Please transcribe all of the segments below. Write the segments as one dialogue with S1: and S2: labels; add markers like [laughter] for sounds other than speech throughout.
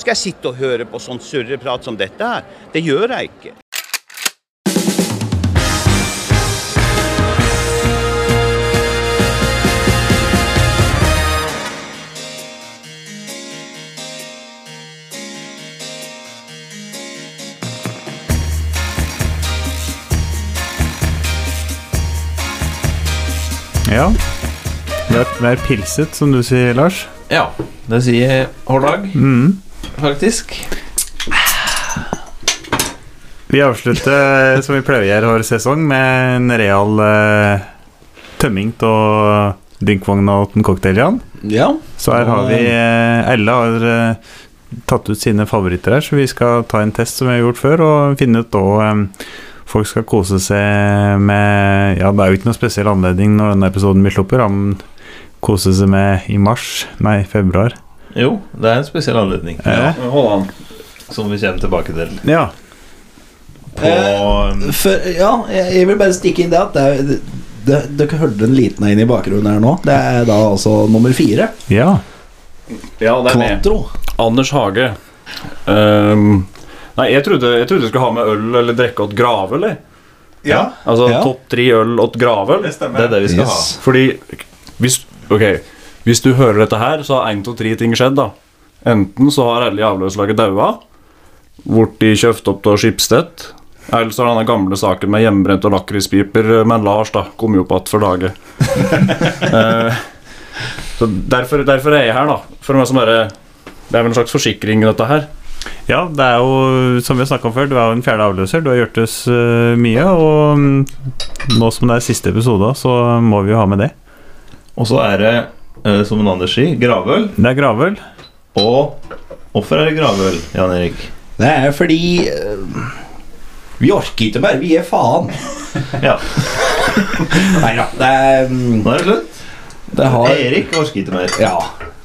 S1: Skal jeg sitte og høre på sånn surreprat som dette her? Det gjør jeg ikke.
S2: Ja. Mer, mer pilset, som du sier, Lars.
S3: Ja, det sier Hårdag,
S2: Mm.
S3: faktisk.
S2: Vi avslutter, eh, som vi pleier å gjøre hver sesong, med en real eh, tømming av drinkvogna og den cocktailene.
S3: Ja.
S2: Så her har vi eh, Alle har eh, tatt ut sine favoritter her, så vi skal ta en test som vi har gjort før, og finne ut da eh, Folk skal kose seg med Ja, det er jo ikke noe spesiell anledning når denne episoden blir sluppet, da, men kose seg med i mars, nei, februar.
S3: Jo, det er en spesiell anledning,
S2: Ja.
S4: Hold an.
S3: som vi kommer tilbake til.
S2: ja.
S3: På
S4: Eh, for, ja, jeg, jeg vil bare stikke inn det at det, er- det, det, dere hørte en liten en i bakgrunnen her nå. Det er da altså nummer fire.
S2: ja.
S5: Ja, det er med.
S4: Quatro.
S5: Anders Hage. Ehm, nei, jeg trodde, jeg trodde du skulle ha med øl eller drikke åt gravøl. jeg.
S3: Ja.
S5: Altså
S4: Ja.
S5: topp tre øl åt gravøl.
S3: Det er det vi skal
S4: Yes.
S5: Fordi hvis, Ok, hvis du hører dette her, så har én av tre ting skjedd. da Enten så har alle i avløpslaget daua, blitt kjøpt opp av Skipstedt, eller så har denne gamle saken med hjemmebrent og lakrispiper med Lars da kom jo opp igjen for dagen. [laughs] Eh, så derfor, derfor er jeg her, da. For meg som bare Det er vel en slags forsikring, dette her.
S2: Ja, det er jo, som vi har snakka om før, du er jo en fjerde avløser. Du har gjort oss øh, mye, og mm, nå som det er siste episode, så må vi jo ha med det.
S3: Og så er det, eh, som en Anders sier, gravøl.
S2: Det er gravøl.
S3: Og hvorfor er det gravøl, Jan Erik?
S4: Det er fordi eh, Vi orker ikke bare, vi gir faen.
S3: Ja,
S4: Nei da. Det, er, mm,
S3: nå er det slutt.
S4: det har
S3: Erik orker ikke mer.
S4: Ja.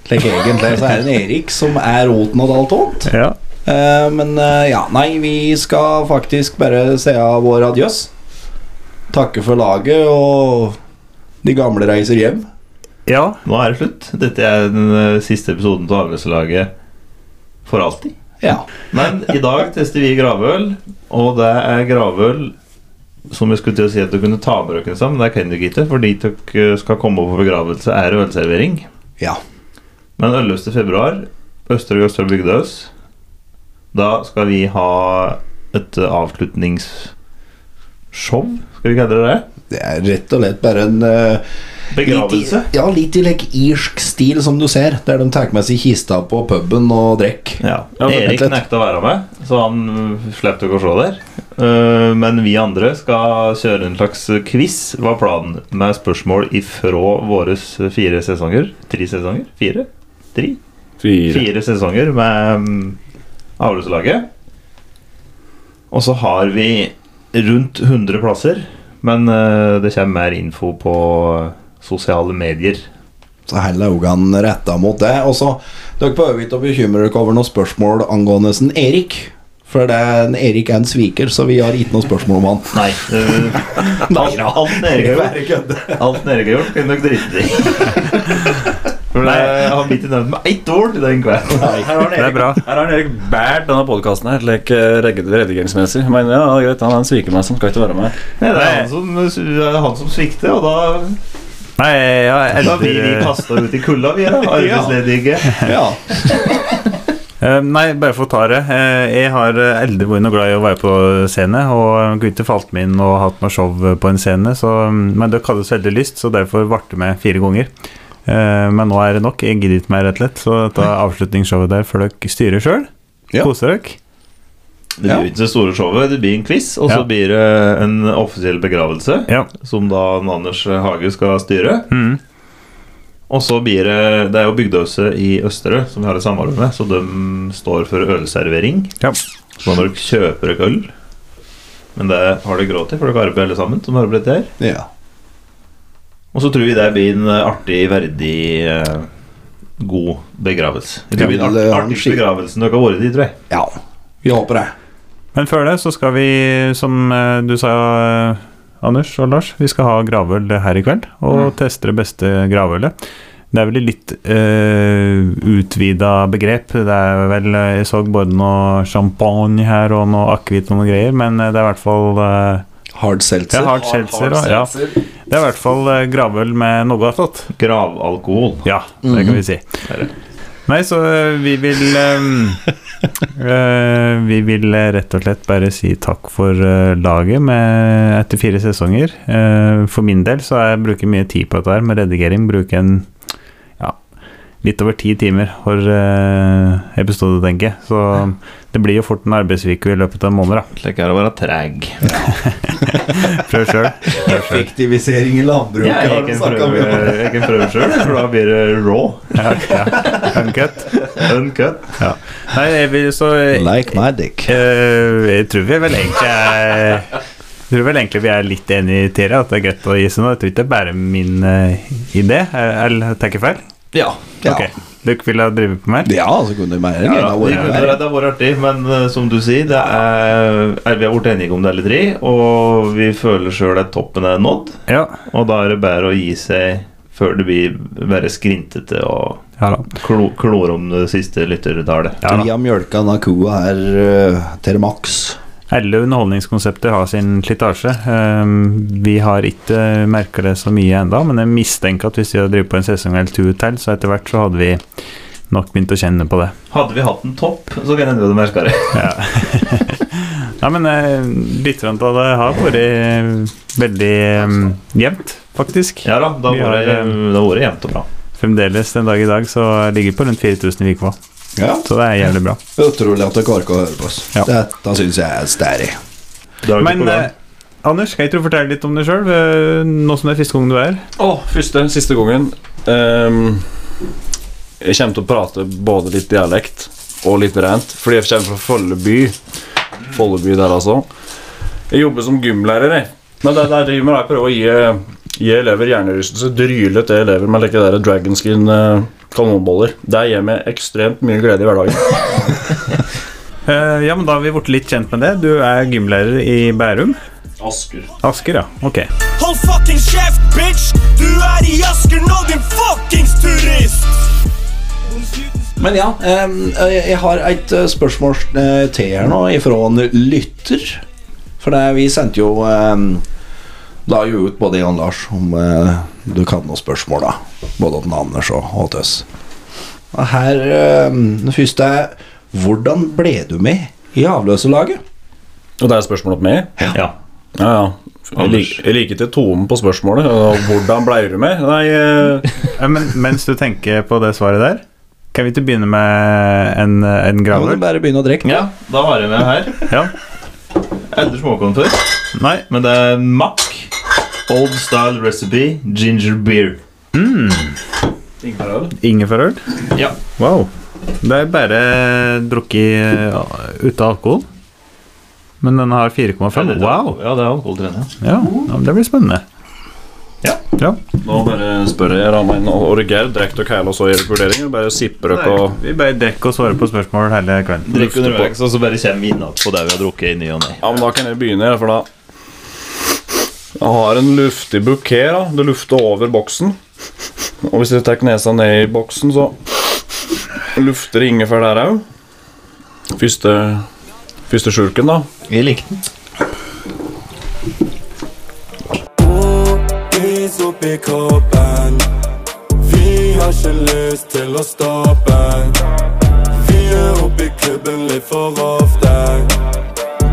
S4: Like, egentlig så er det en Erik som er roten av alt ondt.
S2: Ja.
S4: Eh, men eh, ja, nei, vi skal faktisk bare si av vår adjøs. Takke for laget, og de gamle reiser hjem.
S2: ja.
S3: Nå er det slutt. Dette er den eh, siste episoden til Avløserlaget for alltid.
S4: Ja.
S3: Men i dag tester vi gravøl, og det er gravøl som jeg skulle til å si at du kunne ta med dere sammen, men det kan dere ikke, fordi dere eh, skal komme på begravelse, er det ølservering.
S4: Ja.
S3: Men 11. februar, Østre og Østre Bygdøs, da skal vi ha et eh, avslutningsshow, skal vi kalle det det?
S4: Det er rett og lett bare en eh,
S3: Begravelse.
S4: Litt i, ja, litt i like, irsk stil, som du ser. Der de tar med seg kista på puben og drikker.
S3: Ja.
S5: Ja, men
S3: Erik
S4: vent litt.
S3: nekta å være med, så han øh, slapp ikke å se der. Eh, Men vi andre skal kjøre en slags quiz, var planen, med spørsmål ifra våre fire sesonger. Tre sesonger? Fire? Tre?
S5: Fire.
S3: Fire sesonger med mm, avløpslaget. Og så har vi rundt 100 plasser, men eh, det kommer mer info på eh, sosiale medier.
S4: Så her lager han retta mot det. Og så, dere behøver ikke å bekymre dere over noen spørsmål angående en Erik. For det er en Erik er en sviker, så vi har ikke noe spørsmål om han. [laughs]
S3: Nei.
S5: [laughs]
S3: eh, alt, alt Erik har gjort, Alt Erik har gjort, kan dere drite i. For det har blitt nevnt med ett ord i den kvelden.
S5: Her har
S2: Det er bra.
S5: Her har Erik båret denne podkasten her, like, eh, reg- redigeringsmessig. Men ja, det er greit, han er en svikermann som skal ikke være med.
S3: Nei, det er han som, det er han som svikter, og da,
S2: Nei, ja,
S3: da blir vi
S2: eldre
S3: kasta ut i kulda, vi, da. Arbeidsledige.
S4: Ja.
S2: Eh, Nei, bare for å ta det. Eh, Jeg har eh, aldri vært noe glad i å være på scene, og eh, kunne ikke falt meg inn og hatt noe show eh, på en scene, så, mm, men dere hadde så veldig lyst, så derfor ble det med fire ganger. Eh, Men nå er det nok. Jeg gidder ikke mer, rett og slett, så dette avslutningsshowet der får dere styre sjøl.
S4: Ja.
S2: Koser dere.
S3: Det blir ikke det store showet, det blir en quiz, og så
S2: Ja.
S3: blir det en offisiell begravelse,
S2: Ja.
S3: som da Anders Hage skal styre.
S2: Mm.
S3: Og så blir det Det er jo Bygdøhuset i Østerøy som vi har et samarbeid med, så de står for ølservering.
S2: Ja.
S3: Så når dere kjøper dere øl Men det har dere råd til, for dere arbeider alle sammen. som har blitt her
S4: ja.
S3: Og så tror vi det blir en eh, artig, verdig, eh, god begravelse. Det
S4: Ja,
S3: blir den
S4: eller
S3: art- artigste
S4: arrangement.
S3: begravelsen dere har vært i, tror jeg.
S4: ja. Vi håper det.
S2: Men før det så skal vi, som eh, du sa, eh, Anders og Lars, vi skal ha gravøl her i kveld. Og teste det beste gravølet. Det er vel et litt uh, utvida begrep. Det er vel, eh, Jeg så både noe champagne her og noe akevitt og noe greier, men det er i hvert fall eh,
S4: Hard
S2: ja,
S4: seltzer.
S2: hard seltzer. og- Ja. Det er i hvert fall eh, gravøl med noe attåt.
S3: Gravalkohol.
S2: Ja, det kan vi si. Nei, så eh, vi vil eh, eh, Vi vil eh, rett og slett bare si takk for eh, laget med, etter fire sesonger. Eh, for min del så jeg bruker mye tid på dette her med redigering. Bruker en ja, litt over ti timer for eh, episode, tenker jeg. Så det blir jo fort en arbeidsuke i løpet av en måned, da.
S3: Slik er det å være treg.
S2: Prøv sjøl.
S4: Effektivisering i landbruket
S3: Jeg
S4: har
S3: kan
S4: vi snakket mye om.
S3: prøve- jeg kan prøve sjøl, for da blir det raw.
S2: Ja, ja. Uncut.
S3: Uncut.
S2: Ja. Nei, jeg vil så
S4: Like my dick.
S2: Eh, jeg tror vi vel egentlig er jeg tror vel egentlig vi er litt enige i Tere, at det er greit å gi seg nå. Jeg tror ikke det er bare min eh, idé. Er- Eller tar jeg feil?
S3: Ja.
S4: Ja.
S2: Ok. Dere ville drive på mer?
S4: Ja, så kunne det være en
S3: Ja,
S4: av våre
S3: det,
S4: der.
S3: det har vært artig, men eh, som du sier, det er, er, vi har blitt enige om det alle tre. Og vi føler sjøl at toppen er nådd,
S2: Ja.
S3: og da er det bedre å gi seg før det blir bare skrintete og
S2: Ja da.
S3: klo, klor om det siste lyttertallet.
S2: Ja,
S4: Vi
S2: da.
S4: har mjølka denne kua her eh, til maks.
S2: Alle underholdningskonsepter har sin slitasje. Eh, vi har ikke merka det så mye ennå, men jeg mistenker at hvis vi hadde drevet på en sesong eller to til, så etter hvert så hadde vi nok begynt å kjenne på det.
S3: Hadde vi hatt en topp, så kan hende vi hadde merka det.
S2: Nei, men eh, litt grann av det har vært eh, veldig eh, jevnt, faktisk.
S3: Ja da, da
S2: Vi
S3: var det,
S2: har,
S3: da var det jevnt og bra.
S2: Fremdeles den dag i dag så ligger vi på rundt 4000 i uka.
S4: Ja,
S2: Så det er jævlig bra.
S4: Utrolig at dere orker å høre på oss.
S2: Ja.
S4: Dette syns jeg er stærig.
S3: Dag
S2: Men
S3: på gang.
S2: eh, Anders, kan ikke du fortelle litt om deg sjøl? Nå som det er første gang du er her.
S6: Å, første, siste gangen. Ehm, jeg kommer til å prate både litt dialekt og litt rent, fordi jeg kommer fra Folleby. Folleby der, altså. Jeg jobber som gymlærer, jeg. Men det der driver med, jeg prøver å gi, gi elever hjernerystelse. Dryle til elever med like der dragon skin eh, kanonboller. Det gir meg ekstremt mye glede i hverdagen.
S2: Eh, ja, men da har vi blitt litt kjent med det. Du er gymlærer i Bærum.
S6: Asker.
S2: Asker, ja. Ok.
S7: Hold fucking kjeft, bitch! Du er i Asker nå, din fuckings turist!
S4: Men ja, em, jeg jeg har et eh, spørsmål eh, til her nå ifra en lytter. For det, vi sendte jo em, La jo ut både Jan Lars om eh, du kan noen spørsmål, da. Både til Anders og, og til oss. Og her em, Det første er Hvordan ble du med i avløserlaget?
S6: Og det er spørsmålet på meg?
S3: Ja.
S6: Ja, ja. Jeg, lik, jeg liker ikke tonen på spørsmålet. Og hvordan blei du med? Nei, eh,
S2: Eh, men mens du tenker på det svaret der, kan vi ikke begynne med en, en
S4: Kan du
S2: gravøl?
S4: bare begynne å drikke?
S3: ja, da var jeg med her.
S2: Ja.
S3: Eldre småkorn før.
S2: Nei.
S3: Men det er Mack. Old style recipe ginger beer. Mm.
S2: Ingefærøl?
S3: Ja.
S2: Wow. Det er bare drukket ja, uten alkohol. Men den har 4,5. Wow.
S3: Ja, det er alkoholtrening.
S2: Ja, ja, det blir spennende.
S3: Ja.
S2: Ja.
S6: Nå bare spør jeg Ramein og Geir. Drekk dere hele og så gjør dere vurderinger? Bare sipper dere og
S2: Vi bare drikker og svarer på spørsmål hele kvelden.
S3: Drikk underveis, og så bare kommer vi innat på det vi har drukket i ny og ne.
S6: Ja, men da kan jeg begynne, for da Jeg har en luftig bukett. da Det lufter over boksen. Og hvis jeg tar nesa ned i boksen, så lufter det ingefær der òg. Første, første slurken, da.
S3: Jeg likte den.
S7: Is oppi kroppen. Vi har ikke lyst til å stoppe. Vi er oppi klubben litt for ofte.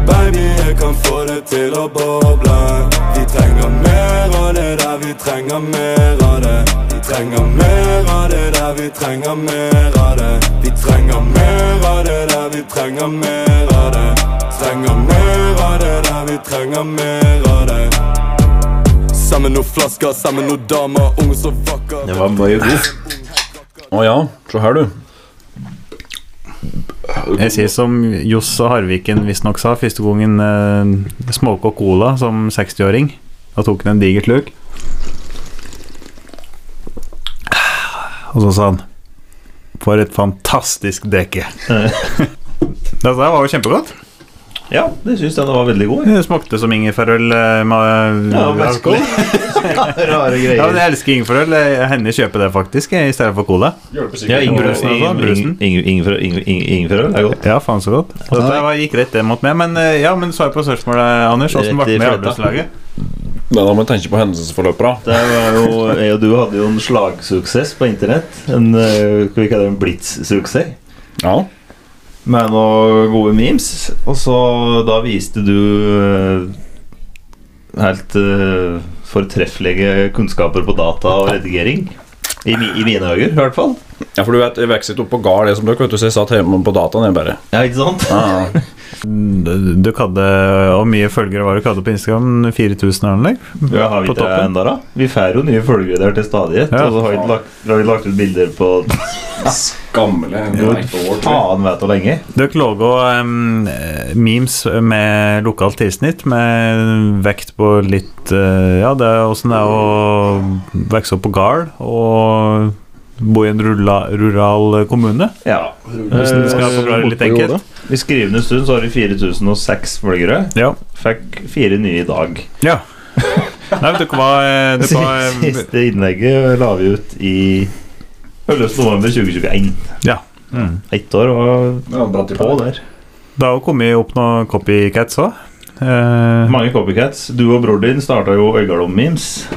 S7: Baby, jeg kan få det til å boble. Vi trenger mer av det der, vi trenger mer av det. Vi trenger mer av det der, vi trenger mer av det. Vi trenger mer av det der, vi trenger mer av det. Trenger mer av det der, vi trenger mer av det. Sammen noen flasker, sammen noen damer, unge så vakker.
S3: Det var mye god.
S6: Å ja, se her, du.
S2: Jeg sier som Johs og Harviken visstnok sa første gangen eh, smoke og cola som 60-åring. Da tok han en diger slurk. Og så sa han
S3: [laughs]
S2: For et fantastisk drikke. Dette var jo kjempegodt.
S3: Ja, det syns jeg den var veldig god. jeg.
S2: Det smakte som ingefærøl eh, med
S3: Ja, merkelig. [laughs] Rare greier.
S2: Ja, men jeg elsker ingefærøl. Jeg hender kjøper det faktisk jeg, i stedet for cola.
S3: Ja,
S2: Brusen og sånn, brusen.
S3: Ingefærøl er godt.
S2: Ja, faen så godt. Dette var, gikk rett det mot meg. Men eh, ja, men svar på spørsmålet, Anders. Åssen ble
S3: Rett
S2: det med
S3: i
S2: i
S3: fløyta.
S2: arbeidslaget?
S5: Nei, da må jeg tenke på hendelsesforløpet, da.
S3: Det var jo, jeg og du hadde jo en slagsuksess på internett. En, eh, skal vi kalle det en blitz-suksess?
S5: Ja.
S3: Med noen gode memes. Og så da viste du eh, helt eh, fortreffelige kunnskaper på data og redigering. I, mi, I mine øyne, i hvert fall.
S5: ja, for du vet, jeg vokste ikke opp på gard, det som dere, vet du, så jeg satt hjemme på dataen, jeg bare.
S3: Ja, ikke sant?
S2: Ah. Du hadde Hvor mye følgere var det du hadde på Instagram? 4000 eller noe? liksom.
S3: Ja, har vi
S2: På
S3: ikke det
S2: toppen.
S3: enda da? Vi får jo nye følgere der til stadighet.
S2: Ja.
S3: Og så har vi, ikke lagt, har vi lagt ut bilder på
S5: "Ah, Gamle
S3: faen vet hvor lenge.
S2: Dere laga um, memes med lokalt tilsnitt, med vekt på litt eh, Ja, det er åssen det er å vokse opp på gard og bo i en rulla, rural kommune.
S3: Ja. Eh,
S2: Hvordan skal jeg forklare det litt enkelt?
S3: I skrivende stund så har vi 4006 følgere.
S2: Ja.
S3: Fikk fire nye i dag.
S2: ja. [laughs] Nei, vet dere hva eh,
S3: [laughs]
S2: dere hva-
S3: Siste innlegget la vi ut i 11. november 2021.
S2: Ja.
S3: Ett år og på der.
S2: Det har jo kommet opp noen copycats Eh, òg.
S3: Mange copycats. Du og bror din starta jo Øygarden-memes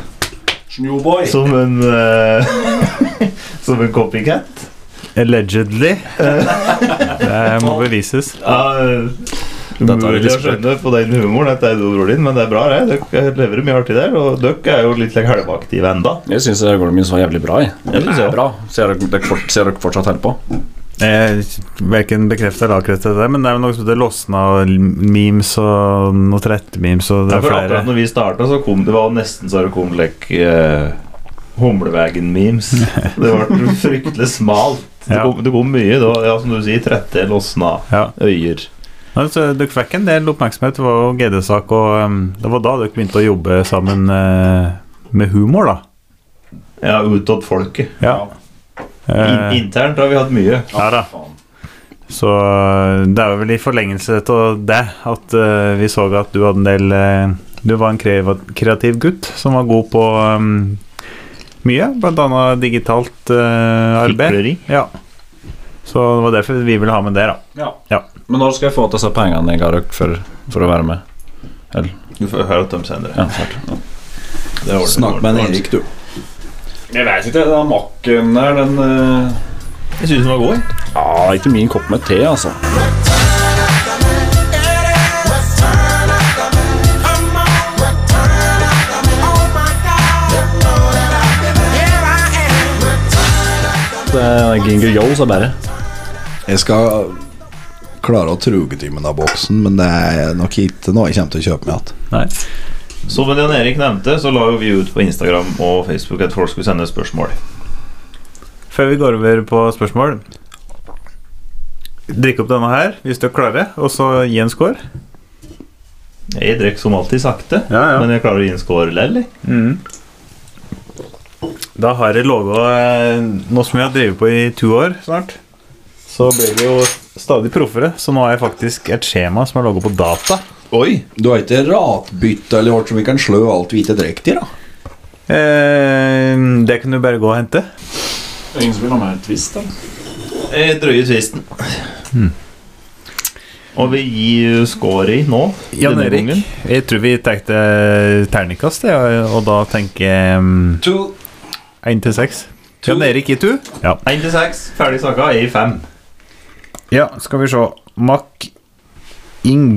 S5: Snowboy.
S3: som en eh, [laughs] Som en copycat. [laughs]
S2: allegedly. det må bevises.
S3: Ja,
S5: Dette er
S3: Umulig å
S5: litt sprøtt.
S3: skjønne på den humoren at det er broren din, men det er bra, det. Dere lever mye artig der, og dere er jo litt like halvaktive enda.
S5: Jeg syns gården min var jævlig bra. Jeg.
S3: Jeg synes det.
S5: er bra. Ser dere, dere, fort, ser dere fortsatt helt på?
S2: Eh, Verken bekrefta eller avkrefta det, men det er jo noe som heter losna memes og noe trette-memes og det er
S3: Ja, for akkurat
S2: flere.
S3: når vi starta, så kom det var nesten så det kom like eh, Humlevegen-memes. Det ble fryktelig
S2: [laughs]
S3: smalt. Det
S2: Ja.
S3: kom, det kom mye. Det var, ja, som du sier, trette, losna
S2: Ja.
S3: øyer.
S2: Nei, så dere fikk en del oppmerksomhet. Det var jo GD-sak, og ehm, det var da dere begynte å jobbe sammen eh, med humor, da.
S3: Ja, utad folket.
S2: Ja.
S3: In,
S2: Eh,
S3: internt har vi hatt mye.
S2: ja da. Så eh, det er jo vel i forlengelse av det at eh, vi så at du hadde en del eh, Du var en kreativ, kreativ gutt som var god på ehm, mye, blant annet digitalt eh, arbeid.
S3: Fikleri.
S2: Ja. Så det var derfor vi ville ha med det, da.
S5: Ja.
S2: Ja.
S5: Men når skal jeg få til disse pengene jeg har røkt for, for å være med?
S3: Du får høre at de sender
S5: Ja, snart.
S3: det.
S4: Snakk med en Erik, du.
S5: Jeg veit ikke. Den makken der, den eh,
S3: Jeg syns den var god. jeg.
S5: Ja, ikke min kopp med te, altså. Det er Ginger Joes er bedre.
S4: Jeg skal klare å truge til med den boksen, men det er nok ikke noe jeg kommer til å kjøpe meg igjen.
S2: Nei.
S3: Som Jan Erik nevnte, så la jo vi ut på Instagram og Facebook at folk skulle sende spørsmål.
S2: Før vi går over på spørsmål Drikk opp denne her hvis du er klare, og så gi en score.
S3: Jeg drikker som alltid sakte,
S2: Ja, ja.
S3: men jeg klarer å gi en score lell. jeg.
S2: Da har jeg laget Nå som jeg har drevet på i to år snart, så blir vi jo stadig proffere. Så nå har jeg faktisk et skjema som er laget på data.
S4: Du har ikke ratbytte eller hvert som vi kan slå alt vi ikke drikker til, da?
S2: Eh, det kan du bare gå og hente.
S5: Ingen som vil ha meg en twist, da?
S3: Jeg drøyer tvisten.
S2: Hmm.
S3: Og vi gir score i nå.
S2: Jan
S3: denne
S2: Erik,
S3: gangen.
S2: jeg tror vi tenkte terningkast, ja, og da tenker jeg mm,
S4: To.
S2: Én til seks. Jan Erik i to? Ja.
S3: Én til seks. Ferdig snakka. Jeg gir fem.
S2: ja. Skal vi se. Mack Ing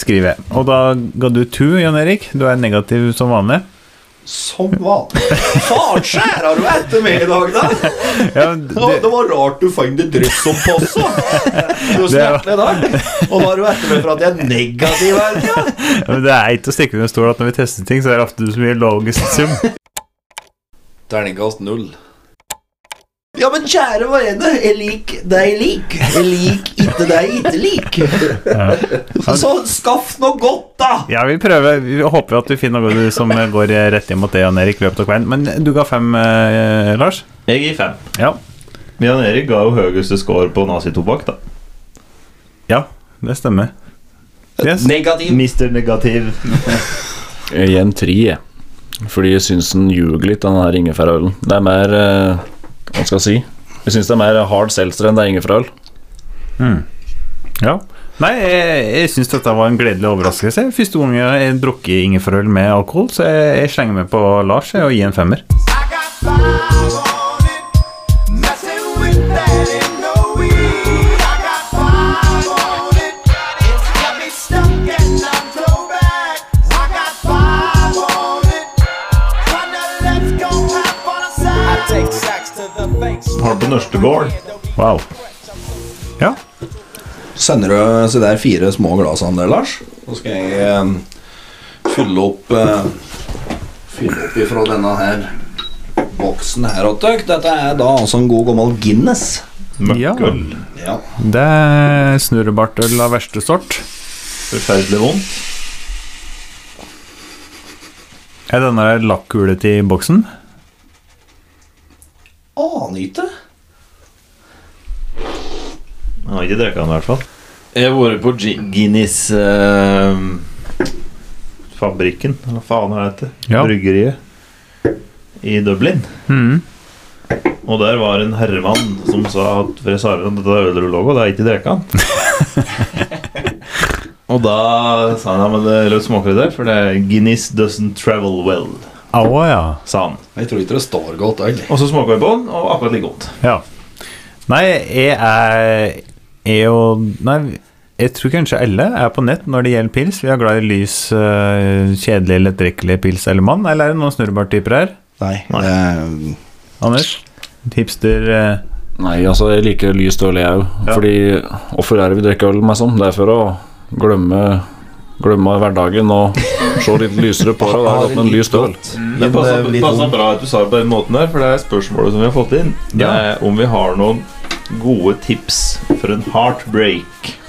S2: skriver jeg. Og da ga du to, Jan Erik. Du er negativ som vanlig.
S4: Som vanlig. Faen, skjæra du etter meg i dag, da?
S2: Ja, men
S4: Det,
S2: det,
S4: det var rart du fant et dryss som passa. Du
S2: var-
S4: snakket i dag. Og da er du etter meg for at jeg er negativ hele tida.
S2: ja, men det er ikke å stikke under stol at når vi tester ting, så er det ofte du som gir lavest sum.
S4: Terningkast null. Ja, men kjære vene, jeg liker det jeg liker. Jeg liker ikke det jeg ikke liker. Så skaff noe godt, da!
S2: [laughs] Ja, vi prøver. Vi håper at du finner noe du som går rett inn mot det, Jan Erik, i løpet av kvelden. Men du ga fem, eh, Lars.
S3: Jeg gir fem.
S2: Ja.
S3: Men Jan Erik ga jo høyeste score på nazitobakk, da.
S2: ja. Det stemmer. Yes.
S4: Negativ.
S3: Mister Negativ.
S6: Jeg gir en Eh, tre, fordi jeg syns den ljuger litt, den her ingefærølen. Det er mer eh, Hva skal jeg si? Jeg syns det er mer hard seltzer enn det er ingefærøl.
S2: Ja. Nei, jeg, jeg syns dette var en gledelig overraskelse. Første gang jeg har drukket ingefærøl med alkohol, så jeg, jeg slenger meg på Lars jeg, og gir en femmer.
S8: I got five on it, messing with that in the weed. I got five on it, got me stuck and I'm throw back. I got five on it, kinda let's go half on a side. I take sacks to the banks.
S3: Har på Nørstegård.
S2: Wow. Ja.
S4: Sender du så der fire små glassene der, Lars? Så skal jeg eh, fylle opp eh, Fylle opp ifra denne her boksen her åt dere. Dette er da altså en god gammel Guinness.
S2: Ja.
S3: Møkkøl.
S4: Ja.
S2: Det er snurrebartøl av verste sort.
S3: Forferdelig vondt.
S2: Er denne her lakkhullet i boksen?
S4: Aner ikke.
S3: Jeg har ikke drukket den i hvert fall. Jeg har vært på Gi- Guinness eh, Fabrikken, eller hva faen er det? heter?
S2: Ja.
S3: Bryggeriet i Dublin.
S2: Mhm.
S3: Og der var en herremann som sa at for jeg sa at dette er ølet du lå på, det er ikke drikka. og da sa han ja, men det eller smaker det der, for det er Guinness doesn't travel well,
S2: Å ja.
S3: sa han.
S4: Jeg tror ikke det står godt, egentlig.
S3: Og så smaker vi på den, og akkurat like godt.
S2: Ja. Nei, jeg er, er jo Nei, jeg tror kanskje alle er på nett når det gjelder pils. Vi er glad i lys, eh, kjedelig, lettdrikkelig pils eller mann. Eller er det noen snurrebarttyper her?
S4: Nei.
S3: Nei.
S4: eh,
S2: Anders? Hipster eh,
S6: Nei, altså, jeg liker lyst øl, jeg òg. Fordi hvorfor er det vi drikker øl, meg sånn? Det er for å glemme Glemme hverdagen og se litt lysere på det. Det er godt med en lys
S4: Mm.
S6: øl.
S3: Det
S4: Men,
S3: passer,
S4: eh, litt
S3: passer
S4: ung.
S3: bra at du sa det på den måten der, for det er spørsmålet som vi har fått inn. Det
S2: sånn- Ja.
S3: er om vi har noen gode tips for en heartbreak.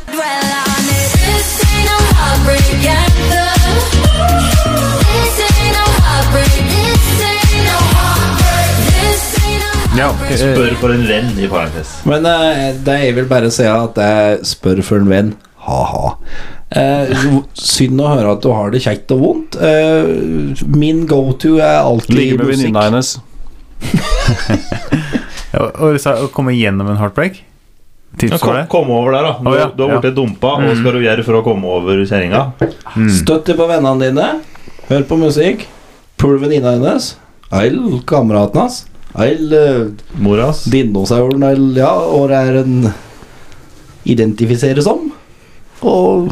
S9: dwell on it. This ain't no heartbreak anthem. This ain't no heartbreak. This ain't no heartbreak. This ain't no
S2: Ja,
S9: heartbreak.
S2: eh,
S3: Spør for en venn, i parentes.
S4: Men eh, det jeg vil bare si at jeg spør for en venn. Ha-ha. Eh, jo, synd å høre at du har det kjekt og vondt. Eh, min go-to er alltid
S6: Ligge med
S4: musikk.
S6: venninna hennes.
S2: ja, og du sa å komme gjennom en heartbreak?
S3: Ja,
S2: Tips
S3: kom,
S2: for det?
S3: kom over der, da. Du,
S2: Å, ja. Mm.
S3: du har blitt dumpa, og skal du gjøre for å komme over kjerringa?
S6: Mm.
S4: Støtt deg på vennene dine. Hør på musikk. Pul venninna hennes. Eil kameraten hans. Eil eh,
S3: Moras?
S4: dinosauren. Eil ja, hva det er en identifiserer som. Og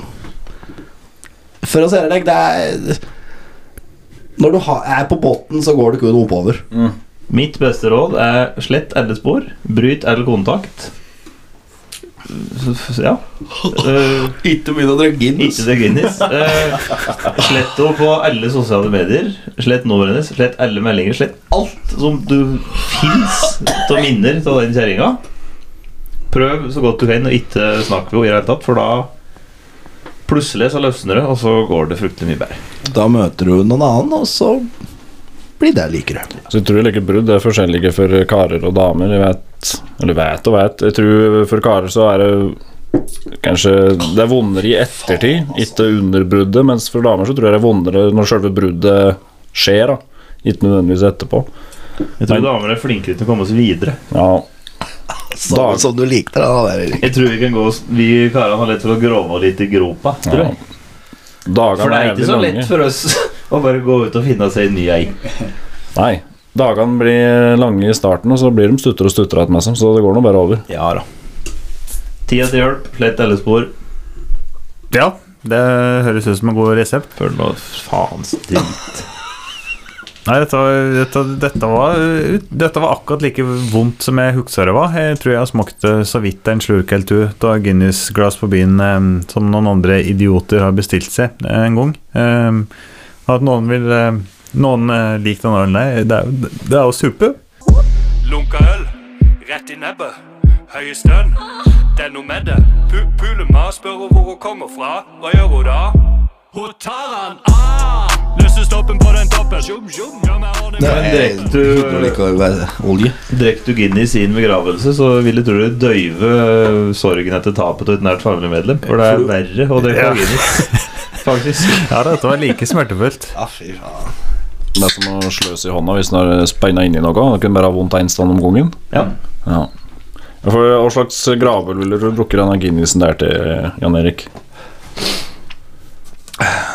S4: for å se deg, det er Når du ha, er på bunnen, så går det kun oppover.
S3: Mitt beste råd er slett alle spor, bryt all kontakt. Ja. Eh,
S4: Ikke begynn å drikke
S3: Ikke det Guinness. Eh, slett henne på alle sosiale medier. Slett nummeret hennes. Slett alle meldinger. Slett alt som du fins av minner av den kjerringa. Prøv så godt du kan å ikke snakke med henne i det hele tatt, for da plutselig så løsner det, og så går det fryktelig mye bedre.
S4: Da møter du noen annen, og så blir det likere.
S6: Så jeg tror like brudd er forskjellige for karer og damer. Jeg vet, eller vet og vet. Jeg tror for karer så er det kanskje Det er vondere i ettertid, ikke under bruddet. Mens for damer så tror jeg det er vondere når selve bruddet skjer, da. Ikke nødvendigvis etterpå.
S3: Jeg tror damer er flinkere til å komme oss videre.
S6: Ja,
S4: Sånn som du likte det. Da, der, Erik.
S3: Jeg tror vi kan gå Vi karene har lett for å grove litt i gropa. Tror
S6: ja.
S3: jeg. For
S6: Dagene
S3: det
S6: er
S3: er ikke
S6: jævlig
S3: så lett
S6: lange.
S3: for oss [laughs] å bare gå ut og finne seg en ny ei.
S6: Nei. Dagene blir lange i starten, og så blir de stuttere og stuttere igjen, liksom, så det går nå bare over.
S3: Ja da. Tida til hjelp, slett alle spor.
S2: Ja, det høres ut som en god resept.
S3: For noe faens dritt.
S2: Nei, dette, var- dette, dette, var, eh, dette var akkurat like vondt som jeg husker det var. Jeg tror jeg smakte så vidt en slurk eller to av Guinness-glass på byen eh, som noen andre idioter har bestilt seg eh, en gang. Eh, at noen vil eh, Noen eh, liker den ølen der, det er jo- det er jo suppe.
S7: Lunka øl, rett i nebbet. Høye stønn, det er noe med det. Pu Puler meg og spør hun hvor hun kommer fra. Hva gjør hun da? Hun tar han av! Løser stoppen på den toppen. Ja, men har ni
S4: Nei,
S7: med-
S4: jeg
S3: drepte du-
S4: slutter å like å være olje.
S3: Drekk du Guinness i en begravelse, så vil jeg tro det døyve eh, sorgen etter tapet av et nært familiemedlem. For det er verre å drikke
S4: [laughs]
S3: Guinness, faktisk.
S2: Ja, dette var like smertefullt.
S4: Ja, fy faen.
S6: Det er som å sløse i hånda hvis den er spenna inn i noe. Det kunne bare ha vondt én stand om gangen.
S3: Ja.
S6: Ja. Ja, For Hva slags gravøl ville du bruke denne Guinnessen der til, Jan Erik?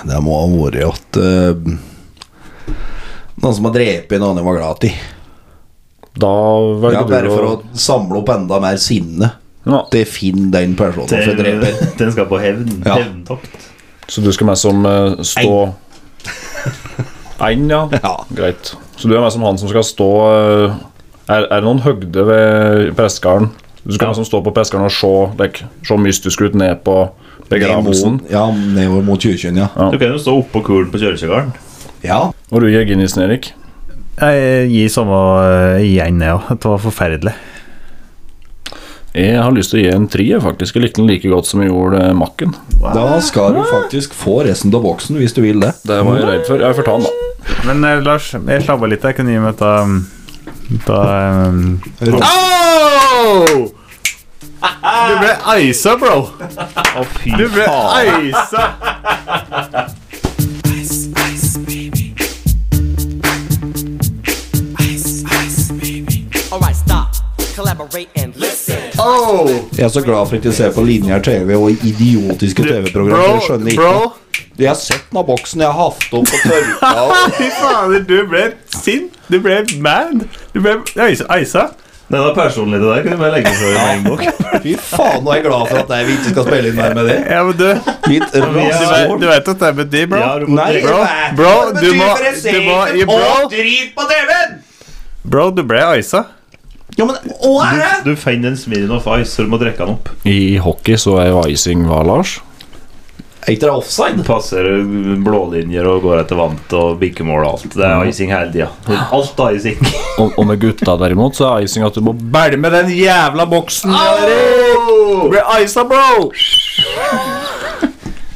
S4: Det må ha vært at eh, Noen som har drept noen jeg var glad i.
S6: Da velger
S4: Ja,
S6: du
S4: bare
S6: å
S4: for å samle opp enda mer sinne.
S6: Ja.
S4: Det finner den personen som dreper.
S3: Den skal på hevn.
S4: Ja.
S3: Hevntokt.
S6: Så du skal med som eh, stå [laughs] Ein, ja.
S4: Ja.
S6: Greit. Så du er med som han som skal stå eh, Er, er det noen høgde ved prestegarden? Du skal
S3: Ja.
S6: med som stå på prestegarden og se, like, se mystisk ut ned på begravelsen.
S4: Ned mot- Ja, nedover mot kirken, ja.
S6: Ja.
S3: Du kan jo stå oppå kulen på kjølekjegaren.
S4: ja.
S6: Og du gir Guinnessen, Erik.
S2: [laughs] Jeg gir samme eh, igjen, jeg òg. Det var forferdelig.
S6: Jeg har lyst til å gi en trier, faktisk. Jeg likte den like godt som jeg gjorde eh, makken.
S4: Da skal du faktisk få resten av boksen hvis du vil det.
S6: Det var jeg redd for. Jeg får ta den, da.
S2: Men eh, Lars, jeg slabba litt. Jeg kunne gi meg ta, ta um... Du ble isa, bro.
S3: Å, fy
S2: Du ble isa.
S10: Alright, stop, collaborate and listen.
S4: Jeg er så glad for ikke å se på linjær TV og idiotiske TV-program. Jeg skjønner ikke Jeg har sett den av boksen. Jeg har hatt opp og tørka og
S2: [laughs] Fy fader, du ble sint. Du ble mad. Du ble isa.
S3: Den var personlig til deg. Kunne du bare legge fra deg med en
S4: [laughs]
S3: bok.
S4: Fy faen, nå er jeg glad for at jeg vi ikke skal spille inn mer med det.
S2: Ja, men du, du,
S4: Mitt
S2: vet,
S4: rasshøl.
S2: du vet at det er med de, bro?
S3: Ja, du må
S4: Nei, jeg
S3: drikke.
S4: vet
S2: Bro,
S4: hva det
S2: du
S4: betyr
S2: må-
S4: for jeg
S2: du
S4: ser
S2: må-
S4: ikke
S2: gi bro.
S4: på drit på TV-en!
S2: Bro, du ble isa.
S4: Ja, men hva er det?
S3: Du finner en Smirnoff Ice, så du må drikke den opp.
S6: I hockey så er jo icing hva, Lars?
S4: Er ikke det offside?
S3: Passer blålinjer og går etter vant og bikker mål og alt. Det er icing hele tida. Alt er icing.
S6: Og, og med gutta derimot, så er icing at du må bælme den jævla boksen! Du ble isa, bro!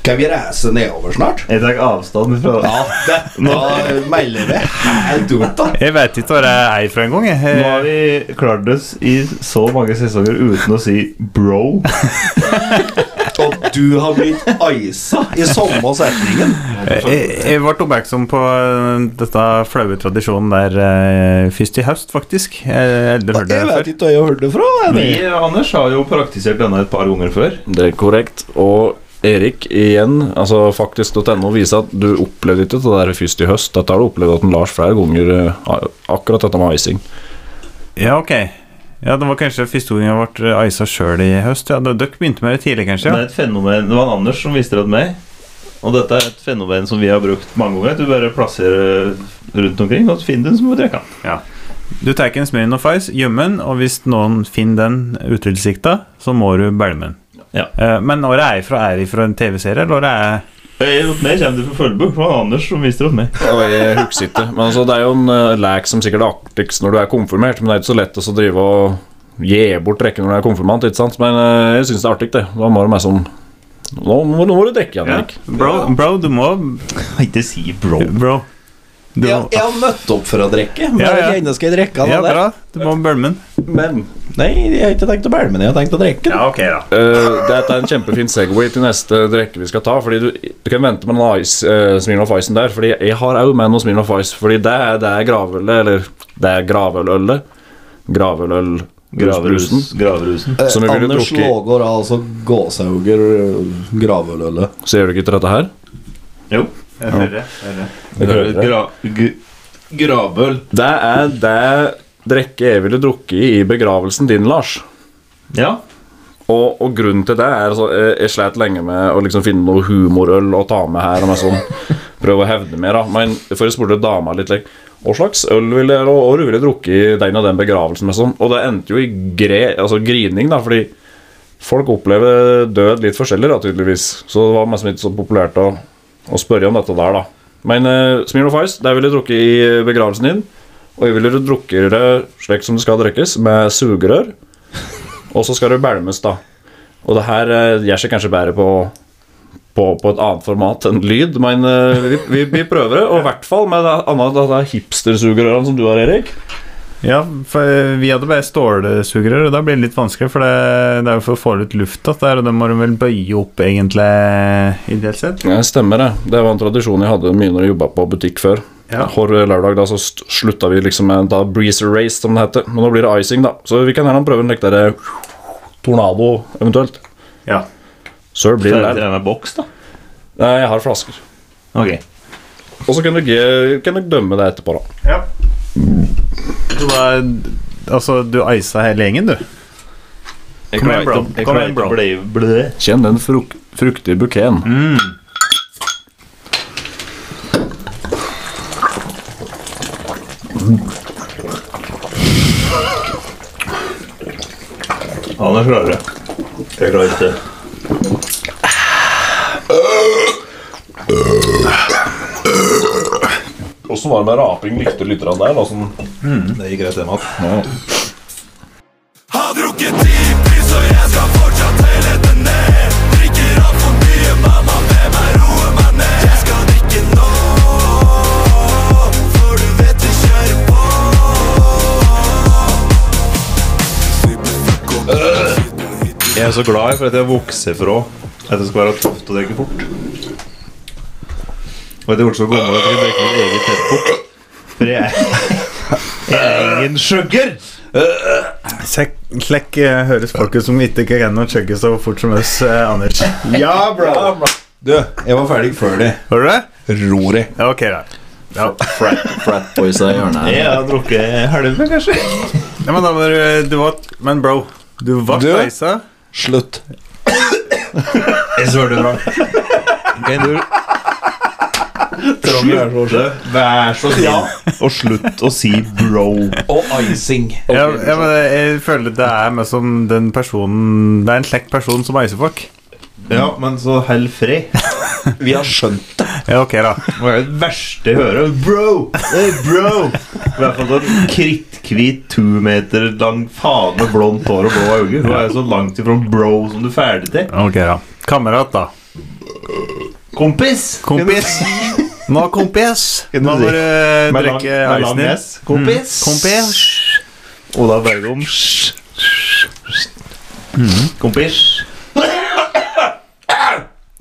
S4: Kan vi reise nedover snart?
S3: Jeg tar avstand fra det.
S4: Ja, det, da melder vi helt ut, da.
S2: Jeg vet ikke hva det er for en gang. Jeg.
S3: Nå har vi klart oss i så mange sesonger uten å si 'bro'.
S4: Og du har blitt isa i samme setningen.
S2: Jeg, Eh, jeg ble oppmerksom på eh, dette flaue tradisjonen der eh, først i høst, faktisk. Eh, Jeg har aldri hørt det
S4: Jeg vet
S2: før.
S4: ikke hva jeg hørte fra. jeg.
S3: Vi eh, Anders, har jo praktisert denne et par ganger før.
S6: Det er korrekt. Og Erik, igjen, altså faktisk.no viser at du opplevde ikke det der først i høst. Dette har du opplevd at en Lars flere ganger, eh, akkurat dette med icing.
S2: Ja, ok. Ja, Det var kanskje første gang jeg ble isa sjøl i høst. Ja, Dere begynte med det tidlig, kanskje?
S3: Det
S2: ja?
S3: er et fenomen, det var en Anders som visste det til meg. Og dette er et fenomen som vi har brukt mange ganger. Du bare plasserer rundt omkring, og så finner du den som må drikke den.
S2: Du tar en Smirnoff Ice, gjemmer den, og hvis noen finner den utilsikta, så må du bælme den.
S3: Ja.
S2: Eh, Men når det er fra, er det fra en TV-serie, eller når det er
S3: Jeg er mot Eh, meg kommer det fra Følbu. Det var Anders som visste det til meg.
S6: Og jeg husker ikke. Men altså, det er jo en eh, lek som sikkert er artigst når du er konfirmert, men det er ikke så lett å så drive og gi bort rekken når du er konfirmant, ikke sant? Men eh, jeg syns det er artig, det. Da må du meg sånn Nå må, nå må du dekke igjen, Erik.
S2: Bro, bro du må
S3: Ikke si 'bro'.
S2: Bro. Du
S4: Jeg,
S2: må,
S4: jeg har møtt opp for å drikke, men
S2: Ja, ja.
S4: jeg ennå skal jeg drikke av
S2: ja,
S4: det der.
S2: bra. Du må bælme den.
S6: Men
S4: Nei, jeg har ikke tenkt å bælme den, jeg har tenkt å drikke den.
S2: ok, da.
S6: Eh, Dette er en kjempefin segway til neste drikke vi skal ta. Fordi Du, du kan vente med den ice, uh, Smirnoff Icen der. Fordi jeg har òg med noe Smirnoff Ice. Fordi det er, det er gravølet, eller det er gravølølet. Gravøløl... Graverusen.
S3: Graverus, graverusen.
S6: Som vi ville
S4: Anders
S6: drukket.
S4: Lågård er altså gåsehugger øh, gravelølle.
S6: Så gjør du ikke til dette her?
S3: Jo. Gra, g, gravøl.
S6: Det er det drikke jeg ville drukket i i begravelsen din, Lars.
S3: Ja.
S6: Og, og grunnen til det er altså, jeg, jeg slet lenge med å liksom finne noe humorøl å ta med her. Og meg sånn, prøve å hevde meg, da. Men for jeg spurte dama litt like, hva slags øl ville jeg, og, og du ville drukke i den og den begravelsen. Med sånn. Og det endte jo i gre, altså grining, da, fordi folk opplever død litt forskjellig, da, tydeligvis. Så det var liksom ikke så populært å, å spørre om dette der, da. Men uh, Smirnoff Ice, det ville jeg drukke i begravelsen din. Og jeg ville drukke det slik som det skal drikkes, med sugerør. Og så skal du bælmes, da. Og det her eh, gjør seg kanskje bedre på på, på et annet format enn lyd, men eh, vi, vi, vi prøver det. Og i hvert fall med det annet det er hipstersugerørene som du har, Erik.
S2: Ja, for eh, vi hadde bare stålsugerør, og da blir det litt vanskelig, for det, det er jo for å få litt luft at der, og da må du vel bøye opp, egentlig, ideelt sett.
S6: Ja, stemmer det. Det var en tradisjon jeg hadde mye når jeg jobba på butikk før.
S2: Ja.
S6: Hver lørdag da så st- slutta vi liksom med da breezer race, som det heter. Men nå blir det icing, da. Så vi kan gjerne prøve en lek der eh, tornado, eventuelt.
S2: Ja.
S6: Sir blir det
S3: Prøv
S6: der.
S3: det med boks, da.
S6: Nei, jeg har flasker.
S3: Ok.
S6: Og så kan dere kan dere dømme det etterpå, da.
S2: Ja. Så da, altså, du isa hele gjengen, du?
S3: Jeg
S2: Kom igjen, bro.
S3: klarer ikke å- jeg
S2: Kom
S3: klarer
S2: igjen,
S3: ikke
S2: bro.
S3: å bli blø.
S6: Kjenn den fruk fruktige bukeen.
S3: Ja, nå klarer jeg. Jeg klarer ikke det.
S6: Åssen var det med raping? Likte lytterne der? da, som...
S3: Det gikk rett hjem igjen.
S7: Har drukket ti pils, og jeg skal fortsatt hele det ned. Drikker alt for mye, mamma, be meg roe meg ned. Jeg skal drikke nå, for du vet de kjører på.
S3: Jeg er så glad for at jeg vokser fra at det skal være tøft å drikke fort. Og etter hvert så kommer jeg til å drikke mitt eget tempo. For jeg, jeg er ingen skjøgger!
S2: Sekk, klekk eh, høres folk ut som ikke kan å chugge så fort som oss, eh, Anders.
S4: Ja, bro! Du, jeg var ferdig før de.
S2: Hører du det?
S4: Rory.
S2: Ja, ok, da. Ja.
S4: Frat, frat boys av hjørnet.
S3: Jeg har drukket halve, kanskje.
S2: Nei, men da må du, du var, Men bro, du var
S4: Du?
S2: isa.
S4: Slutt.
S3: Jeg svør du drar. Kan du slutte, vær så snill, og slutt å si 'bro'?
S4: Og icing.
S2: Ja, ja, men jeg, jeg føler det er mer som den personen Det er en slekt person som iser folk.
S3: Ja, men så hell fred.
S4: Vi har skjønt det.
S2: Ja, ok, da.
S3: Hva er det verste jeg hører? Bro! Hey, bro! I hvert fall sånn kritthvit, to meter lang faen med blondt hår og blå øyne. Hun er jo så langt ifra en bro som du er ferdig til.
S2: Ok, da. Kamerat, da.
S3: Kompis!
S2: Kompis. Nå, kompis.
S3: Kan du
S2: Nå
S3: si-
S2: må du
S3: Med lang-
S2: drikke
S3: med lang
S2: isen din. Mm.
S3: S. Kompis!
S2: Kompis.
S3: Ola Bergum.
S2: Mm.
S3: Kompis.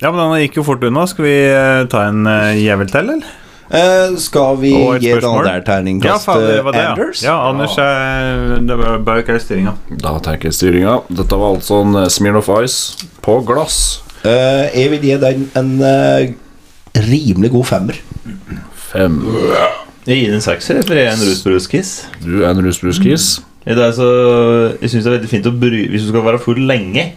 S2: Ja, men den gikk jo fort unna. Skal vi eh, ta en eh, jævel til, eller?
S4: Eh, skal vi
S2: Og et
S4: gi den
S2: spørsmål?
S4: der
S2: Ja,
S4: terningkast
S2: faen, det var det, ja.
S4: Anders?
S2: Ja, Anders er Det var bak her styringa.
S6: Da tenker jeg styringa. Dette var altså en eh, Smirnoff Ice på glass.
S4: Eh, jeg vil gi den en eh, rimelig god femmer.
S6: Fem.
S3: Jeg gir den en sekser, for jeg er en rusbruskiss.
S6: Du er en rusbruskis.
S3: Det er så, jeg syns det er veldig fint å bry Hvis du skal være full lenge,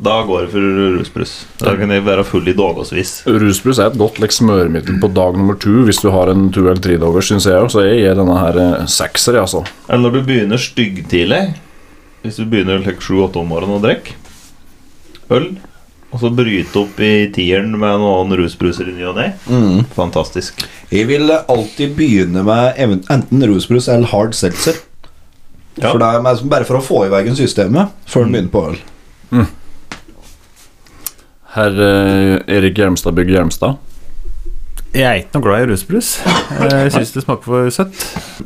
S3: da går det for rusbrus. Da kan jeg være full i dagevis.
S6: Rusbrus er et godt like, smøremiddel på dag nummer to hvis du har en to eller tre dager, syns jeg. jo. Så jeg gir denne her eh, sekser, jeg, altså.
S3: Eller når du begynner styggtidlig Hvis du begynner like, 7-8 om morgenen og drikke øl, og så bryte opp i tieren med noen rusbruser i ny og ne
S4: Mm.
S3: Fantastisk.
S4: Jeg vil alltid begynne med even- enten rusbrus eller hard seltzer.
S3: Ja.
S4: For det er meg som- bare for å få i veien systemet før den begynner på øl.
S6: Herr eh, Erik Gjermstad Bygg Gjermstad.
S2: Jeg er ikke noe glad i rusbrus. Jeg syns det smaker for søtt.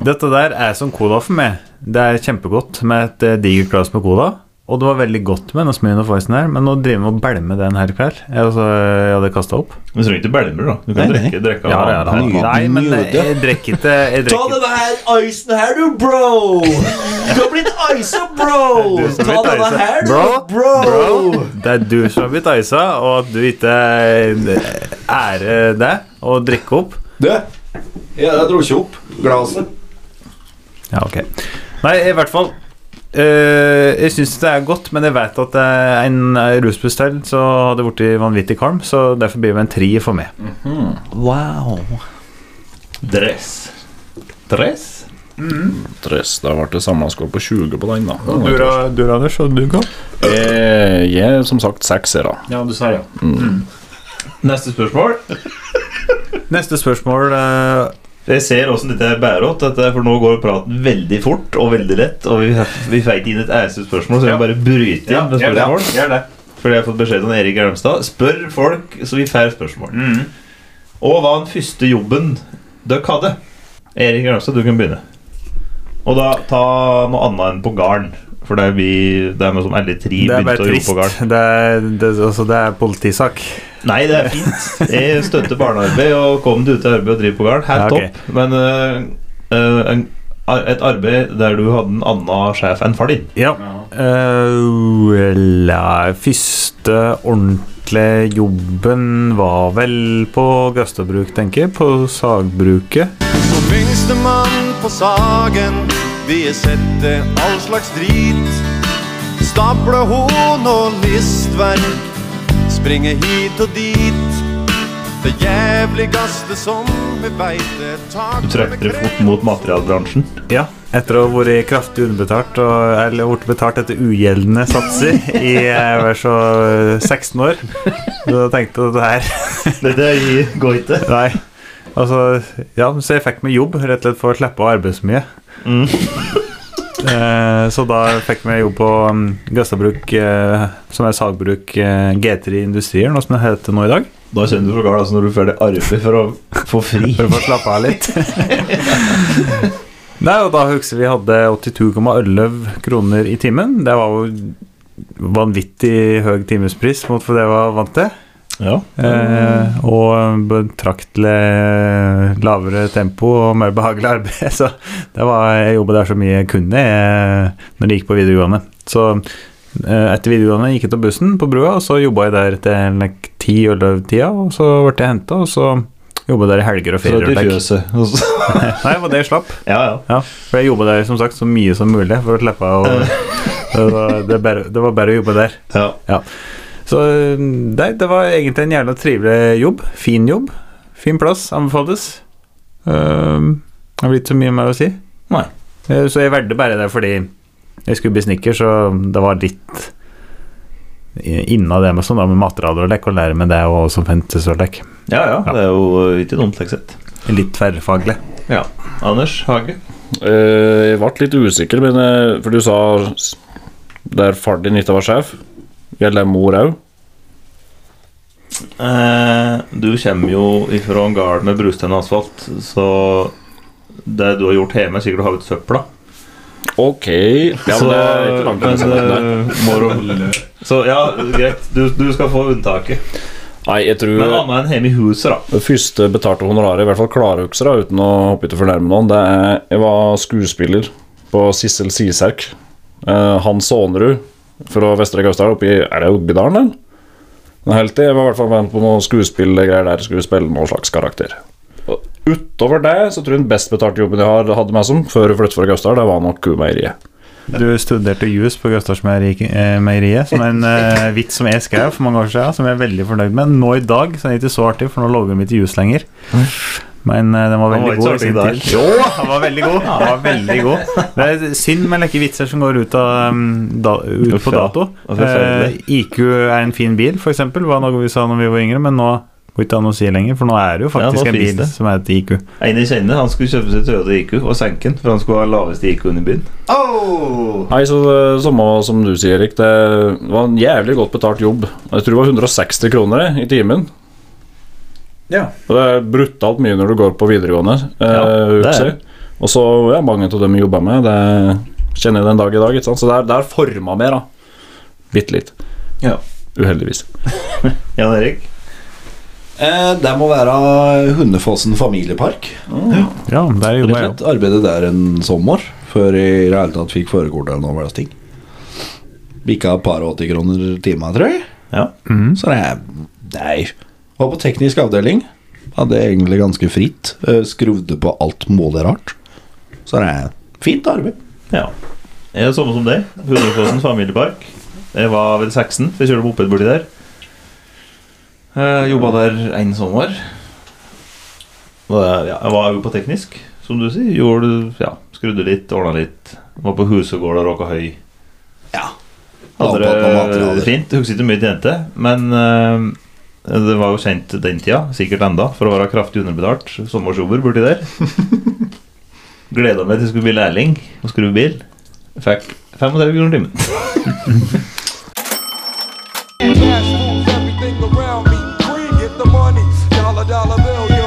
S2: Dette der er som cola for meg. Det er kjempegodt med et eh, digert glass med cola. Og det var veldig godt med den smøren og faisen her, men nå driver vi og bælmer den her i kveld. Jeg, altså, jeg hadde kasta opp.
S3: Men så trenger du ikke belmer, da. Du kan
S4: Nei, nei.
S3: drikke, drikke
S2: Ja, ja, ja.
S4: Nydelig.
S2: Nei, men jeg, jeg drikker ikke jeg drikker ikke.
S4: denne icen her, du, bro! Du har blitt isa, bro!
S2: Du som har blitt isa. bro! Det er du som har blitt isa, og at du ikke eh, ærer det og drikker opp.
S4: Du, jeg dro ikke opp glaset.
S2: Ja, ok Nei, i hvert fall eh, Jeg synes det er godt, men jeg vet at det er en rusbuss til Så hadde det vært vanvittig kalm Så derfor blir det en tri for meg
S4: Wow.
S3: Dress. Dress?
S6: Dress. Da ble det samla skål på 20 på den, da.
S2: du Anders, og du kan
S6: Jeg gir som sagt sekser, da.
S2: Ja, du sa ja
S3: Neste spørsmål.
S2: Neste spørsmål eh,
S3: Jeg ser åssen dette bærer opp, dette, for nå går praten veldig fort og veldig lett. Og vi, vi feit inn et æreste spørsmål, så vi må bare bryte inn med spørsmål.
S2: gjør det
S3: Fordi jeg har fått beskjed av Erik Elmstad. Spør folk, så vi får spørsmål.
S2: Mm.
S3: Og hva den første jobben dere hadde? Erik Elmstad, du kan begynne. Og da ta noe annet enn på garn. For det er vi det er med som alle tre
S2: Det er bare
S3: begynte å jobbe
S2: trist.
S3: på garn.
S2: Det er, det, altså, det er politisak.
S3: Nei, det er fint. Jeg støtter barnearbeid og kom du til arbeid og driver på garn. Helt
S2: Ja, ok.
S3: topp. Men øh, øh, en, ar- et arbeid der du hadde en annen sjef enn far din.
S2: Ja. Eh, la, første ordentlige jobben var vel på Gastabruk, tenker jeg. På sagbruket.
S11: Som minstemann på sagen vil jeg sette all slags drit. Stable hån og listverk, springe hit og dit. Det jævligste som vi veit, er tak
S3: Du trakk dere fort mot materialbransjen.
S2: Ja. Etter å ha vært kraftig underbetalt, og, eller vært betalt etter ugjeldende satser i eh, hver så eh, 16 år, så tenkte jeg at det her
S3: Dette går ikke.
S2: Nei. Altså, ja, så jeg fikk meg jobb, rett og slett for å slippe å arbeide så mye. eh, så da fikk jeg meg jobb på um, Gastabruk, eh, som er sagbruk eh, G3 Industrier, noe som det heter nå i dag.
S3: Da kjenner du fra garn altså når du får det arbeid for å få fri.
S2: For å få slappe av litt. [laughs] Nei, og da husker vi hadde 82,11 kroner i timen. Det var jo vanvittig høy timespris mot for det jeg var vant til.
S3: Ja.
S2: Eh, og betraktelig eh, lavere tempo og mer behagelig arbeid. [laughs] Så det var, jeg jobba der så mye jeg kunne eh, når jeg gikk på videregående. Så eh, etter videregående gikk jeg til bussen på brua, og så jobba jeg der til like, ti elleve-tida, og så ble jeg henta, og så jobba jeg der i helger og
S3: Så til
S2: ferieopplegg.
S3: fjøset. og så-
S2: Nei, det var det jeg slapp.
S3: [laughs] Ja, ja.
S2: Ja, for jeg jobba der som sagt så mye som mulig for å slippe å [laughs] det var, det, er bare, det var bare å jobbe der.
S3: ja.
S2: Så eh, nei, det var egentlig en jævla trivelig jobb. Fin jobb. Fin plass, anbefales. Ehm, Det har blitt så mye mer å si.
S3: Nei.
S2: Eh, Så jeg valgte bare det fordi jeg skulle bli snekker, så det var litt inna det med sånn da, med materialer og lekk, og lære meg det og også fantes og lekk.
S3: Ja, ja, det er jo øh, ikke dumt, slik sett.
S2: Litt tverrfaglig.
S3: Ja. Anders Hage.
S6: Eh, jeg ble litt usikker, men, eh, for du sa s- der far din ikke var sjef. Gjelder det mor òg?
S3: Eh, du kommer jo ifra en gard med brustein og asfalt, så det du har gjort hjemme, er sikkert å ha ut søpla.
S6: Ok. Ja, men det er ikke langt unna
S3: men,
S6: sannheten der.
S3: øh, moro. Så ja, greit. Du, du skal få unntaket.
S6: Nei, jeg
S3: Men
S6: tror
S3: annet enn hjemme i huset, da.
S6: det første betalte honoraret, i hvert fall klarøkser, da, uten å hoppe ut og fornærme noen, det er Jeg var skuespiller på Sissel Siserk. Eh, Hans Aanerud fra Vestre Gausdal oppi Er det oppi dalen, eller? Men Helt til, jeg var i hvert fall med på noen skuespillgreier der jeg skulle spille noen slags karakter. Og Utover det så tror jeg den best betalte jobben jeg har hadde meg som før jeg flyttet fra Gausdal, det var nok kumeieriet.
S2: Du studerte jus på Gustavsmeieriet, som er en eh, vits som jeg skrev for mange år siden, som jeg er veldig fornøyd med. Nå i dag så er det ikke så artig, for nå lover vi ikke jus lenger. Men eh, den var
S3: Den
S2: veldig
S3: var ikke
S2: god
S3: så
S2: i
S3: artig
S2: sin
S3: i dag.
S2: tid. Jo, den var veldig god. Den var veldig god. Det er synd med lekke vitser som går ut, av, um, da, ut
S3: Uff,
S2: på
S3: ja.
S2: dato.
S3: Ja, forferdelig.
S2: Eh, IQ er en fin bil, for eksempel, var noe vi sa når vi var yngre, men nå går det ikke an å si lenger, for nå er det jo
S3: Ja, nå
S2: faktisk en
S3: finnes
S2: bil
S3: det.
S2: som er et IQ.
S3: En jeg kjenner, han skulle kjøpe seg Toyota IQ og senke den, for han skulle ha laveste IQ-en i byen.
S6: Nei, så det samme som du sier, Erik. Det var en jævlig godt betalt jobb. Jeg tror det var 160 kroner jeg, i timen.
S2: Ja.
S6: Og det er brutalt mye når du går på videregående. Eh,
S3: Ja, det er
S6: husker jeg. Og så ja, mange av dem jeg jobba med, det kjenner jeg den dag i dag. Ikke sant? Så det er, det er forma mer, da. Bitte litt.
S3: Ja.
S6: Uheldigvis.
S3: Jan Erik?
S4: Eh, det må være Hundefossen familiepark.
S2: Ja, der
S4: Rett og
S2: jobba jeg
S4: slett arbeidet der en sommer før jeg i det hele tatt fikk førerkort eller noe slikt. Bikka et par og 80 kroner timen, tror jeg.
S3: Ja.
S4: Så det er Nei. Var på teknisk avdeling. Hadde egentlig ganske fritt. Eh, Skrudde på alt mulig rart. Så det er fint arbeid.
S3: ja. Jeg er samme som deg. Hundefossen familiepark. Jeg var vel 16, for jeg kjørte moped borti der. Eh, Jobba der en sommer. Og, eh, ja, jeg var jo på teknisk, som du sier. Gjorde, ja, skrudde litt, ordna litt. Var på husegård og råka høy.
S4: Ja.
S3: Hadde
S4: Lavpappa materialer.
S3: det fint. Husker ikke mye til jente, men eh, det var jo kjent den tida, sikkert enda, for å være kraftig underbetalt sommersjobber borti der. Gleda meg til jeg skulle bli lærling og skru bil. Fikk 35 kroner timen.
S12: dollar dollar bill, yo.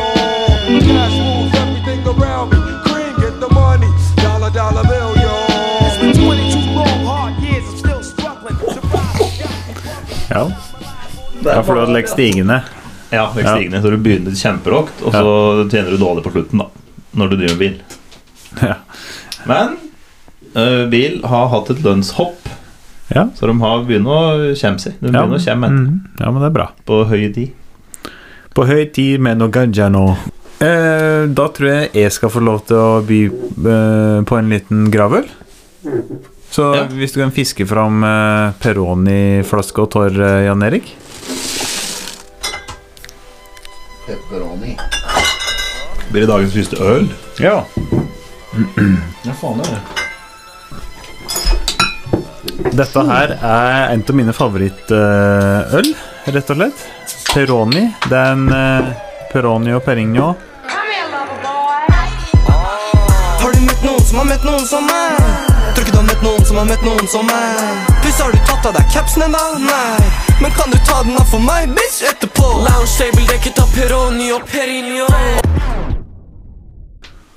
S12: Cash moves everything around me. Green, get the money. Dollar dollar bill, yo.
S11: It's been 22 long, hard years. I'm still struggling to
S2: Ja. ja, for du hadde legg stigende.
S3: Ja, vekk
S2: Ja.
S3: stigende. Så du begynner kjemperåkt, og så tjener du dårlig på slutten, da. Når du driver med bil.
S2: [laughs] Ja.
S3: Men eh, bil har hatt et lønnshopp,
S2: Ja.
S3: så de har begynner å kjemme seg. De
S2: Ja.
S3: begynner å kjemme etter
S2: Mhm. ja, men det er bra.
S3: på høy tid.
S2: På høy tid med noe ganja nå. Eh, da tror jeg jeg skal få lov til å by eh, på en liten gravøl. Så
S3: Ja.
S2: hvis du kan fiske fram eh, Peroni-flaske og tørr, eh, Jan Erik
S4: Pepperoni.
S3: Blir det dagens første øl?
S2: Ja.
S3: Ja, faen det er det.
S2: Dette her er en av mine favorittøl, rett og slett. Peroni. Det er en eh, Peroni og Perignon.
S7: Har du møtt noen som har møtt noen som meg? Tror ikke du har møtt noen som har møtt noen som meg. Pluss har du tatt av deg capsen ennå? Nei. Men kan du ta den av for meg, bitch, etterpå? Lounge table dekket av Peroni og Perignon.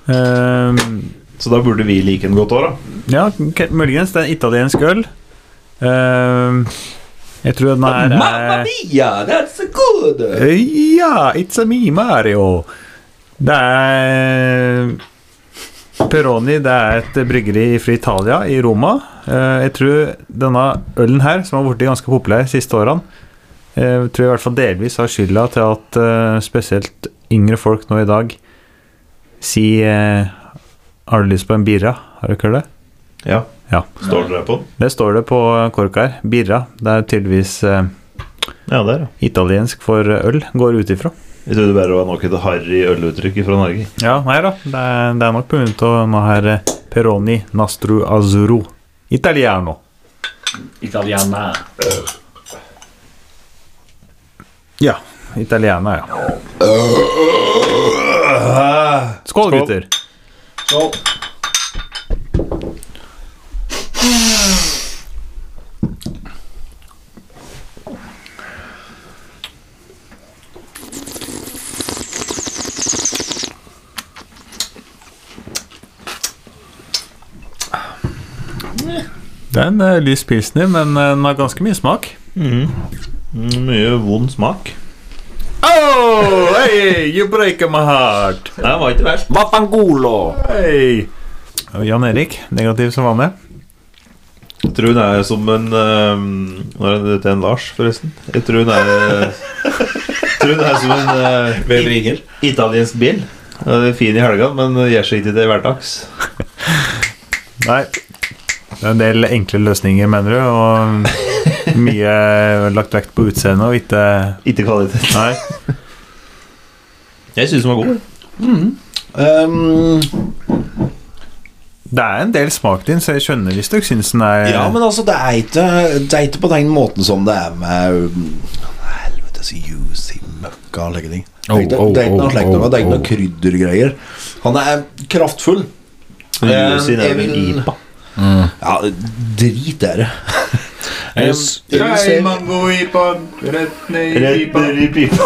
S2: Eh,
S3: Så da burde vi like den godt òg, da.
S2: ja, k- muligens. Det er en italiensk øl. Eh, jeg tror den her
S4: Mamma
S2: er
S4: mia, that's a good!
S2: Eh, Ja, it's a me, Mario. Det er Peroni det er et bryggeri fra Italia, i Roma. Eh, Jeg tror denne ølen her, som har blitt ganske populær de siste årene, eh, tror jeg i hvert fall delvis har skylda til at eh, spesielt yngre folk nå i dag sier eh, Har du lyst på en birra? Har du ikke det?
S3: Ja.
S2: Ja.
S3: Står dere på den?
S2: Det står det på korka her. Birra. Det er tydeligvis eh,
S3: Ja, der, ja.
S2: italiensk for øl, går jeg ut ifra.
S3: Jeg trodde bare det var nok et harry øluttrykk fra Norge.
S2: Ja, nei da. Det er, det er nok pga. denne her eh, Peroni nastru azzurro italiano.
S5: Italiana.
S2: Ja. Italiana, ja. Skål, gutter. Det er en eh, lys pilsner, men eh, den har ganske mye smak.
S3: Mye vond smak.
S2: Oh, hey, you break my heart.
S3: Nei, det var ikke verst.
S5: Vafangolo.
S2: Hey. Jan Erik, negativ som vanlig.
S3: Jeg tror hun er som en ehm, Når er det til en Lars, forresten? Jeg tror hun er [laughs] jeg tror hun er som en eh, i- italiensk bil. Ja, det er Fin i helga, men gjør seg ikke til hverdags.
S2: Nei. Det er en del enkle løsninger, mener du, og mye lagt vekt på utseendet og ikke
S3: Ikke kvalitet.
S2: Nei.
S3: Jeg syns den var god.
S4: Um,
S2: Det er en del smak din, så jeg skjønner hvis dere syns den
S5: Eh,
S2: er
S4: ja, men altså, det er ikke Det er ikke på den måten som det er med um, Helvetes juicy møkka og slike ting. Det er ikke
S5: Oh, oh,
S4: det er ikke noe
S5: oh,
S4: slikt noe, det er ikke
S5: oh,
S4: noe kryddergreier. Han er kraftfull.
S3: Juicy, det er
S4: jeg
S3: vel
S4: vil-
S3: IPA.
S5: Mm.
S4: Ja, drit
S5: [laughs]
S4: er det. Eh,
S3: Rett ned i pipa.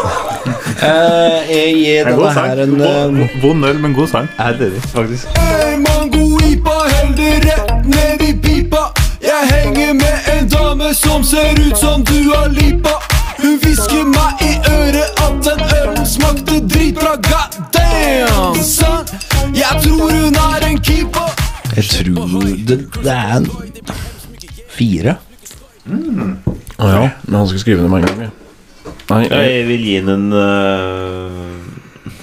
S4: Eh, jeg gir denne her en um,
S2: Vond øl, men god sang.
S3: Jeg er enig, faktisk.
S12: Hey, mango ipa, hell det rett ned i pipa. Jeg henger med en dame som ser ut som du har lipa. Hun hvisker meg i øret at den ølen smakte dritbra. God damn, son. Jeg tror hun er en keeper.
S4: Jeg tror det, det er en fire.
S5: Å ja, men han skal skrive det med en gang. ja. Nei, jeg,
S3: Jeg vil gi den en eh,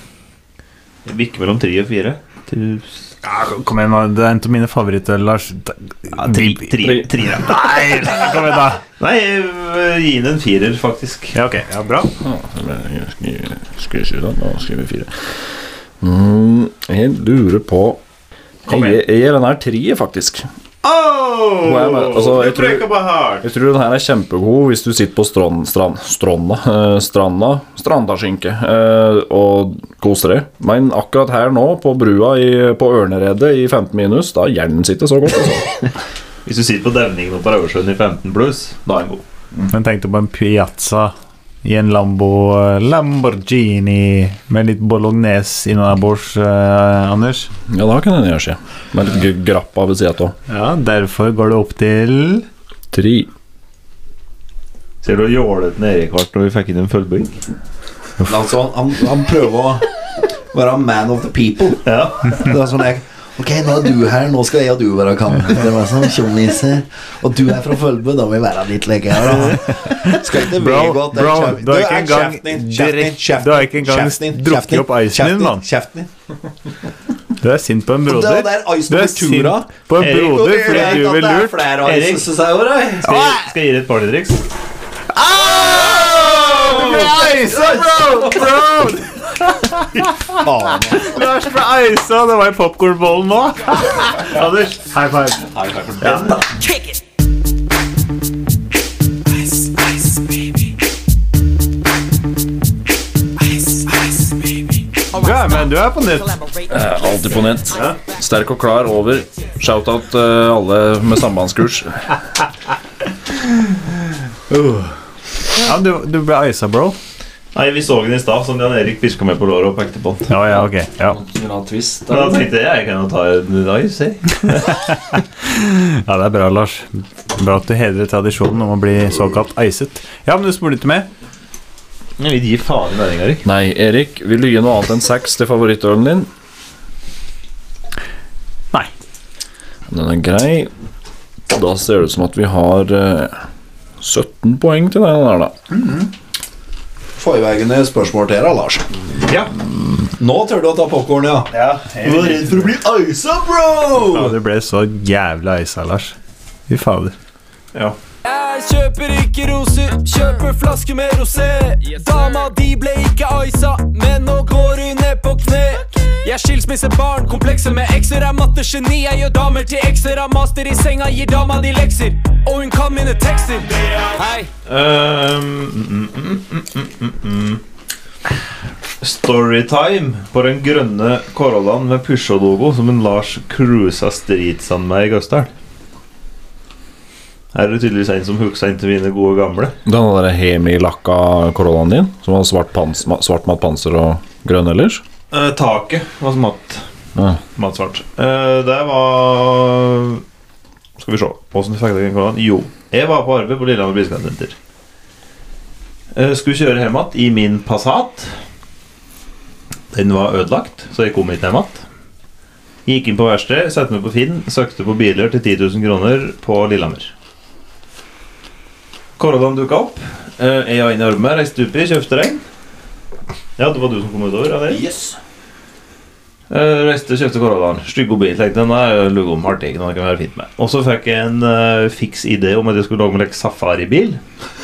S3: Jeg bikker mellom tre og fire. Tre-
S2: Kom igjen, nå, det er en av mine favorittøl, Lars.
S3: Ja, tri, tri, tri,
S2: Nei, kom igjen, da.
S3: [laughs] Nei, eh, gi den en firer, faktisk.
S2: Ja, ok. Ja, bra.
S5: jeg skriver, skriver sju, da. Nå skriver vi fire. Mm, jeg lurer på
S3: Kom
S5: Jeg, jeg gir den her treet, faktisk. Hvor er det? Altså, jeg tror- Jeg tror den her er kjempegod hvis du sitter på strand, strand, stranda, eh, stranda, strandaskinke eh, og koser deg. Men akkurat her nå, på brua i, på Ørneredet i 15 minus, da hjernen sitter så godt. Altså.
S3: Hvis du sitter på demningen oppe på Rauersjøen i 15 pluss, da er den god.
S2: Men tenkte på en piazza I en Lambo eh, Lamborghini med litt bolognese innabords, eh, Anders.
S5: Ja, da kan den gjøre seg. Med litt g- grappa ved sida av.
S2: Ja, derfor går det opp til
S5: Tre.
S3: Ser du jålet ned Erik hvert når vi fikk inn en fullbygg?
S4: Altså, han, han prøver å være man of the people.
S3: Ja.
S4: Det er sånn jeg Ok, nå er du her, nå skal jeg og du være kamerater. Sånn, tjommiser. og du er fra Følbu, da må vi være litt lenger. da. Skal ikke
S2: Bro,
S4: vedgå at det er
S2: bro,
S4: kjeft-
S2: du har ikke
S4: er
S2: engang
S4: kjeften din,
S2: drikk-
S4: kjeften din, kjeften
S2: du har ikke
S4: din,
S2: engang
S4: kjeften din,
S2: drukket
S4: kjeften din,
S2: opp icen din,
S4: kjeften
S2: mann.
S4: Kjeften din.
S2: Du er sint på en
S4: Og
S2: broder.
S4: det der ice
S2: Du er
S4: nummer tura.
S2: sint på en
S3: Erik,
S2: broder
S4: Det
S2: fordi du
S4: er ikke at
S2: vil
S4: det er
S2: lurt.
S4: flere ice
S3: Erik.
S4: som sier over, da.
S3: Skal jeg, skal jeg gi deg et partytriks?
S2: Du ble isa, bro! Bro!
S4: [laughs]
S2: Lars ble isa, det var i popkornbollen nå. [laughs] Anders, high five. Du er med, du er på nytt.
S5: Alltid på nett. Sterk og klar over. Shout-out eh, alle med sambandskurs.
S2: Ja, du, du ble isa, bro.
S3: Nei, vi så den i stad, som Jan Erik pirka med på låret og pekte på den.
S2: Ja, ja, ok. Ja,
S3: Men Da tenkte jeg jeg kan jo ta en ice, jeg.
S2: ja det er bra, Lars. Bra at du hedrer tradisjonen om å bli såkalt iset. Ja, men du smulter med.
S3: Jeg vil gi faen i meldinga, Erik.
S5: Nei, Erik, vil du gi noe annet enn seks til favorittølen din?
S2: Nei.
S5: Den er grei. Da ser det ut som at vi har eh, 17 poeng til den der, da.
S4: Forveggende spørsmål til deg, Lars.
S3: Ja.
S4: Nå tør du å ta popkorn, ja.
S3: Du var redd for å bli
S4: Isa, bro!
S2: Ja, du ble så jævla isa, Lars. Fy fader.
S7: Jeg kjøper ikke roser, kjøper flaske med rosé. Dama di ble ikke isa, men nå går hun ned på kne. Jeg er skilsmissebarn, komplekser med ekser, er mattegeni. Jeg gjør damer til ekser, har master i senga, gir dama di lekser. Og hun kan mine tekster. Hei.
S3: Ehm, mm, mm, mm, mm, mm, mm. Storytime på den grønne Corollaen med Peugeot-logo som en Lars cruisa streetsand med i Gausdal. Her er det tydeligvis en som hooka inn til mine gode gamle.
S5: Den der hemilakka Corollaen din, som har svart, pans, ma- svart matt panser og grønn ellers.
S3: Eh, taket var matt.
S5: Ja.
S3: Mattsvart. Eh, det var Skal vi se Hvordan fikk jeg den Corollaen? Jo, jeg var på arbeid på Lillehammer Biskopssenter. Eh, skulle kjøre hjem igjen i min Passat. Den var ødelagt, så jeg kom ikke hjem igjen. Gikk inn på verksted, satte meg på Finn, søkte på biler til 10 000 kroner på Lillehammer. Corollaen dukka opp. Eh, jeg var inne i armen, reiste oppi, kjøpte den. Ja, det var du som kom utover? Ja, det. Eh, reiste og kjøpte Corollaen. Stygg og bil. Tenkte den er lugom, artig, den kan være fint med. Og så fikk jeg en eh, fiks idé om at jeg skulle lage meg en safaribil.
S4: [laughs]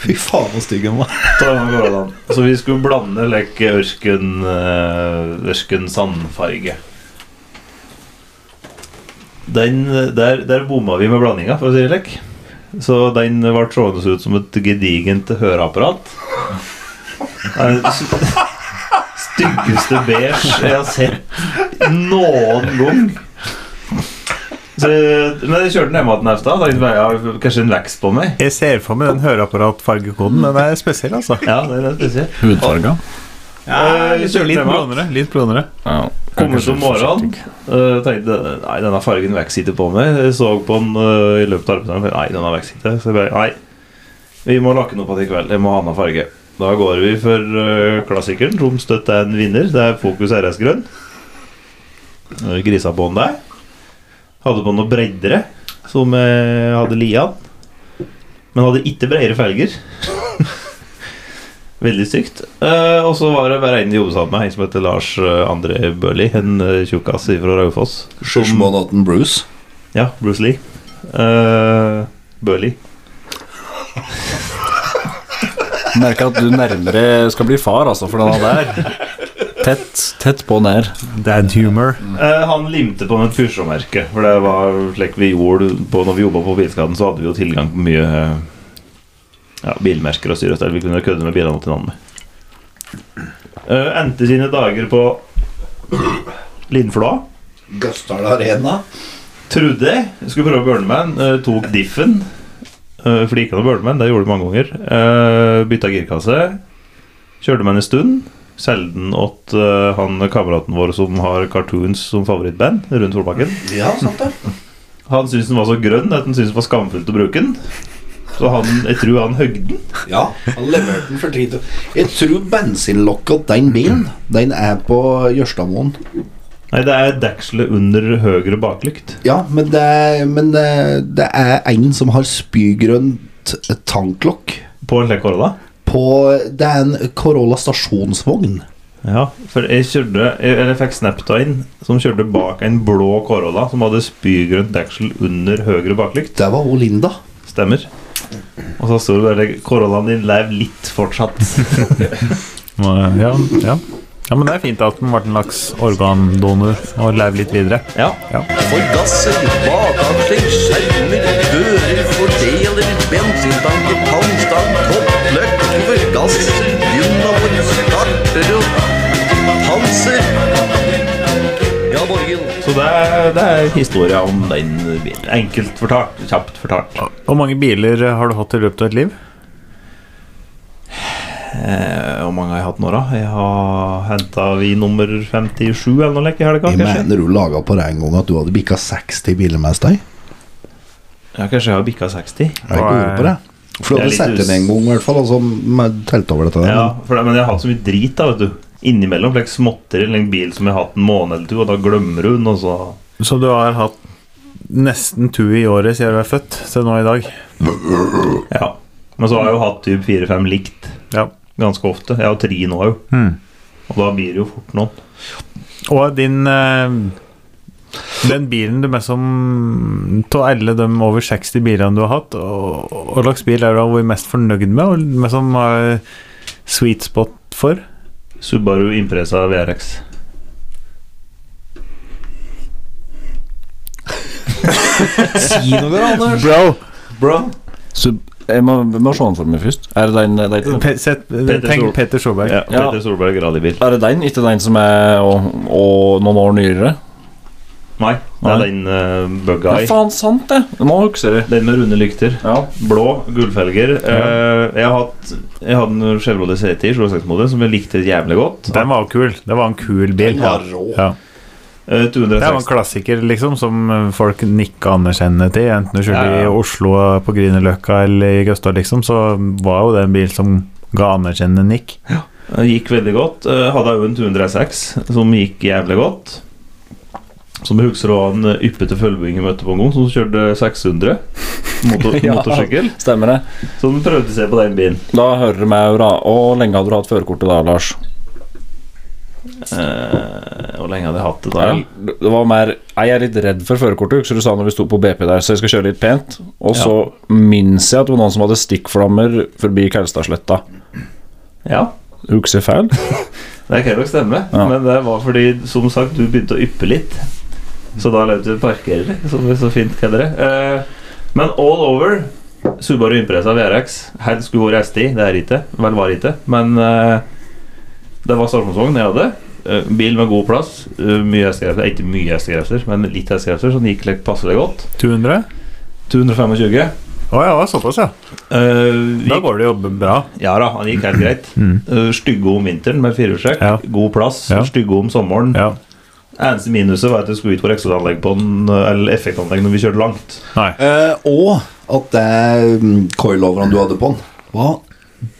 S4: Fy faen, så stygg han var.
S3: Ta denne Corollaen. Så vi skulle blande like, ørken, eh, ørken sandfarge. Den, eh, der, der bomma vi med blandinga, for å si det lek. Så den ble stående ut som et gedigent
S4: [laughs]
S3: høreapparat. Eh, Det er det st- styggeste beige jeg har sett noen gang. Så, men jeg kjørte den hjemme igjen efter. Den veia kanskje en vekst på meg.
S2: Jeg ser for meg den høreapparatfargekoden. Den er spesiell, altså.
S3: Ja, det er spesielt.
S5: Hudfarga.
S3: Ja,
S2: Ah, litt
S3: Eh, kjørte den hjemme.
S2: blondere. Litt blondere.
S5: Ja.
S3: Kom ut om morgenen eh, tenkte Nei, denne fargen vokser ikke på meg. Jeg så på den eh, i løpet av arbeidsdagen. Nei, den har vokst ikke. Så jeg bare Nei, vi må lakke den opp igjen i kveld. Jeg må ha annen farge. Da går vi for eh, klassikeren. Tom Støtt er en vinner. Det er Fokus RS grønn. Eh, Grisa på den der. Hadde på noen breddere som jeg hadde lian. Men hadde ikke bredere felger. Veldig stygt. Eh, og så var det bare en vi jobbet sammen med, en som heter Lars eh, André Børli. En eh, tjukkas fra Raufoss.
S4: Sjusmånatten Bruce.
S3: Ja, Bruce Lee. Uh, Børli.
S5: Merker at du nærmere skal bli far, altså, for denne der. Tett, tett på nær.
S2: Dad humor.
S3: Eh, han limte på med et Peugeot-merke, for det var slik vi gjorde på når vi jobba på Bilskaden, så hadde vi jo tilgang på mye eh, ja, bilmerker og styrestell. Vi kunne kødde med bilene til hverandre. Uh, endte sine dager på Lindflå.
S4: Gausdal Arena.
S3: Trodde jeg skulle prøve Burnerman, uh, tok eh, diffen. Eh, For det gikk an å bøle med den, det gjorde du mange ganger. Eh, bytta girkasse. Kjørte med den en stund. Selgte den åt eh, han kameraten vår som har cartoons som favorittband, rundt Solbakken.
S4: Ja, sant det.
S3: Han syntes den var så grønn at han syntes det var skamfullt å bruke den. Så han, jeg tror han høgde den.
S4: Ja, han leverte den for 3000. Jeg tror bensinlokket til den bilen, den er på Jørstadmoen.
S3: Nei, det er dekselet under høyre baklykt.
S4: Ja, men det, er- men det, det er en som har spygrønt tanklokk
S3: På en slik Corolla.
S4: på Det er en Corolla stasjonsvogn.
S3: Ja, for jeg kjørte jeg- Eller jeg fikk snap av en som kjørte bak en blå Corolla som hadde spygrønt deksel under høyre baklykt.
S4: Det var hun Linda.
S3: Stemmer. Og så sto det bare 'Corollaen din lever litt [laughs] fortsatt'.
S2: Ja, ja. ja, men det er fint at den ble en slags organdonor og lever litt videre.
S3: Ja.
S7: Forgasser, bakaksler, skjermer, dører, fordeler, bensintanker, tannstang, toppløk, forgasser, dynamoer, starter og panser. Ja, Borgen.
S3: Så det er, det er historia om den bilen. Enkelt fortalt. Kjapt fortalt.
S2: Hvor mange biler har du hatt i løpet av et liv?
S3: Eh, Hvor mange har jeg hatt nå, da? Jeg har henta vi nummer 57 eller noe like i helga.
S4: Jeg
S3: Kanskje
S4: mener hun laga på deg en gang at du hadde bikka 60 biler med deg.
S3: ja, kanskje jeg har bikka 60.
S4: Jeg er ikke
S2: Nei.
S4: urolig på det. For
S3: Jeg er
S4: du hadde
S3: litt
S4: sett den
S3: us-
S4: en gang, i hvert fall, og så altså, telte over det til deg.
S3: Ja, for det, men jeg har hatt så mye drit da, vet du. Innimellom like småtteri eller en bil som jeg har hatt en måned eller to, og da glemmer hun, og så
S2: Så du har hatt nesten to i året siden du er født, til nå i dag?
S3: Ja. Men så har jeg jo hatt typ fire-fem likt
S2: Ja.
S3: ganske ofte. Jeg har tre nå jo.
S2: Hmm.
S3: Og da blir det jo fort noen.
S2: Og din eh, Den bilen du mest som Av alle de over 60 bilene du har hatt, og og hva slags bil er du har vært mest fornøyd med, og mest som har sweet spot for?
S3: Subaru Impresa VRX.
S4: Si noe, da, Anders.
S2: Bro!
S5: Så jeg må, jeg må se den for meg først. Er det den, det er, ikke den.
S2: Pe sett,
S3: Petter
S2: tenk
S3: Sol-
S2: Peter Solberg.
S3: Ja,
S5: Ja.
S3: Petter Solberg rallybil.
S5: er det den, ikke den som er og, og noen år nyere?
S3: Nei, det er
S5: Nei.
S3: den uh,
S5: Ja,
S3: Bug Eye.
S5: faen sant, det! Du må huske det.
S3: Den med runde lykter.
S5: Ja.
S3: Blå, gullfelger. Eh, jeg, har hatt, jeg hadde en Chevrolet CT 76-modell som jeg likte jævlig godt.
S2: Den var kul. Det var en kul bil.
S4: Den var rå.
S2: Ja.
S3: Eh, 260.
S2: Det var en klassiker liksom som eh, folk nikka anerkjennende til. Enten du kjørte
S3: Ja, ja.
S2: i Oslo på Grünerløkka eller i Gaustad, liksom, så var jo det en bil som ga anerkjennende nikk.
S3: Det gikk veldig godt. Eh, Hadde jo en 206 som gikk jævlig godt. Som jeg husker også en eh, yppete følgebing jeg møtte på en gang, som kjørte 600 [laughs] motor
S5: Ja.
S3: motorsykkel.
S5: Stemmer det.
S3: Så den prøvde seg på den bilen.
S5: Da hører du meg, da. Hvor lenge hadde du hatt førerkortet da, Lars?
S3: Eh, hvor lenge hadde jeg hatt det da?
S5: Ja. Det var mer Jeg er litt redd for førerkortet, så du sa når vi sto på BP der, så jeg skal kjøre litt pent. Og så minnes jeg at det var noen som hadde stikkflammer forbi Kaustadsletta.
S3: Ja.
S5: Husker feil?
S3: Det kan nok stemme,
S5: Ja.
S3: men det var fordi, som sagt, du begynte å yppe litt. Så da løp du parkerer, som vi så fint kaller det. Eh, men all over Subaru Impresa VRX. Her skulle vært STI, det er ikke. Vel, var ikke. Men eh, det var stasjonsvogn jeg hadde. Eh, bil med god plass. eh, mye hestegreiser. Ikke mye hestegreiser, men litt hestegreiser, så den gikk litt passelig godt.
S2: 200?
S3: 225.
S2: Å ja, det var såpass, ja.
S3: Eh,
S2: Da
S3: gikk,
S2: går det jo bra.
S3: ja da, han gikk helt greit.
S2: Mm.
S3: Eh, stygge om vinteren med firehjulstrekk.
S2: Ja.
S3: God plass.
S2: Ja.
S3: Stygge om sommeren.
S2: Ja.
S3: Eneste minuset var at det skulle ut på reksetanlegg på den, eller effektanlegg når vi kjørte langt.
S2: Nei.
S4: Eh, og at det mm, coiloveren du hadde på den, var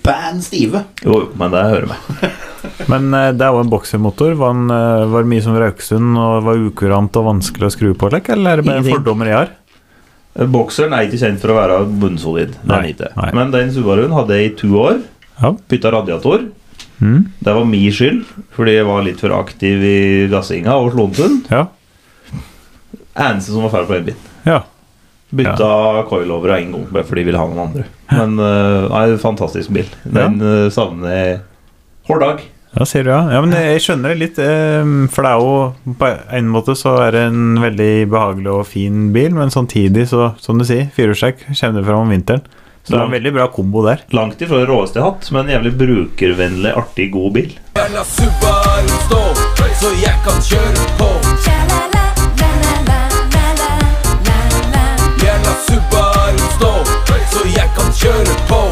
S4: band stive.
S3: Jo, jo, men det hører med.
S2: Men eh, det er jo en boksermotor. Var den eh, var det mye som Rauksund og var ukurant og vanskelig å skru på, like, eller er det bare
S3: Ingenting.
S2: fordommer jeg har?
S3: Bokseren er Eh, ikke kjent for å være bunnsolid. Den
S2: Nei,
S3: er ikke.
S2: nei.
S3: Men den Subaruen hadde jeg i to år.
S2: Ja.
S3: Bytta radiator.
S2: Mm.
S3: Det var min skyld, fordi jeg var litt for aktiv i gassinga og slo den.
S2: Ja.
S3: Eneste som var feil på den bilen.
S2: ja.
S3: Bytta coilover av en gang bare fordi jeg ville ha noen andre. Men øh, nei, fantastisk bil. Den øh, savner jeg hver dag.
S2: Ja, sier du ja. ja men jeg skjønner det litt, eh, for det er jo På en måte så er det en veldig behagelig og fin bil, men samtidig, så, som du sier, firehjulstrekk kommer det fram om vinteren. Så det er en veldig bra kombo der.
S3: Langt ifra det råeste jeg har hatt, men jævlig brukervennlig, artig, god bil.
S7: Jeg lar Subaru stå, så jeg kan kjøre på.
S9: Sha-la-la, la-la-la, la-la, la-la.
S7: Jeg lar Subaru stå, så jeg
S12: kjøre på.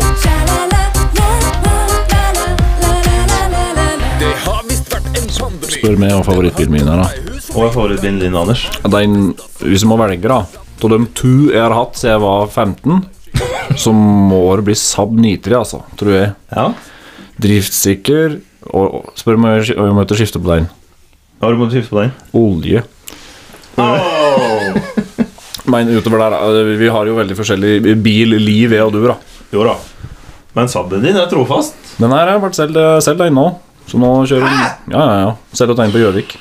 S9: Det
S12: har visst vært en pandemi.
S6: Spør meg om favorittbilen min er, da.
S3: Hva er favorittbilen din, Anders?
S6: Den, hvis jeg må velge, da Av de to jeg har hatt siden jeg var 15, så må det bli Saab 93, altså. Tror jeg.
S3: Ja.
S6: Driftssikker. Og, og spør meg om jeg- om jeg måtte skifte på den.
S3: Har du måttet skifte på den?
S6: Olje. Men utover der, eh, vi har jo veldig forskjellig bil, liv, jeg og du, da.
S3: Jo da. Men Saaben din er trofast.
S6: Den her har vært selv, selv der inne nå. Så nå kjører den Ja, ja, ja. Selv å tegne på Gjøvik.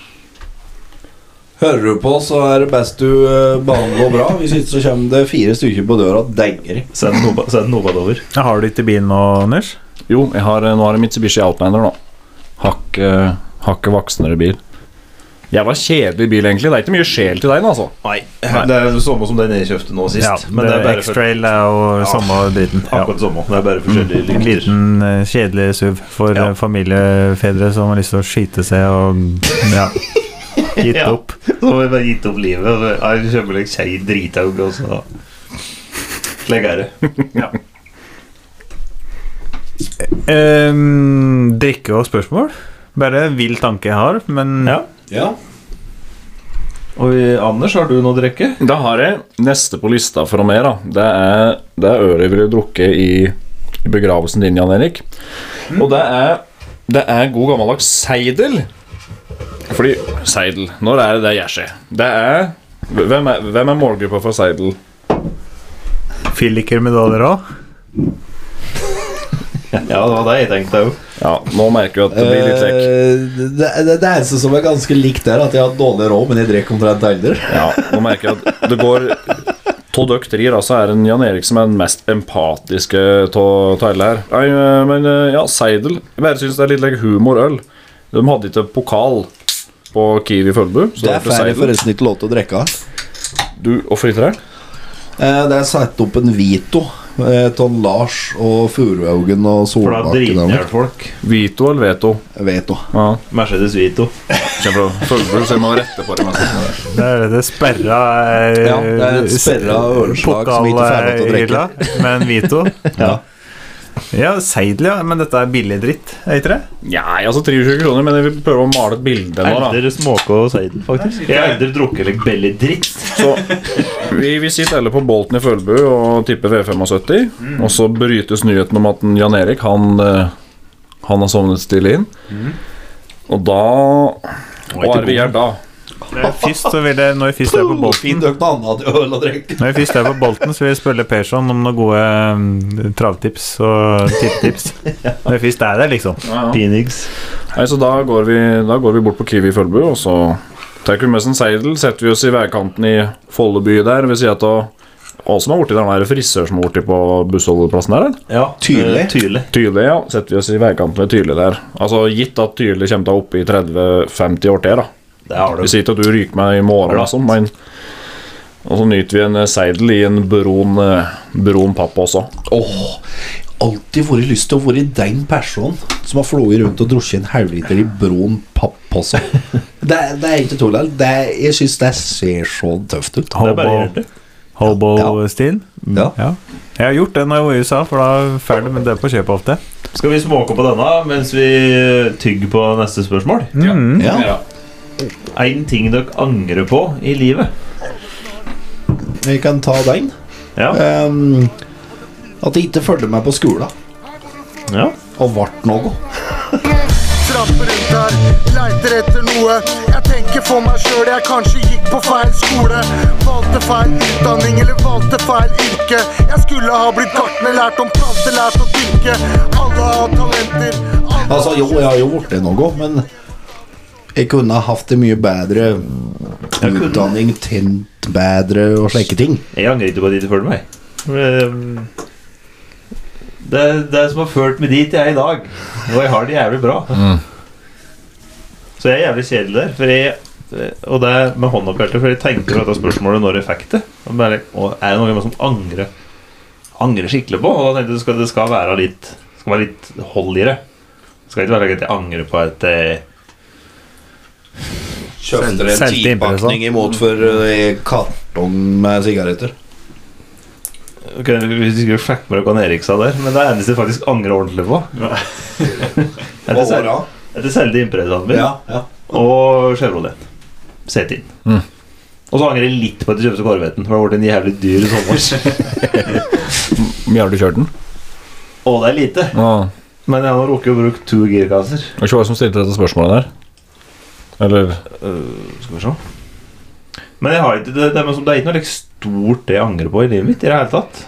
S4: Hører du på, så er det best du eh, behandler bra. Hvis ikke så kommer det fire stykker på døra og denger.
S3: Send noe send noe over.
S2: Ja, har du ikke bil nå, Anders?
S6: Jo, jeg har, eh, nå har jeg Mitsubishi Outlander nå. Hakk, eh, hakket voksnere bil. Jeg var kjedelig bil, egentlig. Det er ikke mye sjel til deg, altså.
S3: Nei. Det er det samme som den jeg kjøpte nå sist.
S2: Ja,
S3: men det er bare for,
S2: X-Trail er jo samme driten. Ja. Mm.
S3: akkurat samme. Det er bare
S2: En
S3: forskjellige lykter.
S2: liten eh, kjedelig SUV for
S3: Ja.
S2: eh, familiefedre som har lyst til å skyte seg og
S4: [laughs]
S2: ja, gitt
S3: Ja. [laughs]
S2: opp.
S3: Så har jeg bare gitt opp livet. og Jeg kjøper meg kjei altså. dritaug, og så Slik er det. [laughs]
S2: Ehm, drikke og spørsmål? Bare vill tanke jeg har, men
S3: Ja.
S4: Ja.
S3: Og vi- Anders, har du noe å drikke?
S6: Da har jeg neste på lista fra meg, da. Det er, det er ølet jeg ville drukke i, i begravelsen din, Jan Erik. Og det er, det er god gammeldags seidel. Fordi Seidel Når er det det gjør seg? Det er Hvem er, hvem er målgruppa for seidel?
S2: fylliker medaljer òg.
S3: Ja, det var det jeg tenkte òg.
S6: Ja, nå merker jeg at det blir litt lekk.
S4: Eh, det, det, det eneste som er ganske likt, er at jeg har dårlig råd, men jeg drikker omtrent aldri.
S6: Ja, nå merker jeg at det går To døkk trier, altså er en Jan Erik som er den mest empatiske av alle her. Nei, eh, men ja, Seidel Jeg bare syns det er litt like humorøl. De hadde ikke pokal på Kiwi Følbu. Så
S4: Det er
S6: derfor
S4: ferdig
S6: Seidel.
S4: forresten ikke lov til å drikke.
S6: Du, Hvorfor ikke det?
S4: Eh, Det er satt opp en Vito eh, av Lars og Furuhaugen og
S3: For da
S4: Solbakken.
S3: driter
S4: eller?
S3: folk.
S6: Vito eller Veto?
S4: Veto.
S6: Ja.
S3: Mercedes Vito.
S6: Kjem fra Følbu, så jeg må rette på det. mens-
S2: Det er det sperra eh,
S4: Ja, det er et sperra ølslag som ikke er ferdig til å drikke.
S2: pokalhylla med en
S4: [laughs]
S2: Vito. ja. ja, seidel, ja. Men dette er billig dritt, er ikke det?
S6: Nei, altså 23 kroner, men jeg vil prøve å male et bilde nå, da.
S3: Eldre småke og seiden, faktisk. Jeg har aldri drukket like belly dritt.
S6: Så vi, vi sitter alle på Bolten i Følbu og tipper V75. Og så brytes nyheten om at en Jan Erik han, eh, han har sovnet stille inn. Og da Hva er vi gjør da?
S2: Først så vil jeg, når jeg først er på Bolten
S4: Finn dere noe annet til øl å drikke.
S2: Når jeg først er på Bolten, så vil jeg spørre Persson om noen gode eh, travtips og tipptips. Når jeg først er der, liksom.
S3: Phoenix.
S6: Nei, så da går, vi, da går vi bort på Kiwi i Følbu, og så tar vi med oss en seidel. Setter vi oss i veikanten i Folleby der ved sida av Hva som er borti den der frisør som er borti på bussholdeplassen der? eller?
S3: Ja,
S4: Tydelig.
S3: eh, tydelig.
S6: Tydelig, ja. Setter vi oss i veikanten ved Tydelig der. Altså gitt at Tydelig kommer da opp i 30-50 år til, da.
S3: Det har du.
S6: Vi sier ikke at du ryker meg i morgen, altså, men Og så nyter vi en eh, seidel i en brun, eh, brun papp også.
S4: Åh, alltid vært lyst til å være den personen som har flået rundt og drukket en halvliter i brun pappose. Det, er- det er ikke tull. det er- Jeg syns det ser så tøft ut.
S3: Det er bare å gjøre
S2: Hobo-
S3: det.
S2: Hobo-stil.
S4: Ja.
S2: Ja. Jeg har gjort det når jeg var i USA, for da ferdig med det på kjøpet ofte.
S3: Skal vi småke på denne mens vi eh, tygger på neste spørsmål? Mm.
S4: Ja.
S3: En ting dere angrer på i livet?
S4: Vi kan ta den.
S3: Ja.
S4: Ehm, at jeg ikke fulgte meg på skolen
S3: ja.
S4: og vart noe.
S11: Trapper rundt her, leiter etter noe. Jeg tenker for meg sjøl, jeg kanskje gikk på feil skole. Valgte feil utdanning eller valgte feil yrke. Jeg skulle ha blitt gartner, lært om planter, lært å dyrke. Alle har talenter. alle
S4: Altså, jo, jeg har jo blitt noe, men jeg kunne ha hatt det mye bedre. Utdanning, tent bedre og slike ting.
S3: Jeg angrer ikke på at de ikke følger meg. Ehm, Det er det som har ført meg dit jeg er i dag. Og jeg har det jævlig bra. Så jeg er jævlig kjedelig der. For jeg, og det er med hånda på hjertet, for jeg tenkte på dette spørsmålet når jeg fikk det. Og bare, å, er det noe som angrer Angrer skikkelig på? Og da tenkte jeg det skal, det skal være litt Skal være litt hold i det. Det skal ikke være at jeg angrer på at eh, jeg
S4: Kjøpte
S2: Selv- selvtilpakning
S4: eh, imot for kartong med sigaretter.
S3: Ok, Hvis du skulle fikk med deg hva han Erik sa der, men det er det eneste jeg faktisk angrer ordentlig på. [laughs] Etter
S4: Hva var
S3: sel-
S4: det?
S3: Etter selve Impresaen min
S4: Ja, ja.
S3: og Chevroleten. Setin.
S6: Mm.
S3: Og så angrer jeg litt på at jeg kjøpte Korveten, for det har blitt en jævlig dyr sommer. [laughs]
S6: Hvor mye har du kjørt den?
S3: og det er lite.
S6: Ah.
S3: Men jeg har rukket å bruke to girkasser.
S6: Og Ikke hva som stilte dette spørsmålet der. Eller
S3: Øh, skal vi se Men jeg har ikke, det, det, er liksom- det er ikke noe like, stort det jeg angrer på i livet mitt i det hele tatt.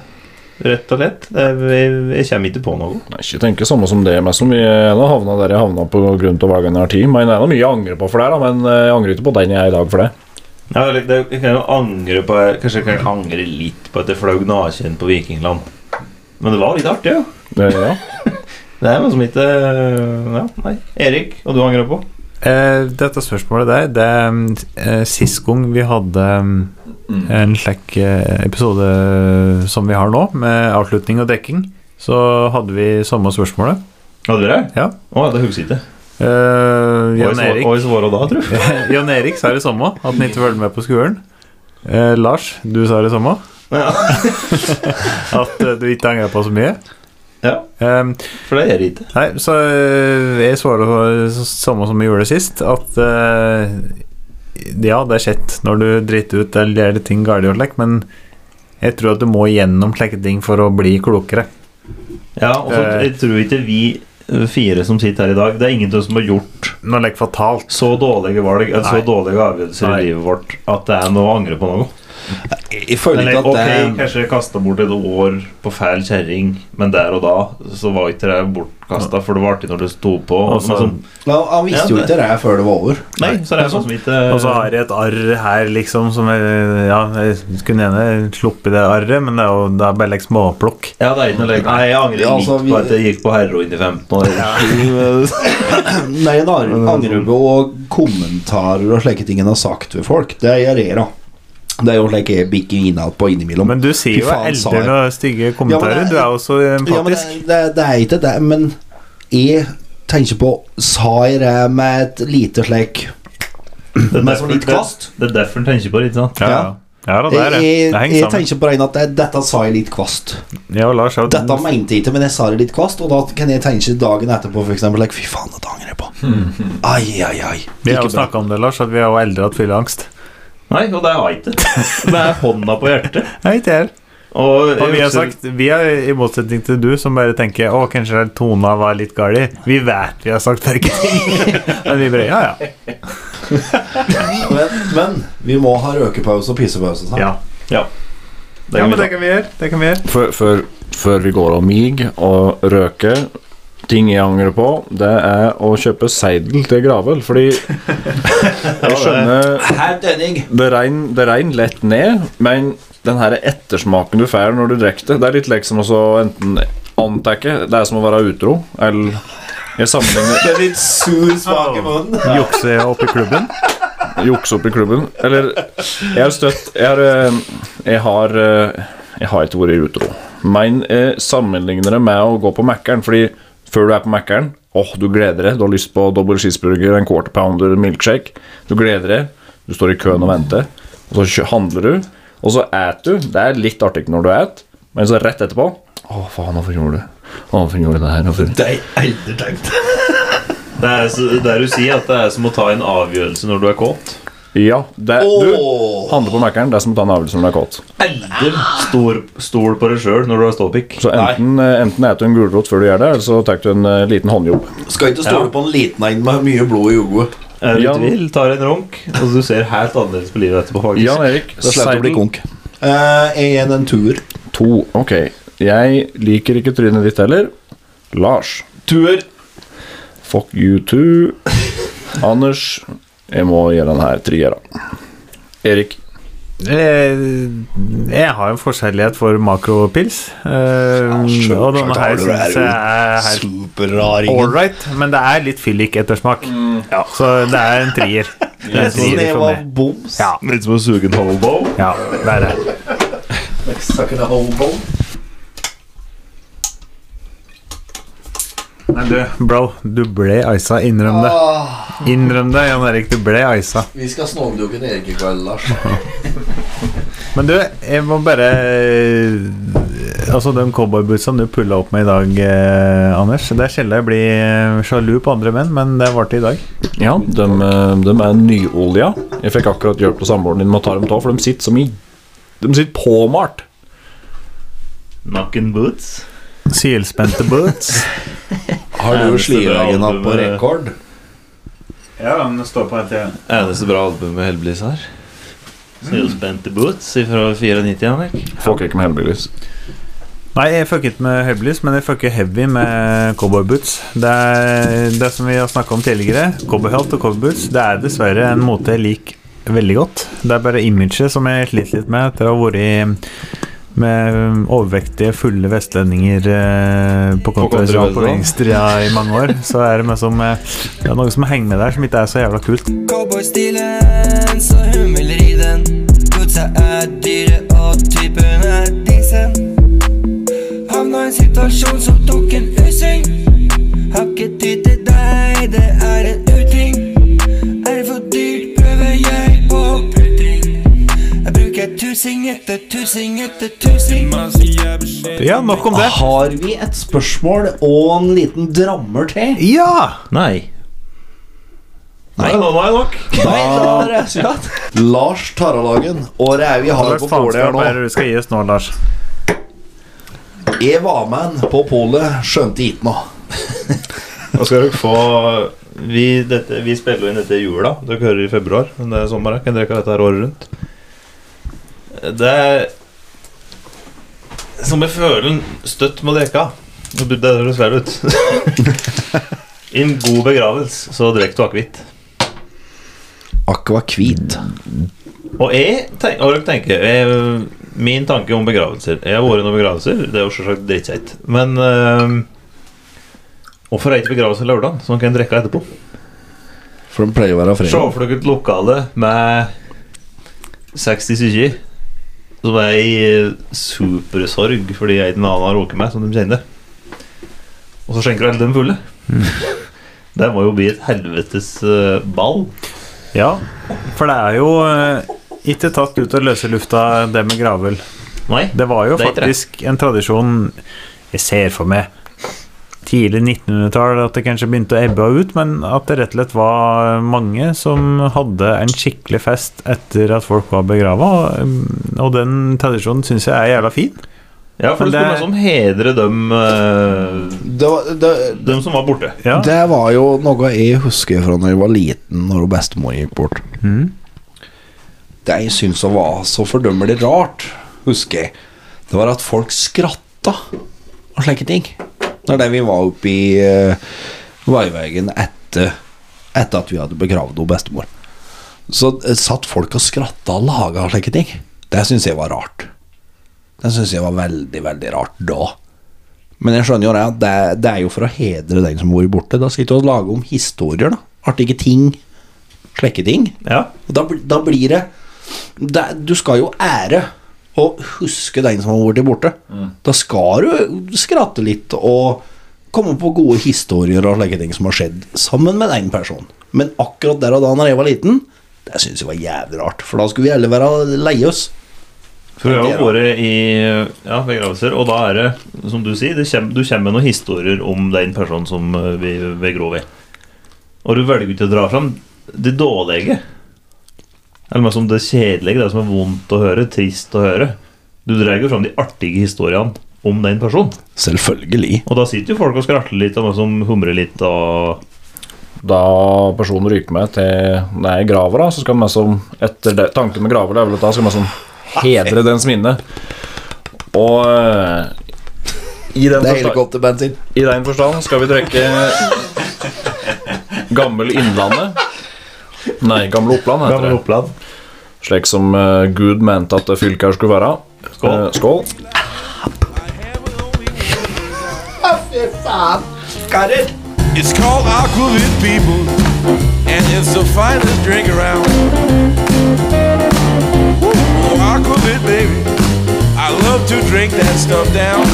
S3: Rett og slett. Det er- Jeg, jeg kommer ikke på noe.
S6: Nei, ikke tenke samme som det, men så mye jeg da havna der jeg havna på grunn av hver gang jeg har tid. Men det er noe mye jeg angrer på for det, da, men eh, jeg angrer ikke på den jeg er i dag for det.
S3: Ja, eller, det, jeg kan jo angre på Kanskje jeg kan angre litt på at jeg fløy naken på Vikingland. Men det var litt artig, jo.
S6: det ja.
S3: Det er noe som ikke Ja, nei. Erik, og du angrer på?
S2: Eh, dette spørsmålet der Det er eh, sist gang vi hadde mm, en slik eh, episode eh, som vi har nå, med avslutning og dekking, så hadde vi samme spørsmålet.
S3: Hadde dere det?
S2: Ja.
S3: Å, det husker jeg ikke.
S2: Eh,
S3: Og i
S2: Jan
S3: svar-
S2: Erik
S3: Og i svaret da, tror jeg.
S2: [laughs] Jan Erik sa det samme, at han ikke følger med på skolen. Eh, Lars, du sa det samme.
S3: Ja.
S2: At eh, du ikke angrer på så mye.
S3: [laughs] Ja,
S2: Eh,
S3: for det gjør jeg ikke.
S2: Nei, så øh, jeg svarer på s- samme som jeg gjorde sist, at øh, ja, det er kjett når du driter ut eller gjør ting galt, og slik, men jeg tror at du må gjennom slike ting for å bli klokere.
S3: Ja, og så
S2: Eh.
S3: jeg tror ikke vi eh, fire som sitter her i dag Det er ingen av oss som har gjort
S2: Når det er fatalt.
S3: så dårlige valg eller så
S2: Nei.
S3: dårlige avgjørelser
S2: Nei.
S3: i livet vårt at det er noe å angre på noe.
S4: Jeg føler
S3: Eller,
S4: ikke
S3: eh, ok,
S4: at det
S3: kanskje jeg kasta bort et år på feil kjerring, men der og da så var ikke det bortkasta, for det var artig når det sto på.
S2: Og så-
S3: men som-
S4: Nei, Han visste jo ikke det før det var over.
S3: nei, så det er sånn som ikke
S2: Og så har jeg et arr her, liksom, som jeg, ja, jeg skulle gjerne sluppet det arret, men det er jo det er bare like småplukk.
S3: Ja, det er ikke noe lek. Nei, jeg angrer
S4: Ja, altså,
S3: litt
S4: vi-
S3: på at jeg gikk på heroin i 15 år.
S4: Nei, jeg angrer på kommentarer og slike ting en har sagt ved folk. Det gjør jeg, da. Det er jo slik jeg bikker innad på innimellom.
S2: Men du sier
S4: Fy
S2: jo
S4: faen, sa jeg.
S2: eldre noen stygge kommentarer.
S4: Ja, men det-
S2: du er jo så
S4: Ja, men det,
S2: empatisk.
S4: det, det er ikke det, men jeg tenker på Sa jeg det med et lite
S3: Det
S4: slik
S3: er
S4: Med sånn
S3: derfor-
S4: litt kast?
S3: Det, det er derfor en tenker på det, ikke sant?
S2: Ja, ja. ja da, det er det.
S4: Jeg,
S2: Det
S4: jeg
S2: henger sammen.
S4: tenker på det at det, dette sa jeg litt kvast.
S2: Jeg og Lars har
S4: Dette mente jeg ikke, men jeg sa det litt kvast, og da kan jeg tenke dagen etterpå f.eks. Like, Fy faen, dette angrer jeg på. Ai, ai, ai.
S2: vi har jo
S4: Ikke bra.
S2: snakka om det, Lars, at vi er jo eldre hatt fylleangst.
S3: Nei, og det har jeg ikke. Det er hånda på hjertet.
S2: Nei, ikke jeg.
S3: Og, jeg
S2: Og vi har
S3: husker-
S2: sagt, vi har i motsetning til du som bare tenker Å, kanskje den tona var litt gali Vi vet vi har sagt begge ting
S4: [laughs]
S2: Men vi bare, ja, ja,
S4: Men, men vi må ha røkepause og pissepause snart.
S2: ja.
S3: Ja.
S2: ja men det kan vi gjøre, det kan vi gjøre
S6: Før, før, før vi går om mig og røker Ting jeg angrer på, det er å kjøpe seidel til Gravel. Fordi [laughs] jeg skjønner
S4: Her, Denning.
S6: Det regn, det regn lett ned, men den her ettersmaken du får når du drikker det, det er litt liksom også enten antekke Det er som å være utro, eller jeg sammenligner
S4: Det er litt sur smak i munnen.
S2: Jukse opp i klubben
S6: jukse opp i klubben. Eller jeg har støtt Jeg har eh, Jeg har, eh, jeg har ikke vært utro, men jeg sammenligner det med å gå på Mækkern, fordi før du er på Mækkern Åh, du gleder deg. Du har lyst på dobbel cheeseburger, en quarter pounder, milkshake. Du gleder deg. Du står i køen og venter. Og så kjø- handler du, og så et du. Det er litt artig når du et, men så rett etterpå Å, faen, hvorfor gjorde du det? Å, Hvorfor gjorde du det her? Hvorfor?
S4: Det er aldri tenkt.
S3: [laughs] Det er så- der du sier at det er som å ta en avgjørelse når du er kåt.
S6: Ja, det, du
S4: Åh.
S6: handler på Mækkern. Det er som å ta en avgjørelse når du er kåt.
S3: Aldri stol, stol på deg sjøl når du har ståpikk.
S6: Så enten, eh, enten eter du en gulrot før du gjør det, eller så tar du en eh, liten håndjobb.
S4: Skal ikke stole på en liten en med mye blod i hodet.
S3: Er du i
S6: Jan-
S3: tvil, tar en runk, og du ser helt annerledes på livet etterpå. faktisk.
S6: Jan Erik,
S4: Det slett å bli
S6: seidel
S4: konk. Eh, jeg er en tur.
S6: to. Ok, jeg liker ikke trynet ditt heller. Lars. Tuer. Fuck you too. Anders. Jeg må gjøre den her triera. Erik.
S2: jeg, Eh, jeg har en forskjellighet for makropils eh, Og denne her synes jeg er helt
S4: Superraringen.
S2: Alright, men det er litt fyllik ettersmak Så det er en trier Mm. [laughs] Det er sånn en trier
S4: Snev
S2: for
S4: av
S2: meg
S4: boms.
S2: Ja,
S3: Litt som å suge en hobo.
S2: ja, det er det
S4: Sucking a whole bone.
S2: Nei, du, bro, du ble isa, innrøm det
S4: Ah.
S2: Ah. Innrøm det, Jan Erik, du ble isa
S4: Vi skal snovlukke en Erik i kveld, Lars.
S2: Men du, jeg må bare Altså De cowboybootsa du pulla opp med i dag, eh, Anders Det er sjelden jeg blir sjalu på andre menn, men det varte i dag.
S6: Ja, de, de er nyolja. Jeg fikk akkurat hjelp av samboeren din med å ta dem av, for de sitter som i De sitter påmalt.
S3: Nakken boots.
S2: Silspente boots.
S4: Har
S3: Eneste
S4: du
S3: bra
S4: slidagen opp på
S3: albumet-
S4: rekord?
S2: Ja, den står på hele tida.
S3: Eneste bra albumet Hellbillies har. Snøspente boots fra 94, Henrik.
S6: Fucker ikke med Hellbillies.
S2: Nei, jeg fucker ikke med høybelys, men jeg fucker heavy med cowboyboots. Det er det som vi har snakka om tidligere, cowboyhatt og cowboyboots, det er dessverre en mote jeg liker veldig godt. Det er bare imaget som jeg sliter litt med etter å ha vært med overvektige, fulle vestlendinger eh, på kontra på
S6: kontra Vestland.
S2: venstre ja, i mange år. Så er det, mye som, eh, det er noe som henger med der, som ikke er så jævla kult.
S7: Cowboystilen, så hun vil ri den. Bootsa er dyre, og typen er disen. Havna i en situasjon som tok en U-sving. Har ikke tid til deg, det er en uting. Er det for dyrt, prøver jeg på putting. Jeg bruker tusing etter tusing etter tusing.
S2: Ja, nok om det.
S4: Har vi et spørsmål og en liten drammer til?
S2: Ja!
S3: Nei. Nei, nå er det nok.
S4: Da, Lars Taralagen, året er vi har
S2: Hva
S4: på
S2: slags
S4: bordet her
S2: faenskap er
S4: nå.
S2: det du skal gi oss nå, Lars?
S4: Jeg var med han på polet, skjønte ikke noe.
S3: Nå skal dere få vi, dette, vi spiller jo inn dette i jula. Dere hører i februar, men det er sommer. Jeg kan drikke dette her året rundt. Det er som jeg føler en støtt må drikke. Nå burde det høres feil ut. [laughs] I en god begravelse så drikker du akevitt.
S4: Aqua Kvit.
S3: Og jeg tenker, og dere tenker jeg, Min tanke om begravelser Jeg har vært i noen begravelser, det er jo selvsagt drittkjeit. Men eh, hvorfor er ikke begravelse lørdag, så man kan drikke etterpå?
S4: For den pleier å være
S3: Se
S4: fredag.
S3: for dere et lokale med 60 stykker som er i eh, supersorg fordi jeg ikke en annen har råket meg, som de kjenner. Og så skjenker du alle dem fulle.
S2: Mm.
S3: Det må jo bli et helvetes eh, ball.
S2: Ja, for det er jo eh, ikke tatt ut av løse lufta, det med gravøl.
S3: Nei.
S2: Det var jo
S3: Det er ikke det.
S2: faktisk en tradisjon jeg ser for meg tidlig 1900-tall at det kanskje begynte å ebbe ut, men at det rett og slett var mange som hadde en skikkelig fest etter at folk var begrava, og- og den tradisjonen syns jeg er jævla fin.
S3: Ja, for
S2: Men
S3: det skulle
S2: det-
S3: liksom hedre dem, eh,
S4: Det var, det,
S3: dem som var borte.
S2: Ja.
S4: Det var jo noe jeg husker fra når jeg var liten, når hun bestemor gikk bort. Det jeg syntes var så fordømmelig rart, husker jeg, det var at folk skratta og slike ting. Når det vi var oppe i uh, Veivegen etter, etter at vi hadde begravd hun bestemor, så eh, satt folk og skratta og laga og slike ting. Det syns jeg var rart. Det syns jeg var veldig, veldig rart da. Men jeg skjønner jo det, at det, det er jo for å hedre den som har vært borte. Da skal vi ikke lage om historier, da. Artige ting. Slekke ting.
S3: Ja.
S4: Og Da, bl- da blir det, det Du skal jo ære og huske den som har vært borte. Da skal du skratte litt og komme på gode historier og slike ting som har skjedd sammen med den personen. Men akkurat der og da når jeg var liten, det syns jeg var jævlig rart. For da skulle vi alle være lei oss.
S3: For vi har jo
S4: Fungerer.
S3: vært i ja, begravelser, og da er det, som du sier, det kjem, du kommer med noen historier om den personen som eh, vi begrov i. Og du velger ikke å dra fram det dårlige. Eller mer som det kjedelige, det som er vondt å høre, trist å høre. Du drar jo fram de artige historiene om den personen.
S4: Selvfølgelig.
S3: Og da sitter jo folk og skratter litt, og noen som humrer litt, og
S6: Da personen ryker med til det er graver, da, så skal man som Etter det, tanken med graver, det er vel at da skal man som hedre dens minne. Og eh, i den,
S4: Det er
S6: forsta-
S4: helikopterbensin.
S6: i den forstand skal vi trekke Gammel Innlandet. Nei, Gamle Oppland heter det.
S3: Gammel Oppland.
S6: Slik som eh, Gud mente at det fylket her skulle være.
S3: Skål.
S6: Eh, skål.
S12: It's called aquavit, people, and it's the finest drink around. Ooh, aquavit, baby. I love to drink that stuff down.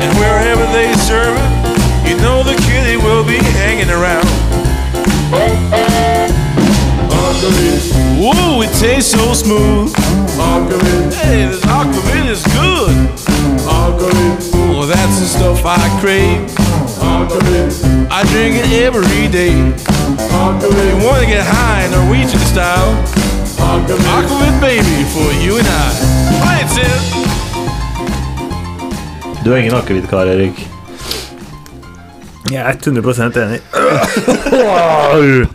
S12: And wherever they serve it, you know the kitty will be hanging around. Ooh, it tastes so smooth. Aquavit. Hey, this aquavit is good.
S13: Oh, crave. I drink it every day. You wanna get high Norwegian style? Aquavit baby for you and I. Play it, Sid.
S3: Du er ingen akevidkar, Erik.
S2: Jeg er 100 enig. Wow.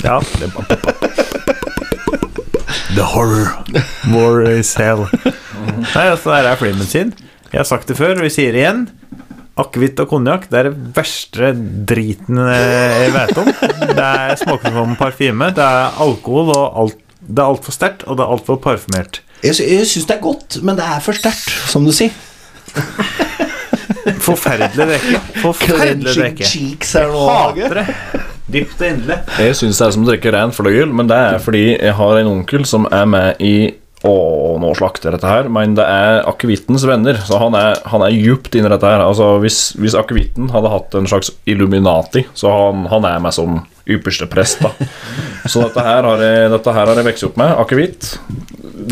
S2: Ja. The horror. War is hell. Nei, altså, der er flimmen sin. Jeg har sagt det før, og vi sier det igjen. Akevitt og konjakk det er det verste driten eh, jeg vet om. Det er smaker som parfyme, det er alkohol, og alt, det er altfor sterkt, og det er altfor parfymert.
S4: Jeg, sy jeg syns det er godt, men det er for sterkt, som du sier.
S2: Forferdelig drikke. Forferdelig
S4: Crunchy
S2: drikke.
S4: cheeks er nå,
S2: Jeg hater det. Dypt og inderlig.
S6: Jeg syns det er som å drikke ren fløyel, men det er fordi jeg har en onkel som er med i Å, nå slakter jeg dette her, men det er akevittens venner. Så han er, han er djupt inni dette her. Altså, Hvis, hvis akevitten hadde hatt en slags Illuminati, så han, han er meg som ypperste prest, da. Så dette her har jeg, dette her har jeg vokst opp med. Akevitt.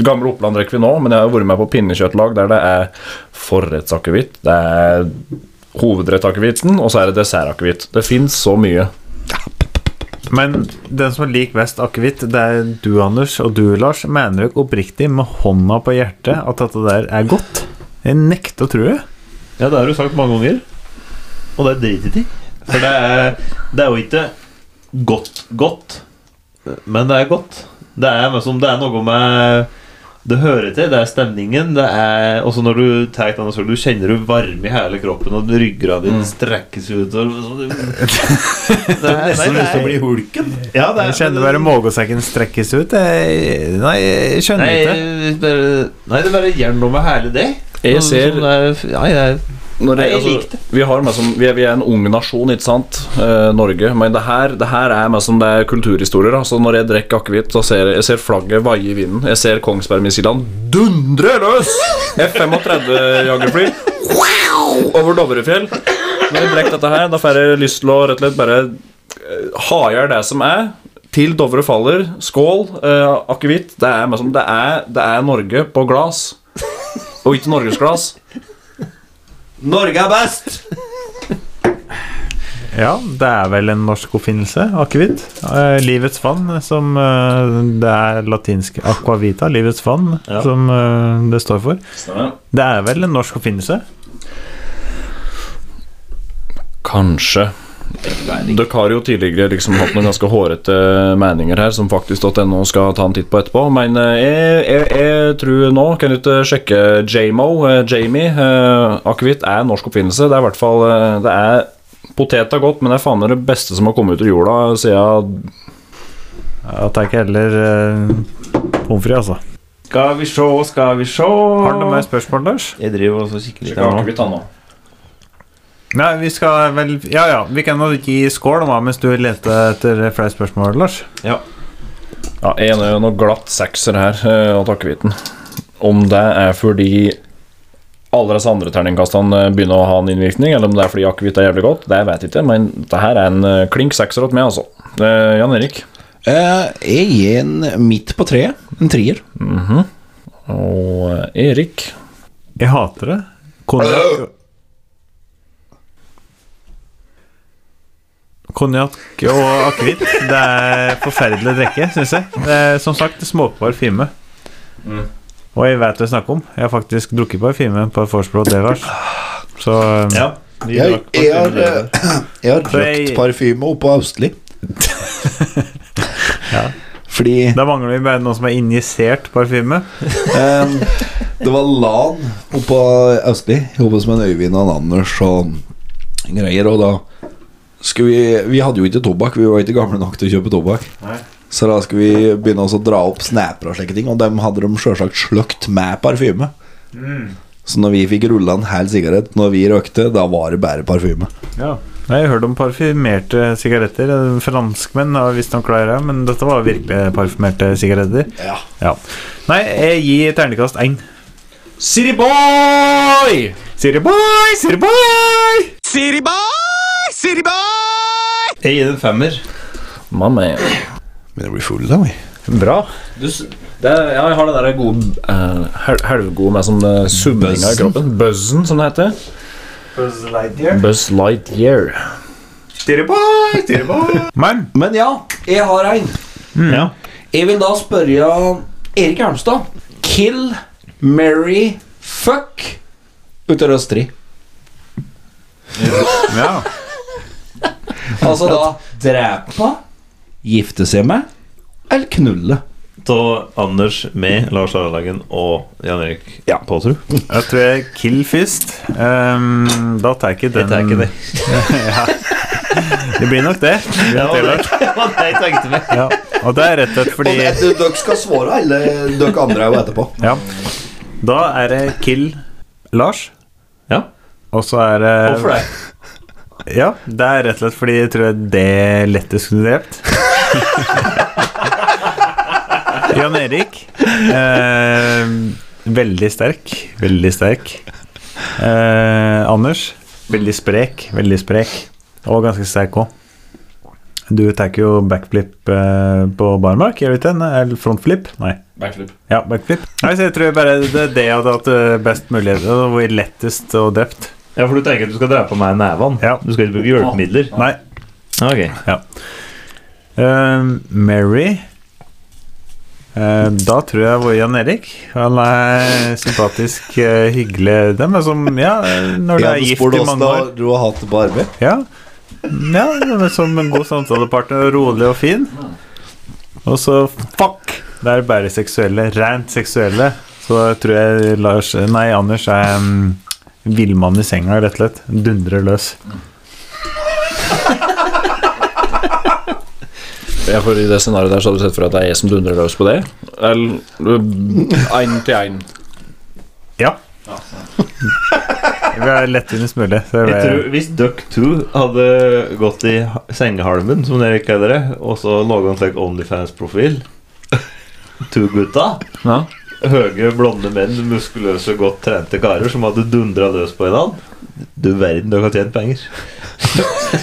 S6: Gamle Oppland drikker vi nå, men jeg har jo vært med på pinnekjøttlag der det er forrettsakevitt. Det er hovedrettakevitten, og så er det dessertakevitt. Det fins så mye.
S2: Men den som er lik vest akevitt, det er du, Anders, og du, Lars. Mener dere oppriktig, med hånda på hjertet, at dette der er godt? Jeg nekter å tro det.
S3: Ja, det har du sagt mange ganger. Og det driter de i. For det er, det er jo ikke godt, godt, men det er godt. Det er, med som, det er noe med Det hører til, det er stemningen. Det er, også når du tar den, så du kjenner du varme i hele kroppen, og ryggraden din
S6: Mm.
S3: strekkes ut. Og, så, det, det er
S2: nesten lyst til å bli
S3: hulken. Ja, det er,
S2: jeg kjenner bare magesekken strekkes ut. Jeg, nei, jeg skjønner ikke.
S3: Nei, bare, nei, det er bare gjør noe med hele det.
S6: Jeg
S3: Og
S6: ser-
S3: sånn er- ja, jeg,
S6: Når
S3: Nei,
S6: det,
S3: jeg liker
S6: altså, vi, har med som, vi, er, vi er en ung nasjon, ikke sant, eh, Norge. Men det her, det her er med som det er kulturhistorier. da. Så når jeg drikker akevitt, så ser jeg, jeg ser flagget vaie i vinden. Jeg ser Kongsbergmissilene dundre løs! F-35-jagerfly wow, over Dovrefjell. Når jeg drikker dette her, da får jeg lyst til å rett og slett bare eh, ha i hjel det som er. Til Dovre faller. Skål, eh, akevitt. Det, er med som- det, er- det er Norge på glass. Og ikke norgesglass.
S3: Norge er best!
S2: Ja, det er vel en norsk oppfinnelse, akevitt. Eh, livets vann, som eh, det er latinsk aquavita, livets vann,
S6: Ja.
S2: som eh, det står for.
S6: Stemmer.
S2: Det er vel en norsk oppfinnelse?
S6: Kanskje. Dere har jo tidligere liksom hatt noen ganske hårete meninger her, som faktisk.no skal ta en titt på etterpå. Men eh, jeg, jeg, jeg tror nå Kan du ikke sjekke JMO? eh, Jamie. eh, Akevitt er en norsk oppfinnelse. Det er i hvert fall eh, Det er poteta godt, men det er faen meg det beste som har kommet ut av jorda siden
S2: At det ikke heller eh, pommes frites, altså.
S3: Skal vi se, skal vi se
S2: Har du noe mer spørsmål, Lars?
S3: Jeg driver også og kikker litt
S6: Skal
S3: her nå.
S6: akevitt ha nå?
S2: Nei, vi skal vel Ja ja, vi kan jo gi skål da, mens du leter etter flere spørsmål, Lars.
S3: Ja.
S6: Ja, en er jo noe glatt sekser her eh, av takkehviten. Om det er fordi alle disse andre terningkastene eh, begynner å ha en innvirkning, eller om det er fordi akevitt er jævlig godt, det vet jeg ikke, men dette her er en eh, klink sekser åt meg, altså. Eh, Jan Erik.
S4: Eh, jeg gir en midt på treet. En trier.
S6: Og eh, Erik.
S2: Jeg hater det. Konjakk Konjakk og akevitt. Det er forferdelig å drikke, syns jeg. Det er, som sagt, småparfyme. Og jeg vet hva jeg snakker om. Jeg har faktisk drukket parfyme på vorspiel hos deg, Lars. Så
S3: Ja. vi
S4: Jeg,
S3: drakk
S4: jeg har,
S3: parfyme.
S4: eh, [clears throat] jeg har
S2: Så jeg-
S4: røkt parfyme oppå Austli.
S2: [laughs] Ja.
S4: Fordi
S2: da mangler vi bare noen som er injisert parfyme.
S4: eh, det var LAN oppå Austli, jobbet med en Øyvind og en Anders og greier. Og da skulle vi Vi hadde jo ikke tobakk, vi var ikke gamle nok til å kjøpe tobakk. Så da skulle vi begynne også å dra opp snapper og slike ting, og dem hadde de sjølsagt sløkt med parfyme.
S2: Mm.
S4: Så når vi fikk rulla en hel sigarett når vi røkte, da var det bare parfyme.
S2: Ja. Nei, Jeg har hørt om parfymerte sigaretter. Franskmenn har visstnok klart det, men dette var virkelig parfymerte sigaretter.
S4: Ja.
S2: Ja. Nei, jeg gir terningkast én.
S6: City Boy!
S2: Siri boy, Siri boy!
S11: City boy, city boy.
S3: Jeg gir det en femmer.
S6: Mamma
S4: Men jeg blir full da, vi.
S2: Bra.
S6: Du, s- det, er- ja, jeg har den der eh, gode uh, Halvgode med sånn uh, subbinga i
S4: Buzzen.
S6: kroppen. Buzzen, som det heter.
S2: Buzz Lightyear.
S6: Buzz Lightyear.
S2: Men, Mm.
S4: ja, jeg har en. Jeg vil da spørre Erik Arnstad. Kill, marry, fuck Ute av Østri.
S2: Ja.
S4: [laughs] altså da drepe, gifte seg med eller knulle.
S3: Så Anders med Lars Arlagen og Jan Erik Påsrud.
S2: Jeg tror jeg kill først. Ehm, da tar jeg ikke den.
S3: Jeg tar ikke det.
S2: [laughs] ja. Det blir nok det. Det blir nok det, Lars.
S3: jeg tenkte meg.
S2: Ja. Og det er rett og slett fordi
S4: [laughs] Og det- dere skal svare, alle dere andre er jo etterpå.
S2: Ja. Da er det kill Lars.
S3: Ja.
S2: Og så er det
S3: Hvorfor det?
S2: Ja, det er rett og slett fordi jeg tror jeg det lettest kunne drept. [laughs] Jan Erik. Eh, veldig sterk. Veldig sterk. Eh, Anders. Veldig sprek. Veldig sprek. Og ganske sterk òg. Du tar ikke jo backflip eh, på barmark? Jeg vet ikke, Eller frontflip? Nei.
S6: Backflip.
S2: Ja, backflip. Nei, så jeg tror bare det er det jeg hadde hatt eh, best mulighet til. og Hvor lettest og drept.
S3: Ja, for du tenker at du skal drepe meg i nevene?
S2: Ja.
S3: Du skal ikke bruke hjelpemidler?
S2: Nei.
S3: Ok.
S2: Ja. Ehm, Mary Eh, Da tror jeg var Jan Erik. Han er sympatisk, eh, hyggelig Dem er som Ja, når du er gift i mange år.
S4: Du har hatt på arbeid.
S2: Ja, ja dem er som en god samtalepartner. Rolig og fin. Og så fuck! Det er bare seksuelle. Rent seksuelle. Så da tror jeg Lars Nei, Anders er mm, villmann i senga, rett og slett. Dundrer løs.
S6: Ja, for I det scenarioet der så hadde du sett for deg at det er jeg som dundrer løs på det? Eller én til én?
S2: Ja. Vi er lettvintest mulig. Så
S3: Jeg
S2: jeg,
S3: tror Hvis Duck 2 hadde gått i ha- sengehalmen, som dere ikke er dere, og så laga en slik Onlyfans-profil To-gutta
S6: Ja.
S3: Høye, blonde menn, muskuløse, godt trente karer som hadde dundra løs på en annen. Du verden, dere har tjent penger.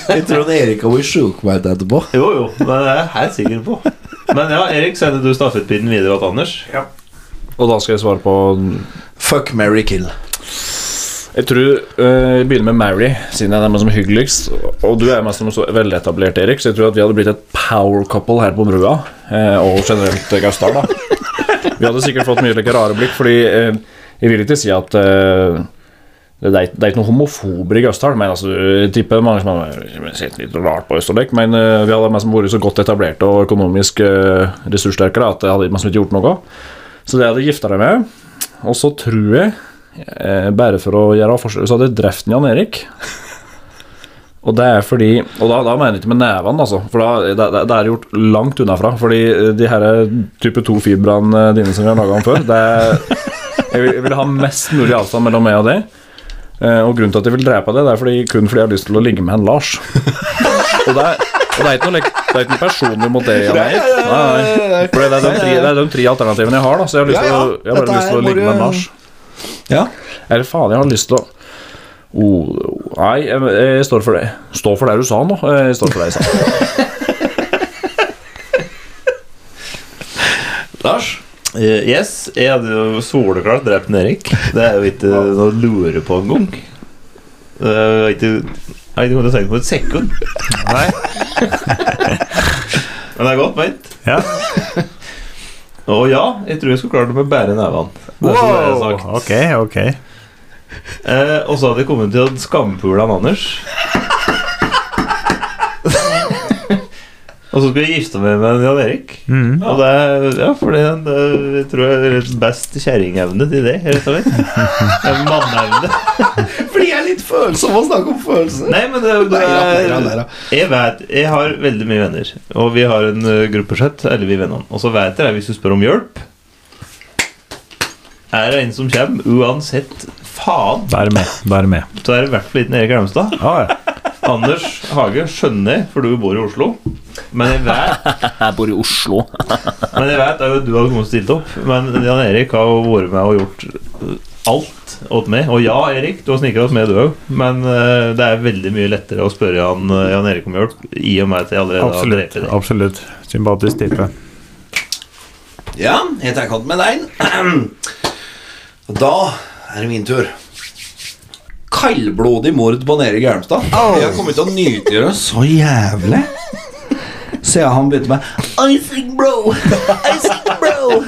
S4: Jeg tror det Erik har vært sjukmeldt etterpå.
S3: Jo, jo, men det er jeg helt sikker på. Men ja, Erik, sender du stafettpinnen videre til Anders?
S2: Ja.
S6: Og da skal jeg svare på
S4: Fuck, marry, kill.
S6: Jeg tror eh, jeg begynner med Mary, siden jeg er mest som hyggeligst. Og du er mest som så veletablert, Erik, så jeg tror at vi hadde blitt et power couple her på Brua. eh, og generelt eh, Gausdal,
S4: [laughs]
S6: da. Vi hadde sikkert fått mye like rare blikk, fordi eh, jeg vil ikke si at eh, det er, ikke- det er ikke noen homofober i Gausdal, men altså, jeg tipper mange som har sett litt rart på Østerdekk. Men eh, vi hadde mest vært så godt etablerte og økonomisk eh, ressurssterke da, at det hadde mest ikke gjort noe. Så det hadde jeg gifta deg med. Og så tror jeg, eh, bare for å gjøre forskjell, så hadde jeg drept Jan Erik. Og det er fordi Og da, da mener jeg ikke med nevene, altså. For da, det, det- det er gjort langt unnafra. Fordi eh, de her type 2-fibrene dine som vi har laga om før, det er jeg vil, jeg vil ha mest mulig avstand mellom meg og det. Eh, og grunnen til at jeg vil drepe det, det er fordi, kun fordi jeg har lyst til å ligge med en Lars. og det er, og det er ikke noe lek- det er ikke noe personlig mot det. Jan Erik. Nei, nei. For det er de tre, det er de tre alternativene jeg har, da. Så jeg har, lyst
S4: Ja, ja.
S6: Til, å, jeg har
S4: Dette
S6: bare lyst
S4: her
S6: til å
S4: må
S6: ligge med en
S4: du-
S6: Lars.
S4: Ja.
S6: Eller faen, jeg har lyst til å oh, Nei, jeg, jeg står for det. Stå for det du sa nå. Jeg står for det jeg sa.
S3: Lars? Eh, yes, jeg hadde jo soleklart drept en Erik. Det er jo ikke noe å lure på engang. Det er jo ikke Jeg har ikke kommet til å tenke på et sekund.
S2: Nei.
S3: [laughs] Men det er godt ment.
S2: Ja.
S3: Og ja, jeg tror jeg skulle klart det med bare nevene. Det er som det er sagt.
S2: ok, ok.
S3: Eh, og så hadde jeg kommet til å skampule han Anders. og så skulle jeg gifte meg med Jan Erik.
S2: Mhm.
S3: Og det, er- ja, for det, er- det tror jeg er litt best kjerringevne til det, rett og slett. Det er Manneevne.
S4: [laughs] Fordi jeg er litt følsom å snakke om følelser.
S3: Nei, men det, det
S4: Nei, da, nei,
S3: er
S4: da.
S3: Jeg vet Jeg har veldig mye venner, og vi har en eh, gruppesett, eller vi vennene. Og så vet jeg hvis du spør om hjelp Er det en som kommer, uansett faen,
S2: Da er det med. Da er det med.
S3: så er det i hvert fall ikke Erik Elmstad.
S2: Ja, ja.
S3: Anders Hage, skjønner jeg, for du bor i Oslo. Men jeg vet,
S6: [laughs] Jeg bor i Oslo.
S3: [laughs] men jeg vet er jo at du hadde kommet og stilt opp. Men Jan Erik har jo vært med og gjort eh, alt åt meg. Og ja, Erik, du har snikra oss med, du òg. Men eh, det er veldig mye lettere å spørre han, eh, Jan Erik om hjelp i og med at jeg allerede
S2: Absolutt.
S3: har drept deg.
S2: absolutt Sympatisk type.
S4: Ja, jeg tar [clears throat] kontakt med deg. Da er det min tur. kaldblodig mord på Nere Gjermstad. Vi har kommet til å nyttiggjøre oss så jævlig. Siden han begynte med Icing bro! Icing bro!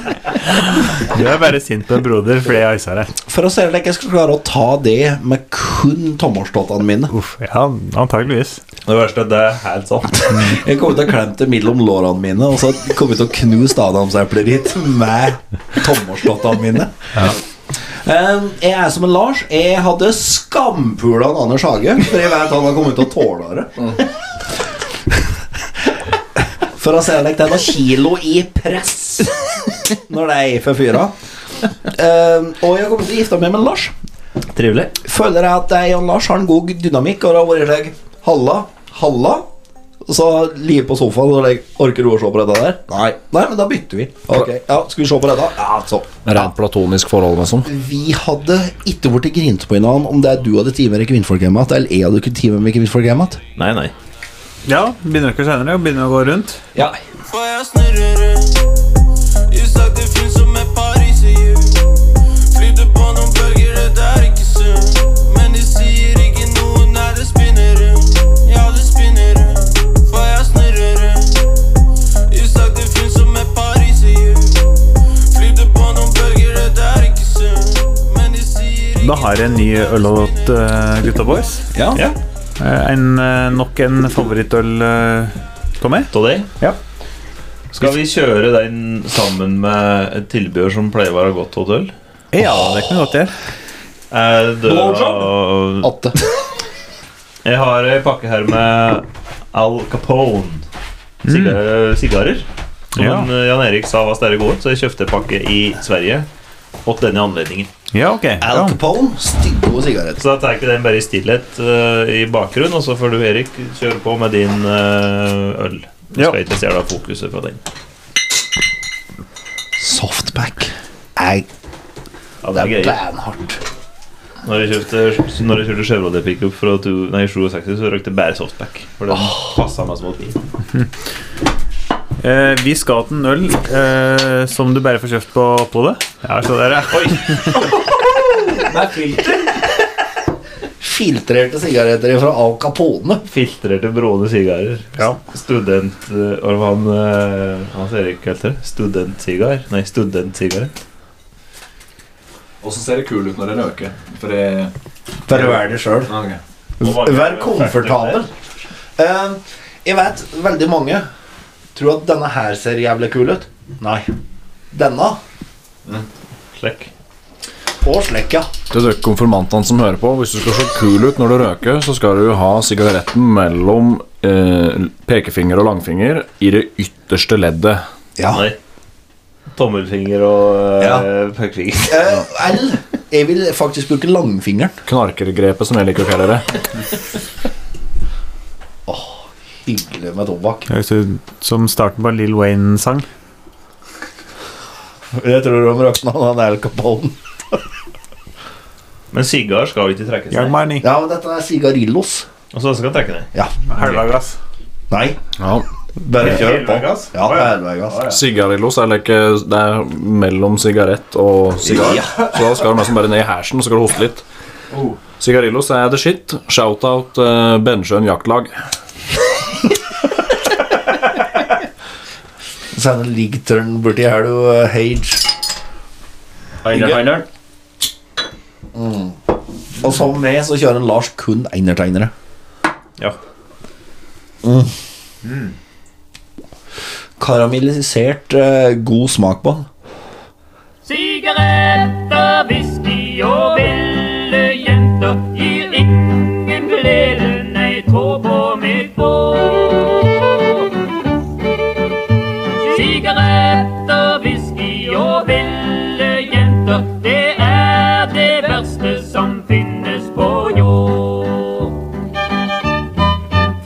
S2: Du er bare sint på en broder fordi jeg icer deg.
S4: For å se om jeg skal klare å ta det med kun tommelstottene mine.
S2: ja, antageligvis.
S4: Det verste er det er helt sant. jeg kommer til å klemme det mellom lårene mine, og så kommer jeg til å knuse adamsepler hit med tommelstottene mine. Um, jeg er som en Lars. Jeg hadde skampula en Anders Hage, for jeg vet han har kommet til å tåle det. For å se deg til noen kilo i press når det er for fyra. Um, og jeg kommer til å gifte meg med en Lars. Trivelig. Føler jeg at jeg og Lars har en god dynamikk, og det har vært slik Halla, halla. Og Så ligger på sofaen og jeg orker du å se på dette der? Nei. Nei, men da bytter vi. Ok, ja, Skal vi se på dette? Ja, så.
S6: Rent platonisk forhold, liksom.
S4: Vi hadde ikke blitt grint på hverandre om det er du hadde time med kvinnfolk hjemme igjen, eller jeg hadde ikke time med kvinnfolk hjemme igjen.
S3: Nei, nei.
S2: Ja, begynner dere senere? Begynner å gå rundt?
S4: Ja.
S11: For jeg snurrer rundt I sakte film som et pariserhjul Flyter på noen bølger, det er ikke sunt Men de sier ikke noe når det spinner rundt Ja, det spinner rundt For jeg snurrer rundt I sakte film som et pariserhjul Flyter på noen bølger, det er ikke sunt Men de sier
S2: Da har jeg en ny øllåt, eh, gutta boys.
S4: Ja.
S2: Eh, En, eh, nok en favorittøl, eh, Tommy. Ja.
S3: Skal vi kjøre den sammen med et tilbud som pleier å være godt hotell?
S2: Ja, det kan vi godt gjøre.
S3: Er
S2: Blowjob?
S3: det
S4: Åtte.
S3: [laughs] Jeg har ei pakke her med Al Capone. Siga- Sigarer. Som
S2: Ja.
S3: han, Jan Erik sa var sterke gode, så jeg kjøpte en pakke i Sverige. Åt denne anledningen.
S2: Ja, ok
S4: Al Capone, stygge sigaretter.
S3: Så da tar jeg ikke den bare i stillhet eh, i bakgrunnen, og så får du, Erik, kjøre på med din eh, øl. Du skal ikke stjele fokuset fra den.
S4: Softback. Jeg
S3: Ja, det er greier.
S4: Beinhardt.
S3: Når jeg kjøpte, når jeg kjøpte Chevrolet pickup fra to- nei, 67, så røkte jeg bare softback. For den passet meg som et vin.
S2: Eh, vi skal til en øl eh, som du bare får kjøpt på Oppholdet. Ja, så der, ja.
S4: Med filter. Filtrerte sigaretter fra Al Capone.
S3: Filtrerte bråne sigarer. Student eh, Hva var han eh, Hans Erik kalte det? Studentsigar? Nei, studentsigaret.
S5: Og så ser det kul ut når det røker. For det
S4: Bare vær det sjøl. Vær komfortabel. Eh, jeg vet veldig mange tror at denne her ser jævlig kul ut. Nei. Denne
S3: Slekk.
S4: og slekk, ja.
S6: Til dere konfirmantene som hører på, hvis du skal se kul ut når du røker, så skal du ha sigaretten mellom eh, pekefinger og langfinger i det ytterste leddet.
S3: Nei. Tommelfinger og eh, pekefinger.
S4: Eh, L. Jeg vil faktisk bruke langfingeren.
S6: Knarkergrepet, som jeg liker å kalle det.
S4: Hyggelig med tobakk.
S2: Høres ut som starten på en Lill Wayne-sang.
S4: Jeg tror de rakna han Al Capone.
S3: Men sigar skal ikke trekkes
S4: Ja,
S3: ned.
S4: men dette er sigarillos.
S3: Og så skal den trekke ned.
S4: Ja.
S2: Halvlagass.
S4: Nei.
S6: Ja.
S4: Bare kjør på.
S3: Helvegass?
S4: Ja, helvegass.
S6: Sigarillos er like, det er mellom sigarett og sigar.
S4: Ja.
S6: Så da skal du nesten bare ned i hersen og så skal du hoste litt. Sigarillos er the shit. Shout-out eh, Bennsjøen jaktlag.
S4: Send en ligtørn borti her, du, eh, Hage.
S5: Heiner, heiner.
S4: Mm. Og som meg så kjører en Lars kun einertegnere.
S3: Ja.
S4: Mm. Karamellisert eh, god smak på den.
S14: Sigaretter, whisky og ville jenter gir ingen glede, nei, trå på mitt bord. Sigaretter, whisky og ville jenter, det er det verste som finnes på jord.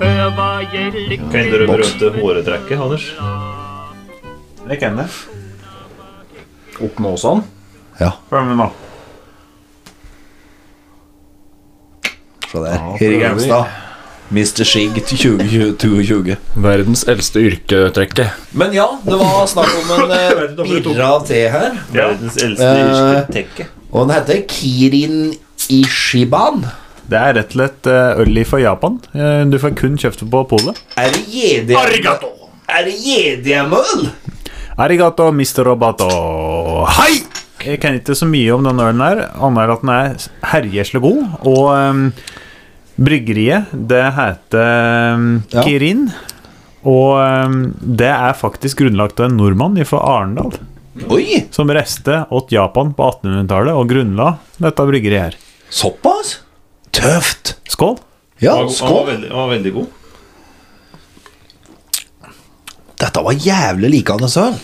S14: Før var jeg
S3: Kan
S14: lykkelig
S3: ikke du berømte håretrekket, Anders?
S2: Det kan det.
S6: Opp med åsene.
S2: Følg med nå.
S4: Se der. Erik Gjermstad. Mr. Shig til 2022.
S6: Verdens eldste yrketrekke.
S4: Men ja, det var snakk om en eh, birra av te her.
S3: Verdens eldste
S4: Eh,
S3: yrkestekke.
S4: Og den heter Kirin Ishiban.
S2: Det er rett og slett eh, øl fra Japan. Eh, Du får kun kjøpt det på polet.
S4: Er det gjedehjemmeøl? Arigato! Er det gjedehjemmeøl?
S2: Arigato, mister robato. Hei! Jeg kan ikke så mye om denne ølen her, annet enn at den er herjesle god. Og ehm, bryggeriet, det heter ehm, Kirin. Og ehm, det er faktisk grunnlagt av en nordmann fra Arendal. Som reiste åt Japan på 1800-tallet og grunnla dette bryggeriet her.
S4: Såpass? Tøft!
S2: Skål!
S3: Han var- Han var veldig, han var veldig god.
S4: Dette var jævlig likende søl.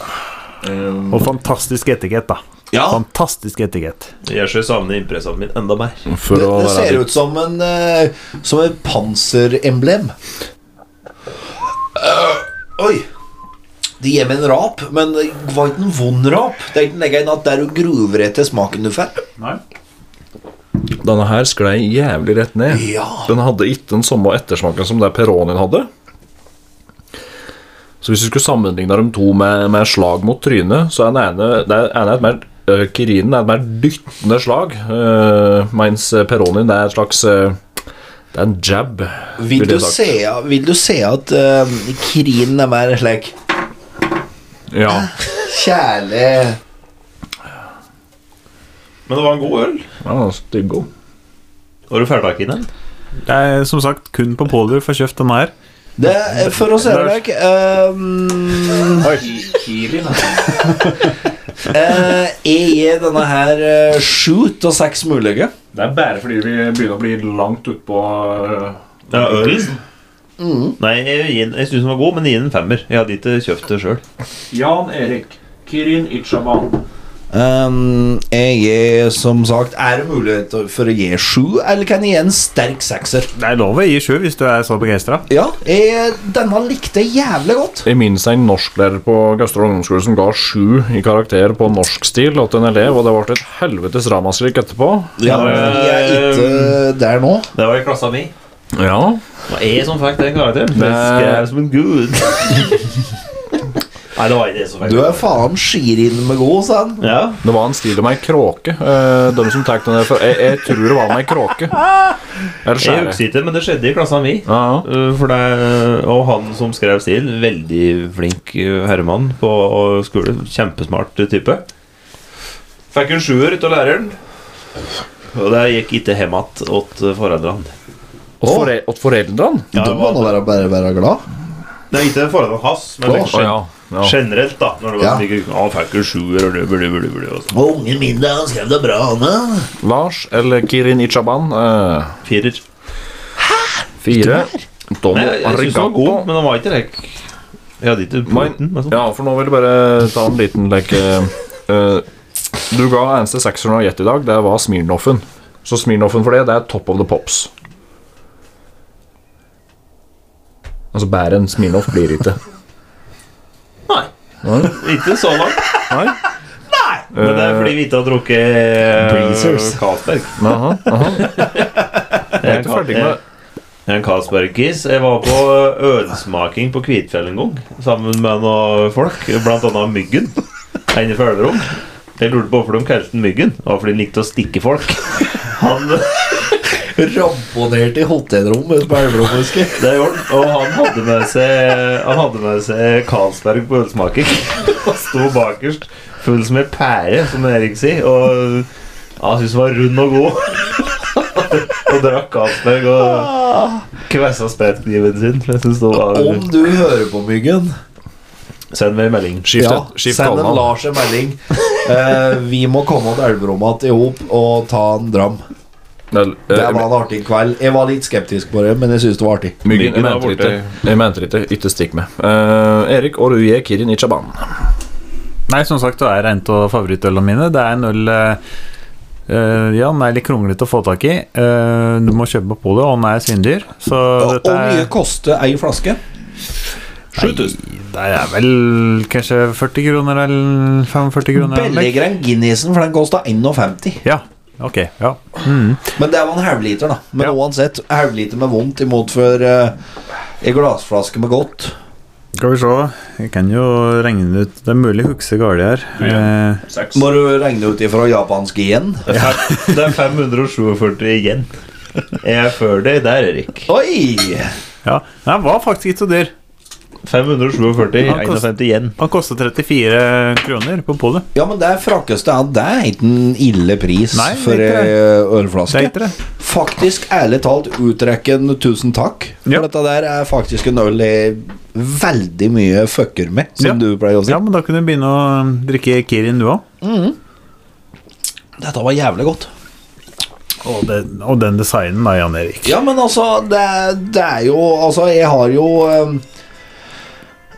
S2: Og fantastisk etikett, da. Fantastisk etikett.
S3: Jeg skal savne impressaen min enda mer.
S4: Det, det ser ut som en eh, Som et panseremblem. Øh, oi! Det gir meg en rap, men det var ikke en vond rap. Det er ikke legger inn at det er du gruver etter smaken du får.
S6: Denne her sklei jævlig rett ned. Den hadde ikke den samme ettersmaken som det Peronien hadde. Så hvis du skulle sammenligne de to med, med slag mot trynet, så er den ene, det ene er et mer øh, Kirinen er et mer dyttende slag, øh, mens Peronien er et slags øh, Det er en jab.
S4: Vil
S6: ville
S4: du
S6: jeg sagt.
S4: se, vil du se at uh, krinen er mer slik
S6: Ja.
S4: kjærlig
S3: Men det var en god øl.
S6: Ja, Styggod.
S3: Var du ferdig i den?
S2: Det er som sagt kun på polet du får kjøpt denne her.
S4: Det eh, er for å se deg um, Eh, Jeg gir denne her eh, sju av seks mulige.
S5: Det er bare fordi vi begynner å bli langt eh, utpå
S3: Ja, øl. Nei, jeg, jeg, jeg syns den var god, men jeg gir den en femmer. Jeg hadde ikke kjøpt det sjøl.
S5: Jan Erik Kirin Ichaban.
S4: Um, jeg gir som sagt Er det mulighet for å gi sju, eller kan jeg gi en sterk sekser?
S2: Det er lov å gi sju hvis du er så begeistra.
S4: Ja, jeg, denne likte jeg jævlig godt.
S6: Jeg minnes en norsklærer på Gaustad ungdomsskole som ga sju i karakter på norskstil til en elev, og det ble et helvetes ramaskrik etterpå.
S4: Ja, jeg Eh, er ikke der nå.
S3: Det var i klassa mi.
S6: Ja.
S3: Det var jeg som fikk den karakteren.
S6: Det-
S3: Det skrev som en gud. [laughs] Nei, det var ikke jeg som fikk
S4: Du er faen skirin med god, sa han.
S6: Det var en stil om ei kråke. eh, De som tar den der for jeg, jeg tror det var om ei kråke. Eller
S3: Jeg
S6: skjære.
S3: husker ikke, men det skjedde i klassa mi. Uh, For det, og han som skrev stil, veldig flink uh, herremann på uh, skole. Kjempesmart type. Fikk en sjuer ut av læreren. Og det gikk ikke hjem igjen åt uh, foreldrene.
S6: Åt fore- åt foreldrene?
S3: Ja,
S4: Du
S3: det
S4: må
S3: var,
S4: nå være, bare være glad.
S3: det er ikke foreldrene hans, men
S4: Å,
S3: liksom
S4: ja, ja.
S3: generelt, da. Når det var
S4: Ja.
S3: slik, han fikk en sjuer og det, burde, burde, burde, og sånn.
S4: Og ungen min, da, han skrev det bra, han da.
S6: Lars eller Kirin Ichaban? eh,
S3: Firer.
S6: Fire. Domo
S3: Nei, jeg- jeg synes den var
S6: Arigato.
S3: god, men den var ikke rek. Jeg hadde ikke
S6: Men- Ja, for nå vil jeg bare ta en liten leke Du ga eneste sekseren og gjett i dag, det var Smirnoffen. Så Smirnoffen for det, det er top of the pops. Altså bedre enn Smirnoff blir det ikke. Nei.
S3: Ikke så langt.
S6: Nei.
S3: Men det er fordi vi ikke har drukket eh,
S6: Breezers.
S3: Carlsberg.
S6: Aha,
S3: [laughs]
S6: aha.
S3: Jeg er
S6: ikke ferdig med det.
S3: Jeg er Eh, en Carlsberg-kiss. Jeg var på ølsmaking på Kvitfjell en gang sammen med noen folk, blant annet Myggen. En i Følverom. Jeg lurte på hvorfor de kalte den Myggen. Det var fordi han likte å stikke folk. Han
S4: Ramponert i hotellrommet på Elverum, husker jeg.
S3: Det gjorde han. Og han hadde med seg Han hadde med seg Carlsberg på ølsmaking. [laughs] Og sto bakerst, full som ei pære, som Erik sier. Og ja, han syntes den var rund og god. [laughs] og drakk Carlsberg og kvessa spredtkniven sin. for Jeg synes det var
S4: Om du hører på Myggen
S3: Send meg en melding.
S4: ja, Send en Lars en melding. Eh, vi må komme til Elverum igjen i hop og ta en dram.
S2: Eh,
S6: eh,
S4: Det var en artig kveld. Jeg var litt skeptisk på det, men jeg syns det var artig.
S6: Myggen, jeg mente det ikke. Jeg mente det ikke. Ikke stikk med. Eh, Erik og Ruye Kirin Ichaban.
S2: Nei, som sagt, det er en av favorittølene mine. Det er en øl eh, eh, Ja, den er litt kronglete å få tak i. Eh, du må kjøpe på det, og den er svindyr. Så
S4: Og
S2: dette er
S4: mye koster ei flaske?
S2: Nei, Det er vel kanskje 40 kroner eller 45 kroner. eller?
S4: Billigere enn Guinnessen, for den kosta 51.
S2: Ja, ok, ja
S4: Men det var en halvliter, da. Men uansett, halvliter med vondt imot for uh, ei glassflaske med godt.
S2: Skal vi se. Jeg kan jo regne det ut. Det er mulig å huske galt her. Eh,
S4: Må du regne ut ifra japansk igjen?
S3: Det er 547 igjen. Jeg er før deg der, Erik.
S4: Oi!
S2: Ja, Den var faktisk ikke så dyr.
S3: 547,
S2: Han kost-
S3: 51 igjen.
S2: Han kosta 34 kroner på polet.
S4: Ja, men det er frakkeste av det er ikke en ille pris
S2: Nei, det er
S4: for
S2: ikke
S4: ei
S2: det.
S4: ølflaske.
S2: Det er ikke det.
S4: Faktisk, ærlig talt, utrekken tusen takk. For dette der er faktisk en øl jeg veldig mye fucker med, som du pleier å si.
S2: Ja, men da kunne du begynne å drikke Kirin, du òg.
S4: Dette var jævlig godt.
S2: Og, den- og den designen, da, Jan Erik.
S4: Ja, men altså, det, er- det er jo Altså, jeg har jo eh,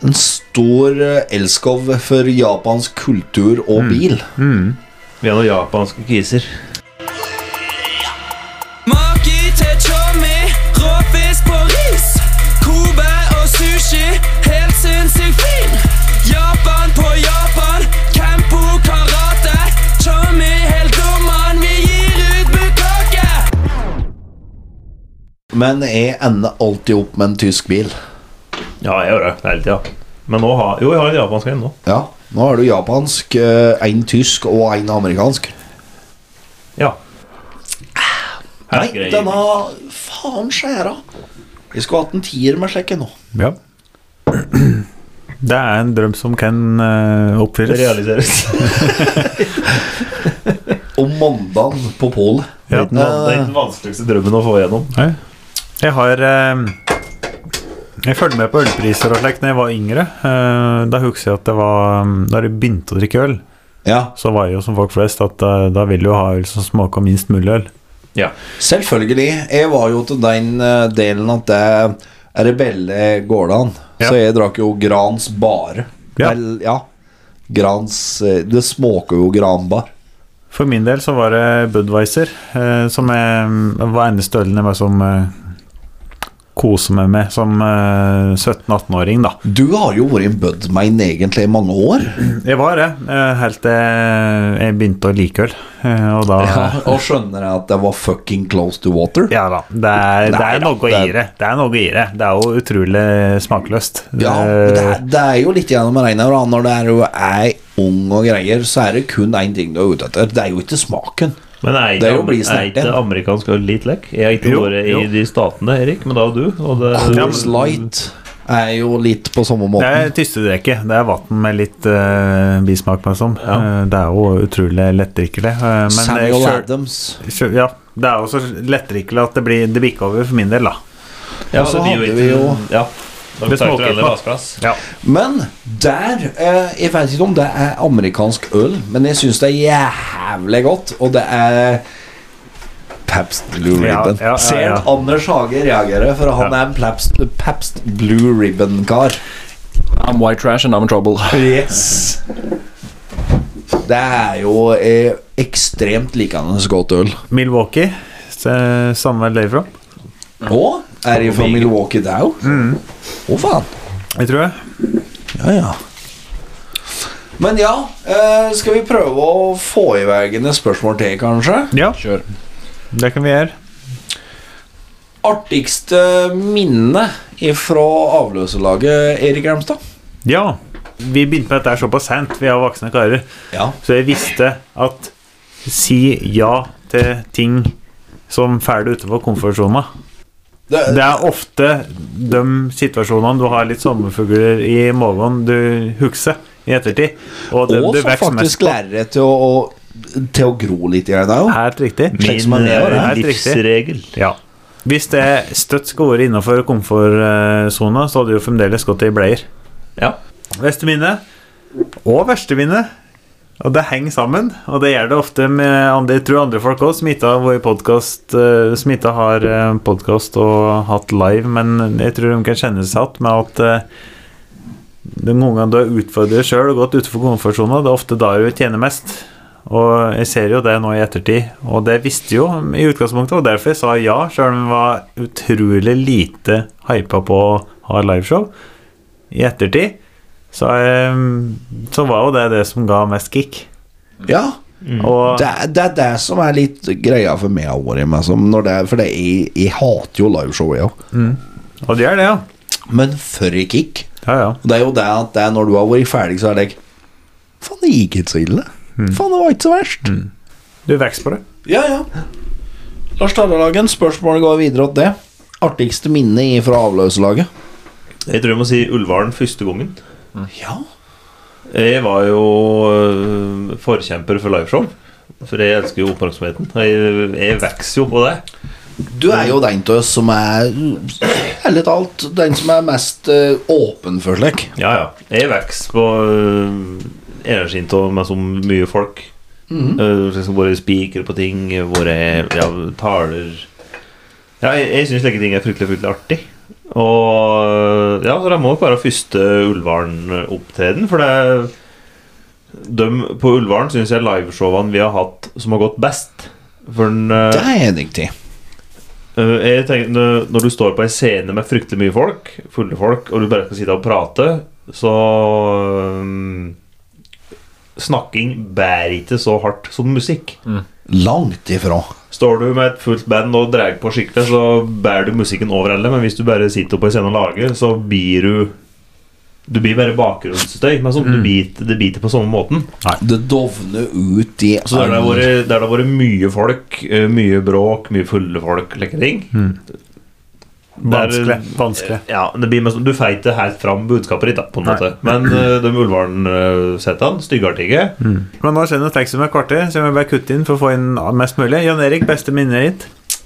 S4: en stor eh, elskov for japansk kultur og bil.
S3: Vi har noen japanske kiser.
S7: Maki til chomi, råfisk på ris. Kobe og sushi, helt sinnssykt fin. Japan på Japan, Kempo karate. Chomi helt domman, vi gir ut bukkake.
S4: Men jeg ender alltid opp med en tysk bil.
S3: Ja, jeg gjør det hele tida. Men nå har Jo, jeg har en japansk en nå.
S4: Ja, nå har du japansk, én tysk og én amerikansk.
S3: Ja.
S4: Nei,
S3: Herregud.
S4: denne Faen skjæra! Jeg skulle hatt en tier med sjekken nå.
S2: Ja. Det er en drøm som kan eh, oppfylles.
S4: [laughs]
S3: Realiseres.
S4: Om mandagen på Pål.
S2: Ja.
S3: Det er
S4: eh,
S3: den vanskeligste drømmen å få igjennom.
S2: Nei. Jeg har eh, Jeg fulgte med på ølpriser og slikt da jeg var yngre. Eh, da husker jeg at det var um, Da de begynte å drikke øl, så var det jo som folk flest at eh, da vil du ha øl som smaker minst mulig øl.
S4: Selvfølgelig. Jeg var jo til den eh, delen at det Rebelle går det an. Så jeg drakk jo Grans bare. Ja. Vel, ja. Grans eh, Det smaker jo granbar.
S2: For min del så var det Budwiser, eh, som jeg, var eneste ølen jeg var som eh, koser meg med som eh, 17-18-åring, da.
S4: Du har jo vært en budman egentlig i mange år.
S2: Jeg var det, eh, helt til jeg begynte å like øl. eh, Og da
S4: Ja, og skjønner jeg at det var fucking close to water.
S2: Ja da. Det er, det er noe å gi det. Det er noe å gi det. Det er jo utrolig smakløst.
S4: Ja, men det er, det er jo litt gjennom regnet da. Når det er jo er ung og greier Så er det kun en ting du er ute etter Det er jo ikke smaken
S3: Men er
S4: Det
S3: ikke,
S4: er jo å bli
S3: er ikke
S4: snerten.
S3: amerikansk øl litt lekk? Jeg har ikke
S4: Jo,
S3: vært i
S4: jo.
S3: de statene, Erik, men det har du. Og det,
S4: Coors Light er jo litt på samme
S2: Det
S4: måten
S2: er tystedrekke. Det er vann med litt eh, bismak, meg som. Eh, det er jo utrolig lettdrikkelig. eh, men det
S4: Samuel
S2: kjø-
S4: Adams
S2: kjø- Ja, det er jo så lettdrikkelig at det blir det bikker over for min del, da.
S4: Ja, Og så det blir jo hadde vi ikke- jo-
S3: Ja.
S2: Det smaker
S3: heller
S2: ikke.
S3: vaskeplass.
S2: Ja.
S4: Men der eh, Jeg vet ikke om det er amerikansk øl Men jeg synes det er jævlig godt Og det er Pabst Blue
S2: Ja,
S4: Ribbon
S2: ja, ja,
S4: Ser
S2: ja.
S4: at Anders Hage reagerer For han er en Pabst, Pabst Blue Ribbon-kar
S6: I'm white trash and I'm in trouble.
S4: [laughs] Yes Det er jo eh, ekstremt likende godt øl.
S2: Milwaukee. se- Samme lever fra.
S4: Å? Er de fra Milwaukee Mm. Dow? Å, faen.
S2: Jeg tror det. Ah,
S4: Ja, ja. Men ja, eh, skal vi prøve å få i veien et spørsmål til, kanskje?
S2: Ja.
S4: Kjør.
S2: Det kan vi gjøre.
S4: Artigste minne ifra avløserlaget, Erik Ermstad?
S2: Ja, vi begynte med dette her såpass sent. Vi er voksne karer. Så jeg visste at si ja til ting som fer deg utenfor komfortsona.
S4: Det,
S2: er ofte de situasjonene du har litt sommerfugler i magen du husker i ettertid. Og dem
S4: Og
S2: du vokser
S4: som
S2: mest
S4: faktisk
S2: på.
S4: lærer deg til å, å, til å gro litt i deg da, jo.
S2: Helt riktig.
S4: Slik som man
S2: Min,
S4: lever, det.
S2: eh, helt riktig. Ja. Hvis det støtt skal være innenfor komfortsona, så hadde du jo fremdeles gått i bleier.
S3: Ja.
S2: Beste minne og verste minne. Og det henger sammen, og det gjør det ofte med andre, jeg tror andre folk òg, som ikke har vært i podcast, eh, som ikke har podkast og hatt live, men jeg tror de kan kjenne seg igjen med at eh, det er noen ganger du har utfordret deg sjøl og gått utenfor komfortsona, det er ofte da du tjener mest. Og jeg ser jo det nå i ettertid, og det visste jeg jo i utgangspunktet, og derfor jeg sa ja, sjøl om jeg var utrolig lite hypa på å ha liveshow. I ettertid så, eh, så var jo det det som ga mest kick.
S4: Ja.
S2: Og
S4: Det, er- det er det som er litt greia for meg av året. men som når det er, for det, jeg, jeg hater jo liveshow, jeg òg.
S2: Mm. Og det gjør det,
S4: ja. Men for et kick.
S2: Og
S4: det er jo det at det er når du har vært ferdig, så er det ikke Faen, det
S3: Mm.
S4: gikk ikke så ille. Faen, det var ikke så verst.
S2: du vokser på det.
S4: Ja, ja. Lars Tarjei-lagen, spørsmålet går videre til det. Artigste minne fra avløserlaget?
S3: Jeg tror jeg må si Ulvaren første gangen.
S4: Ja.
S3: Jeg var jo øh, forkjemper for liveshow, for jeg elsker jo oppmerksomheten. Jeg, jeg vokser jo på det.
S4: Du er jo den av oss som er Ærlig talt, den som er mest eh, åpen for slik.
S3: Ja, ja. Jeg vokser på øh, energien av meg som mye folk.
S4: Mhm.
S3: Øh, liksom hvor jeg spiker på ting, hvor jeg ja, taler Ja, jeg, jeg syns slike ting er fryktelig, fryktelig artig. Og eh, ja, så det må nok være første Ulvaren-opptreden, for det Dem på Ulvaren syns jeg liveshowene vi har hatt, som har gått best. For den eh, Det
S4: er jeg riktig.
S3: Eh, Jeg tenker, når- når du står på ei scene med fryktelig mye folk, fulle folk, og du bare skal sitte og prate, så øhm, Snakking bærer ikke så hardt som musikk.
S4: Langt ifra.
S3: Står du med et fullt band og drar på skikkelig, så bærer du musikken over alle, men hvis du bare sitter på en scene og lager, så blir du Du blir bare bakgrunnsstøy, men sånn, du biter, det biter på samme måten.
S4: Det dovner ut i
S3: Så der det har vært- der det har vært mye folk, eh, mye bråk, mye fulle folk, lekkere ting.
S2: Vanskelig,
S3: vanskelig. Ja, det blir mest, du feiter helt fram budskapet ditt, da, på en måte. Men eh, de Ulvaren-settene, styggartige
S2: Men nå skjønner jeg ikke med kvarter, så jeg må bare kutte inn for å få inn mest mulig. Jan Erik, beste minnet ditt?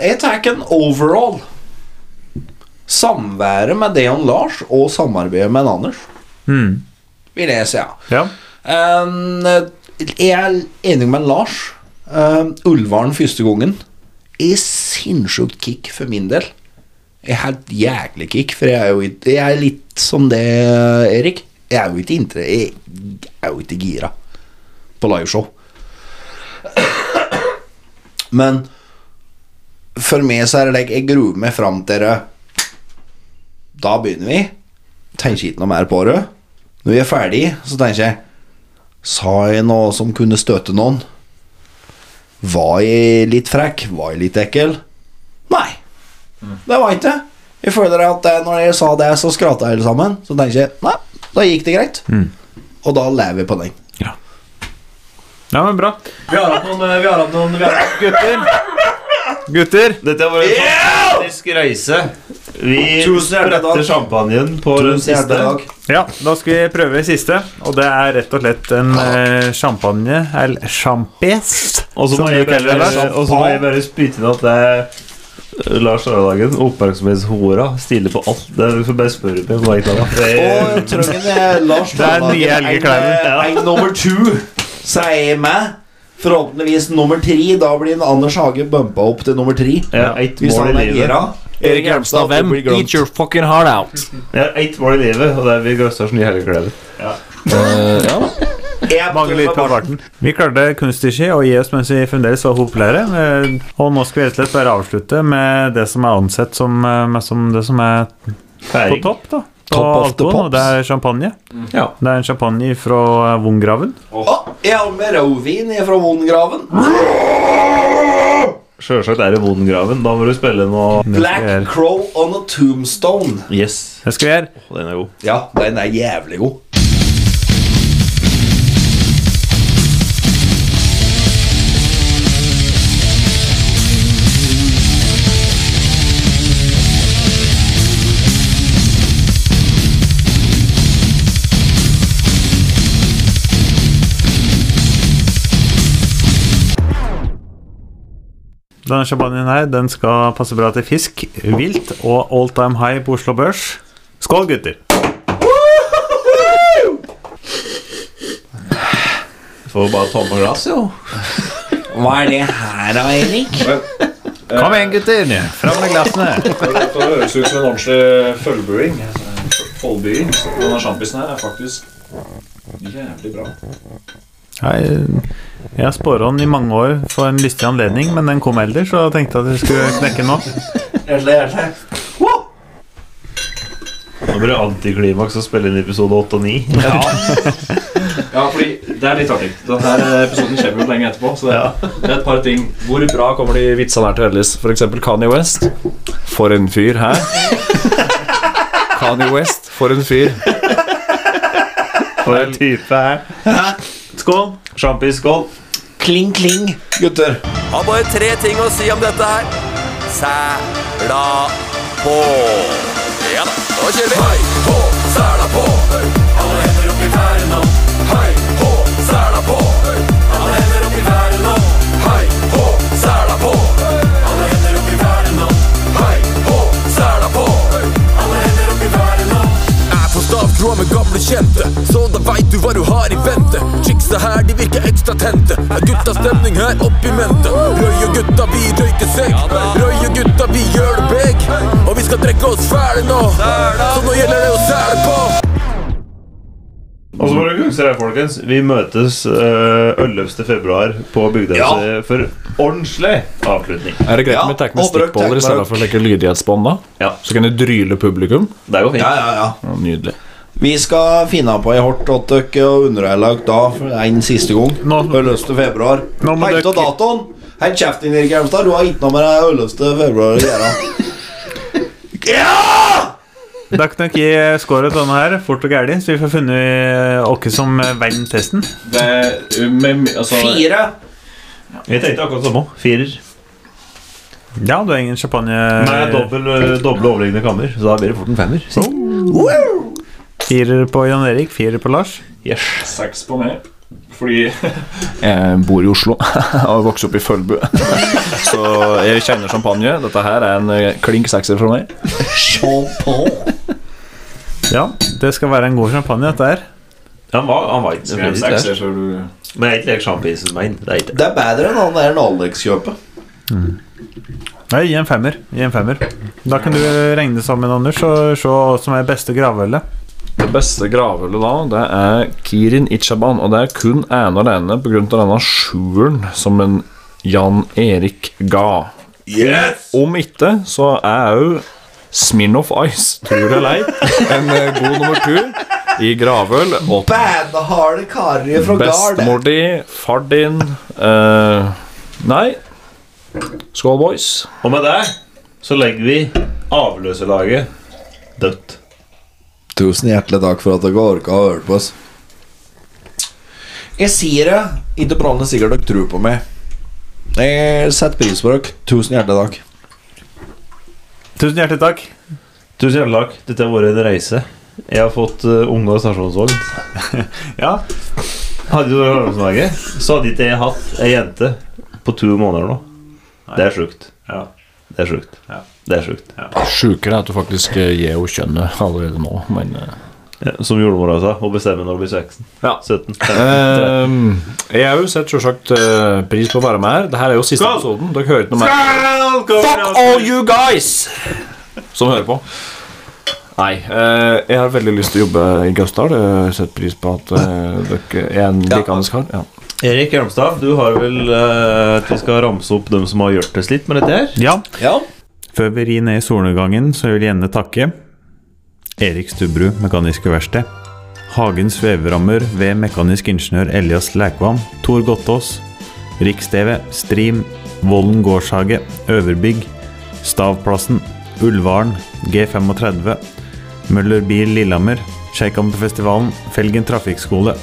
S4: Jeg tar en overall. Samværet med Deon Lars og samarbeidet med en Anders, vil jeg si. Ja.
S2: Ja.
S4: Um, jeg er enig med Lars. Um, Ulvaren første gangen. Er sinnssykt kick for min del. Jeg har et jæklig kick, for jeg er jo ikke Jeg er litt som det, Erik. Jeg er jo ikke, inter jeg er jo ikke gira på liveshow. Men for meg så er det like, jeg gruer meg fram til det. Da begynner vi. Tenker ikke noe mer på det. Når vi er ferdig, så tenker jeg Sa jeg noe som kunne støte noen? Var jeg litt frekk? Var jeg litt ekkel? Nei, det var jeg ikke. Jeg føler at eh, når jeg sa det, så skrata jeg alle sammen. Så tenker jeg nei, da gikk det greit.
S3: Mm.
S4: Og da lever vi på den.
S2: Ja, men bra.
S3: Vi har hatt noen, eh, vi har hatt noen vi har hatt gutter.
S2: Gutter!
S3: Dette var en fantastisk reise. Vi
S2: Tusen hjertelig
S3: spretter
S2: takk.
S3: champagnen på den siste.
S2: Ja, da skal vi prøve siste, og det er rett og slett en eh, champagne, eller champes,
S3: Og så må jeg bare, og så må jeg bare spyte inn at det er Lars Aradagen, oppmerksomhetshora, stiller på alt. Det er, du får bare spørre på hva jeg klarer. Det er-
S4: Og Trøngen eh,
S3: [laughs]
S4: Lars
S3: Det er den nye Helgekleiven.
S4: En, en nummer two, så er jeg med. Forhåpentligvis nummer tre. Da blir en Anders Hage bumpa opp til nummer tre.
S3: Ja, ett
S4: Hvis
S3: mål i
S4: han er
S3: livet.
S4: gira.
S6: Erik Hjelmstad, hvem? Eat your fucking heart out.
S3: Jeg har ett mål i livet, og det er vi Grøstars nye helgeklede.
S2: Mange lyd på barten. Vi klarte kunststykket å gi oss mens vi fremdeles var populære. eh, Og nå skal vi rett og slett bare avslutte med det som er ansett som, eh, med som det som er på
S3: Feiring.
S2: topp, Mm. da. På
S3: Top of the
S2: alkohol, og det
S3: pops.
S2: er champagne.
S3: Ja.
S2: Det er en champagne fra eh, Wongraven.
S4: Jeg har med rødvin fra Vongraven.
S3: Sjølsagt er det Vondengraven. Da må du spille noe
S4: Black Crow on a Tombstone.
S3: Yes.
S2: Det skal vi gjøre.
S3: Den er god.
S4: Ja, den er jævlig god.
S2: Denne champagnen her den skal passe bra til fisk, vilt og all time high på Oslo Børs. Skål, gutter!
S3: Får bare tomme glass, jo.
S4: Hva er det her da, Erik?
S3: eh,
S2: Kom igjen, gutter! Fram med glassene.
S5: Dette høres ut som en ordentlig følgebuing. Foldbying. Denne sjampisen her er faktisk jævlig bra.
S2: Jeg, jeg har spåret den i mange år for en lystig anledning, men den kom eldre, så jeg tenkte at jeg skulle knekke den nå.
S4: Hjertelig, hjertelig.
S3: Nå blir det antiklimaks å spille inn episode 8 og 9. Ja.
S5: Ja, fordi det er litt artig. Denne episoden kommer jo lenge etterpå. Så det er, det er et par ting. Hvor bra kommer de vitsene her til Ellis? For eksempel Kanye West. For en fyr, hæ? Kanye West, for en fyr.
S3: For en type her. Skål. Sjampis, skål.
S4: Kling, kling, gutter.
S7: Har bare tre ting å si om dette her. Sæla på. Ja da, nå kjører vi. Hei hå, sæla på. Alle hender opp i været nå. Hei hå, sæla på. Alle hender opp i været nå. Hei hå, sæla på. Alle hender opp i været nå. Hei hå, sæla på. Alle hender opp i været nå. Er på stavtråd med gamle kjente, så da veit du hva du har i vente. Chicksa her, de virker ekstra tente. Er gutta stemning her opp i mente? Røy og gutta, vi røyker seg. Røy og gutta, vi gjør det big. Og vi skal drikke oss ferdig nå, så nå gjelder det å sæle på.
S3: Og så må dere huske det, folkens. Vi møtes eh, 11. februar på Bygdøyse for ordentlig avslutning.
S6: Er det greit med teknisk stikkboller i stedet for like lydighetsbånd? da? Så kan du dryle publikum?
S3: Det er jo fint.
S4: Ja, ja, ja.
S6: Nydelig.
S4: Vi skal finne på ei hardt åt dere og underlegge da for en siste gang. Øløste februar. Helt av datoen! Helt kjeft inn, Erik Hjelmstad. Du har ikke noe med det øløste februar å gjøre.
S2: Da kan dere gi score til denne her fort og gæli, så vi får funnet eh, oss som vinner testen.
S5: Eh, altså,
S4: Fire.
S3: Jeg tenkte akkurat samme. Firer.
S2: Ja, du har ingen champagne
S3: Nei, dobbel, eh, doble overliggende kammer, så da blir det fort en femmer.
S2: Firer på Jan Erik, firer på Lars.
S3: Yes.
S6: Seks på meg. Fordi [laughs] Jeg bor i Oslo [laughs] og vokste opp i Følbu. [laughs] Så jeg kjenner champagne. Dette her er en eh, klink sekser for meg.
S2: Ja, det skal være en god champagne, dette her.
S3: Han var, han var ikke så
S2: Skrev
S3: flink
S2: seks,
S3: der.
S2: så
S3: Men jeg er ikke like sjampis som meg. Det er ikke
S4: Det er bedre enn han der Alex-kjøpet.
S2: Nei, gi en femmer. Gi en femmer. Da kan du regne sammen, Anders, og se hva som er beste gravølet.
S6: Det beste gravølet da, det er Kirin Ichaban, og det er kun ene og alene pga. denne sjueren som en Jan Erik ga.
S3: Yes!
S6: Om ikke, så er òg Smirnoff Ice, tror det eller ei, en eh, god nummer to i gravøl. Og
S4: Badaharde karer fra Gard.
S6: bestemor di, far din eh, Nei. Skål, boys.
S3: Og med det så legger vi avløserlaget dødt.
S4: Tusen hjertelig takk for at dere orka å høre på oss. Jeg sier det. Ikke prallende sikkert dere tror på meg. Jeg setter pris på dere. Tusen hjertelig takk.
S2: Tusen hjertelig takk.
S3: Tusen hjertelig takk. Dette har vært en reise. Jeg har fått uh, unge og stasjonsvogn.
S2: [laughs] ja.
S3: Hadde du vært avløserlaget, så hadde ikke jeg hatt ei jente på to måneder nå. Det er sjukt. Det er sjukt. Det er sjukt.
S6: Sjukere er at du faktisk eh, gir henne kjønnet allerede nå, men eh,
S3: Ja, Som jordmora sa, å bestemme når du blir 16. 17.
S6: Eh, Ehm, jeg har jo sett selvsagt eh, pris på å være med her. Dette er jo siste
S3: Skål!
S6: episoden. Dere hører ikke noe mer. Fuck all you guys! Som hører på. Nei. eh, jeg har veldig lyst til å jobbe i Gausdal. Jeg har sett pris på at eh, dere er en likandes kar. Ja.
S3: Erik Hjelmstad, du har vel eh, at vi skal ramse opp dem som har hjulpet oss litt med dette her?
S2: Ja. Før vi rir ned i solnedgangen, så vil jeg gjerne takke Erik Stubru, Mekaniske Verksted. Hagens Sveverammer ved Mekanisk Ingeniør Elias Lækvam. Tor Gottaas. Riksdeve, Strim, Vollen Gårdshage, Øverbygg, Stavplassen, Ulvaren, G35, Møller Bil Lillehammer, Shakehammerfestivalen, Felgen Trafikkskole,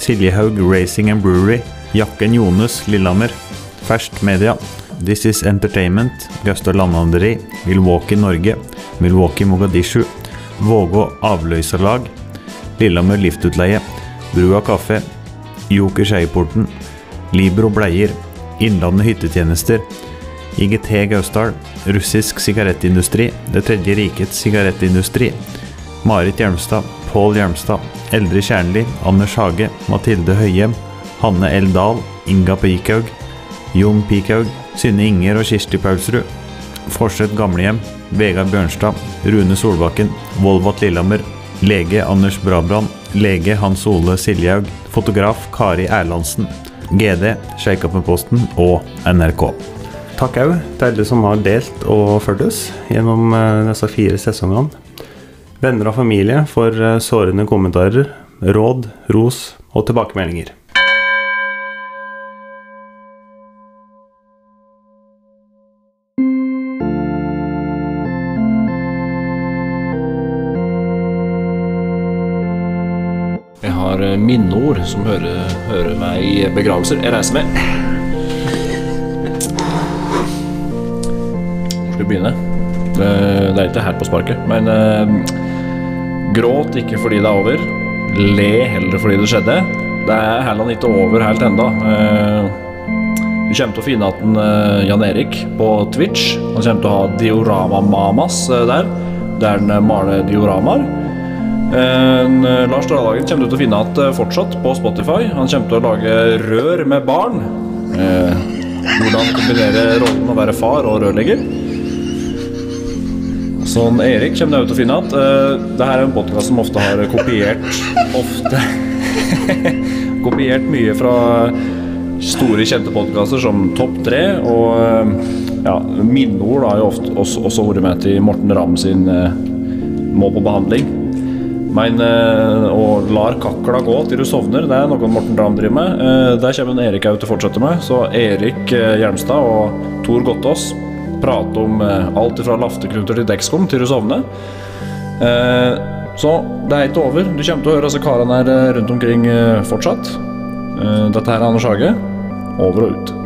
S2: Siljehaug Racing and Brewery, Jakken Jones Lillehammer, Ferskt Media, This Is Entertainment, Gaustad Landhandleri, Milwaukee Norge, Milwaukee Mogadishu, Vågå Avløserlag, Lillehammer Liftutleie, Brua Kaffe, Joker Skeiporten, Libro Bleier, Innlandet Hyttetjenester, IGT Gausdal, Russisk Sigarettindustri, Det Tredje Rikets Sigarettindustri, Marit Hjelmstad, Pål Hjelmstad, Eldre Kjernli, Anders Hage, Mathilde Høyem, Hanne L. Dahl, Inga Pikhaug, Jon Pikhaug, Synne Inger og Kirsti Paulsrud, Forseth Gamlehjem, Vegard Bjørnstad, Rune Solbakken, Volvat Lillehammer, lege Anders Brabrand, lege Hans Ole Siljehaug, fotograf Kari Erlandsen, GD, Shakeupen-posten og NRK. Takk òg til alle som har delt og fulgt oss gjennom eh, disse fire sesongene. Venner og familie for eh, sårende kommentarer, råd, ros og tilbakemeldinger.
S6: Jeg har eh, minneord som hører, hører meg i begravelser. Jeg reiser meg. Hvor skal vi begynne? Eh, Det er ikke her på sparket, men eh, Gråt ikke fordi det er over. Le heller fordi det skjedde. Det er heller ikke over helt enda. Eh, Du kommer til å finne at den, eh, Jan Erik på Twitch Han kommer til å ha Diorama-mamas eh, der, der han eh, maler dioramaer. En, eh, Lars Dralagen kommer du til å finne at eh, fortsatt på Spotify. Han kommer til å lage rør med barn. Eh, hvordan kombinere rollen å være far og rørlegger. Sånn Erik kommer du til å finne at eh, det her er en podkast som ofte har kopiert Ofte [laughs] Kopiert mye fra store, kjente podkaster som Topp 3 og eh, ja, minneord har jo ofte også, også vært med til Morten Ramm sin eh, Må på behandling. Men eh, å lar kakla gå til du sovner, det er noe Morten Dram driver med. Eh, der kommer en Erik òg til å fortsette med. Så Erik eh, Hjelmstad og Tor Gottaas prater om eh, alt fra lafteknuter til dekkskum til du sovner. Eh, så det er ikke over. Du kommer til å høre disse karene her eh, rundt omkring eh, fortsatt. Eh, dette her er Anders Hage. Over og ut.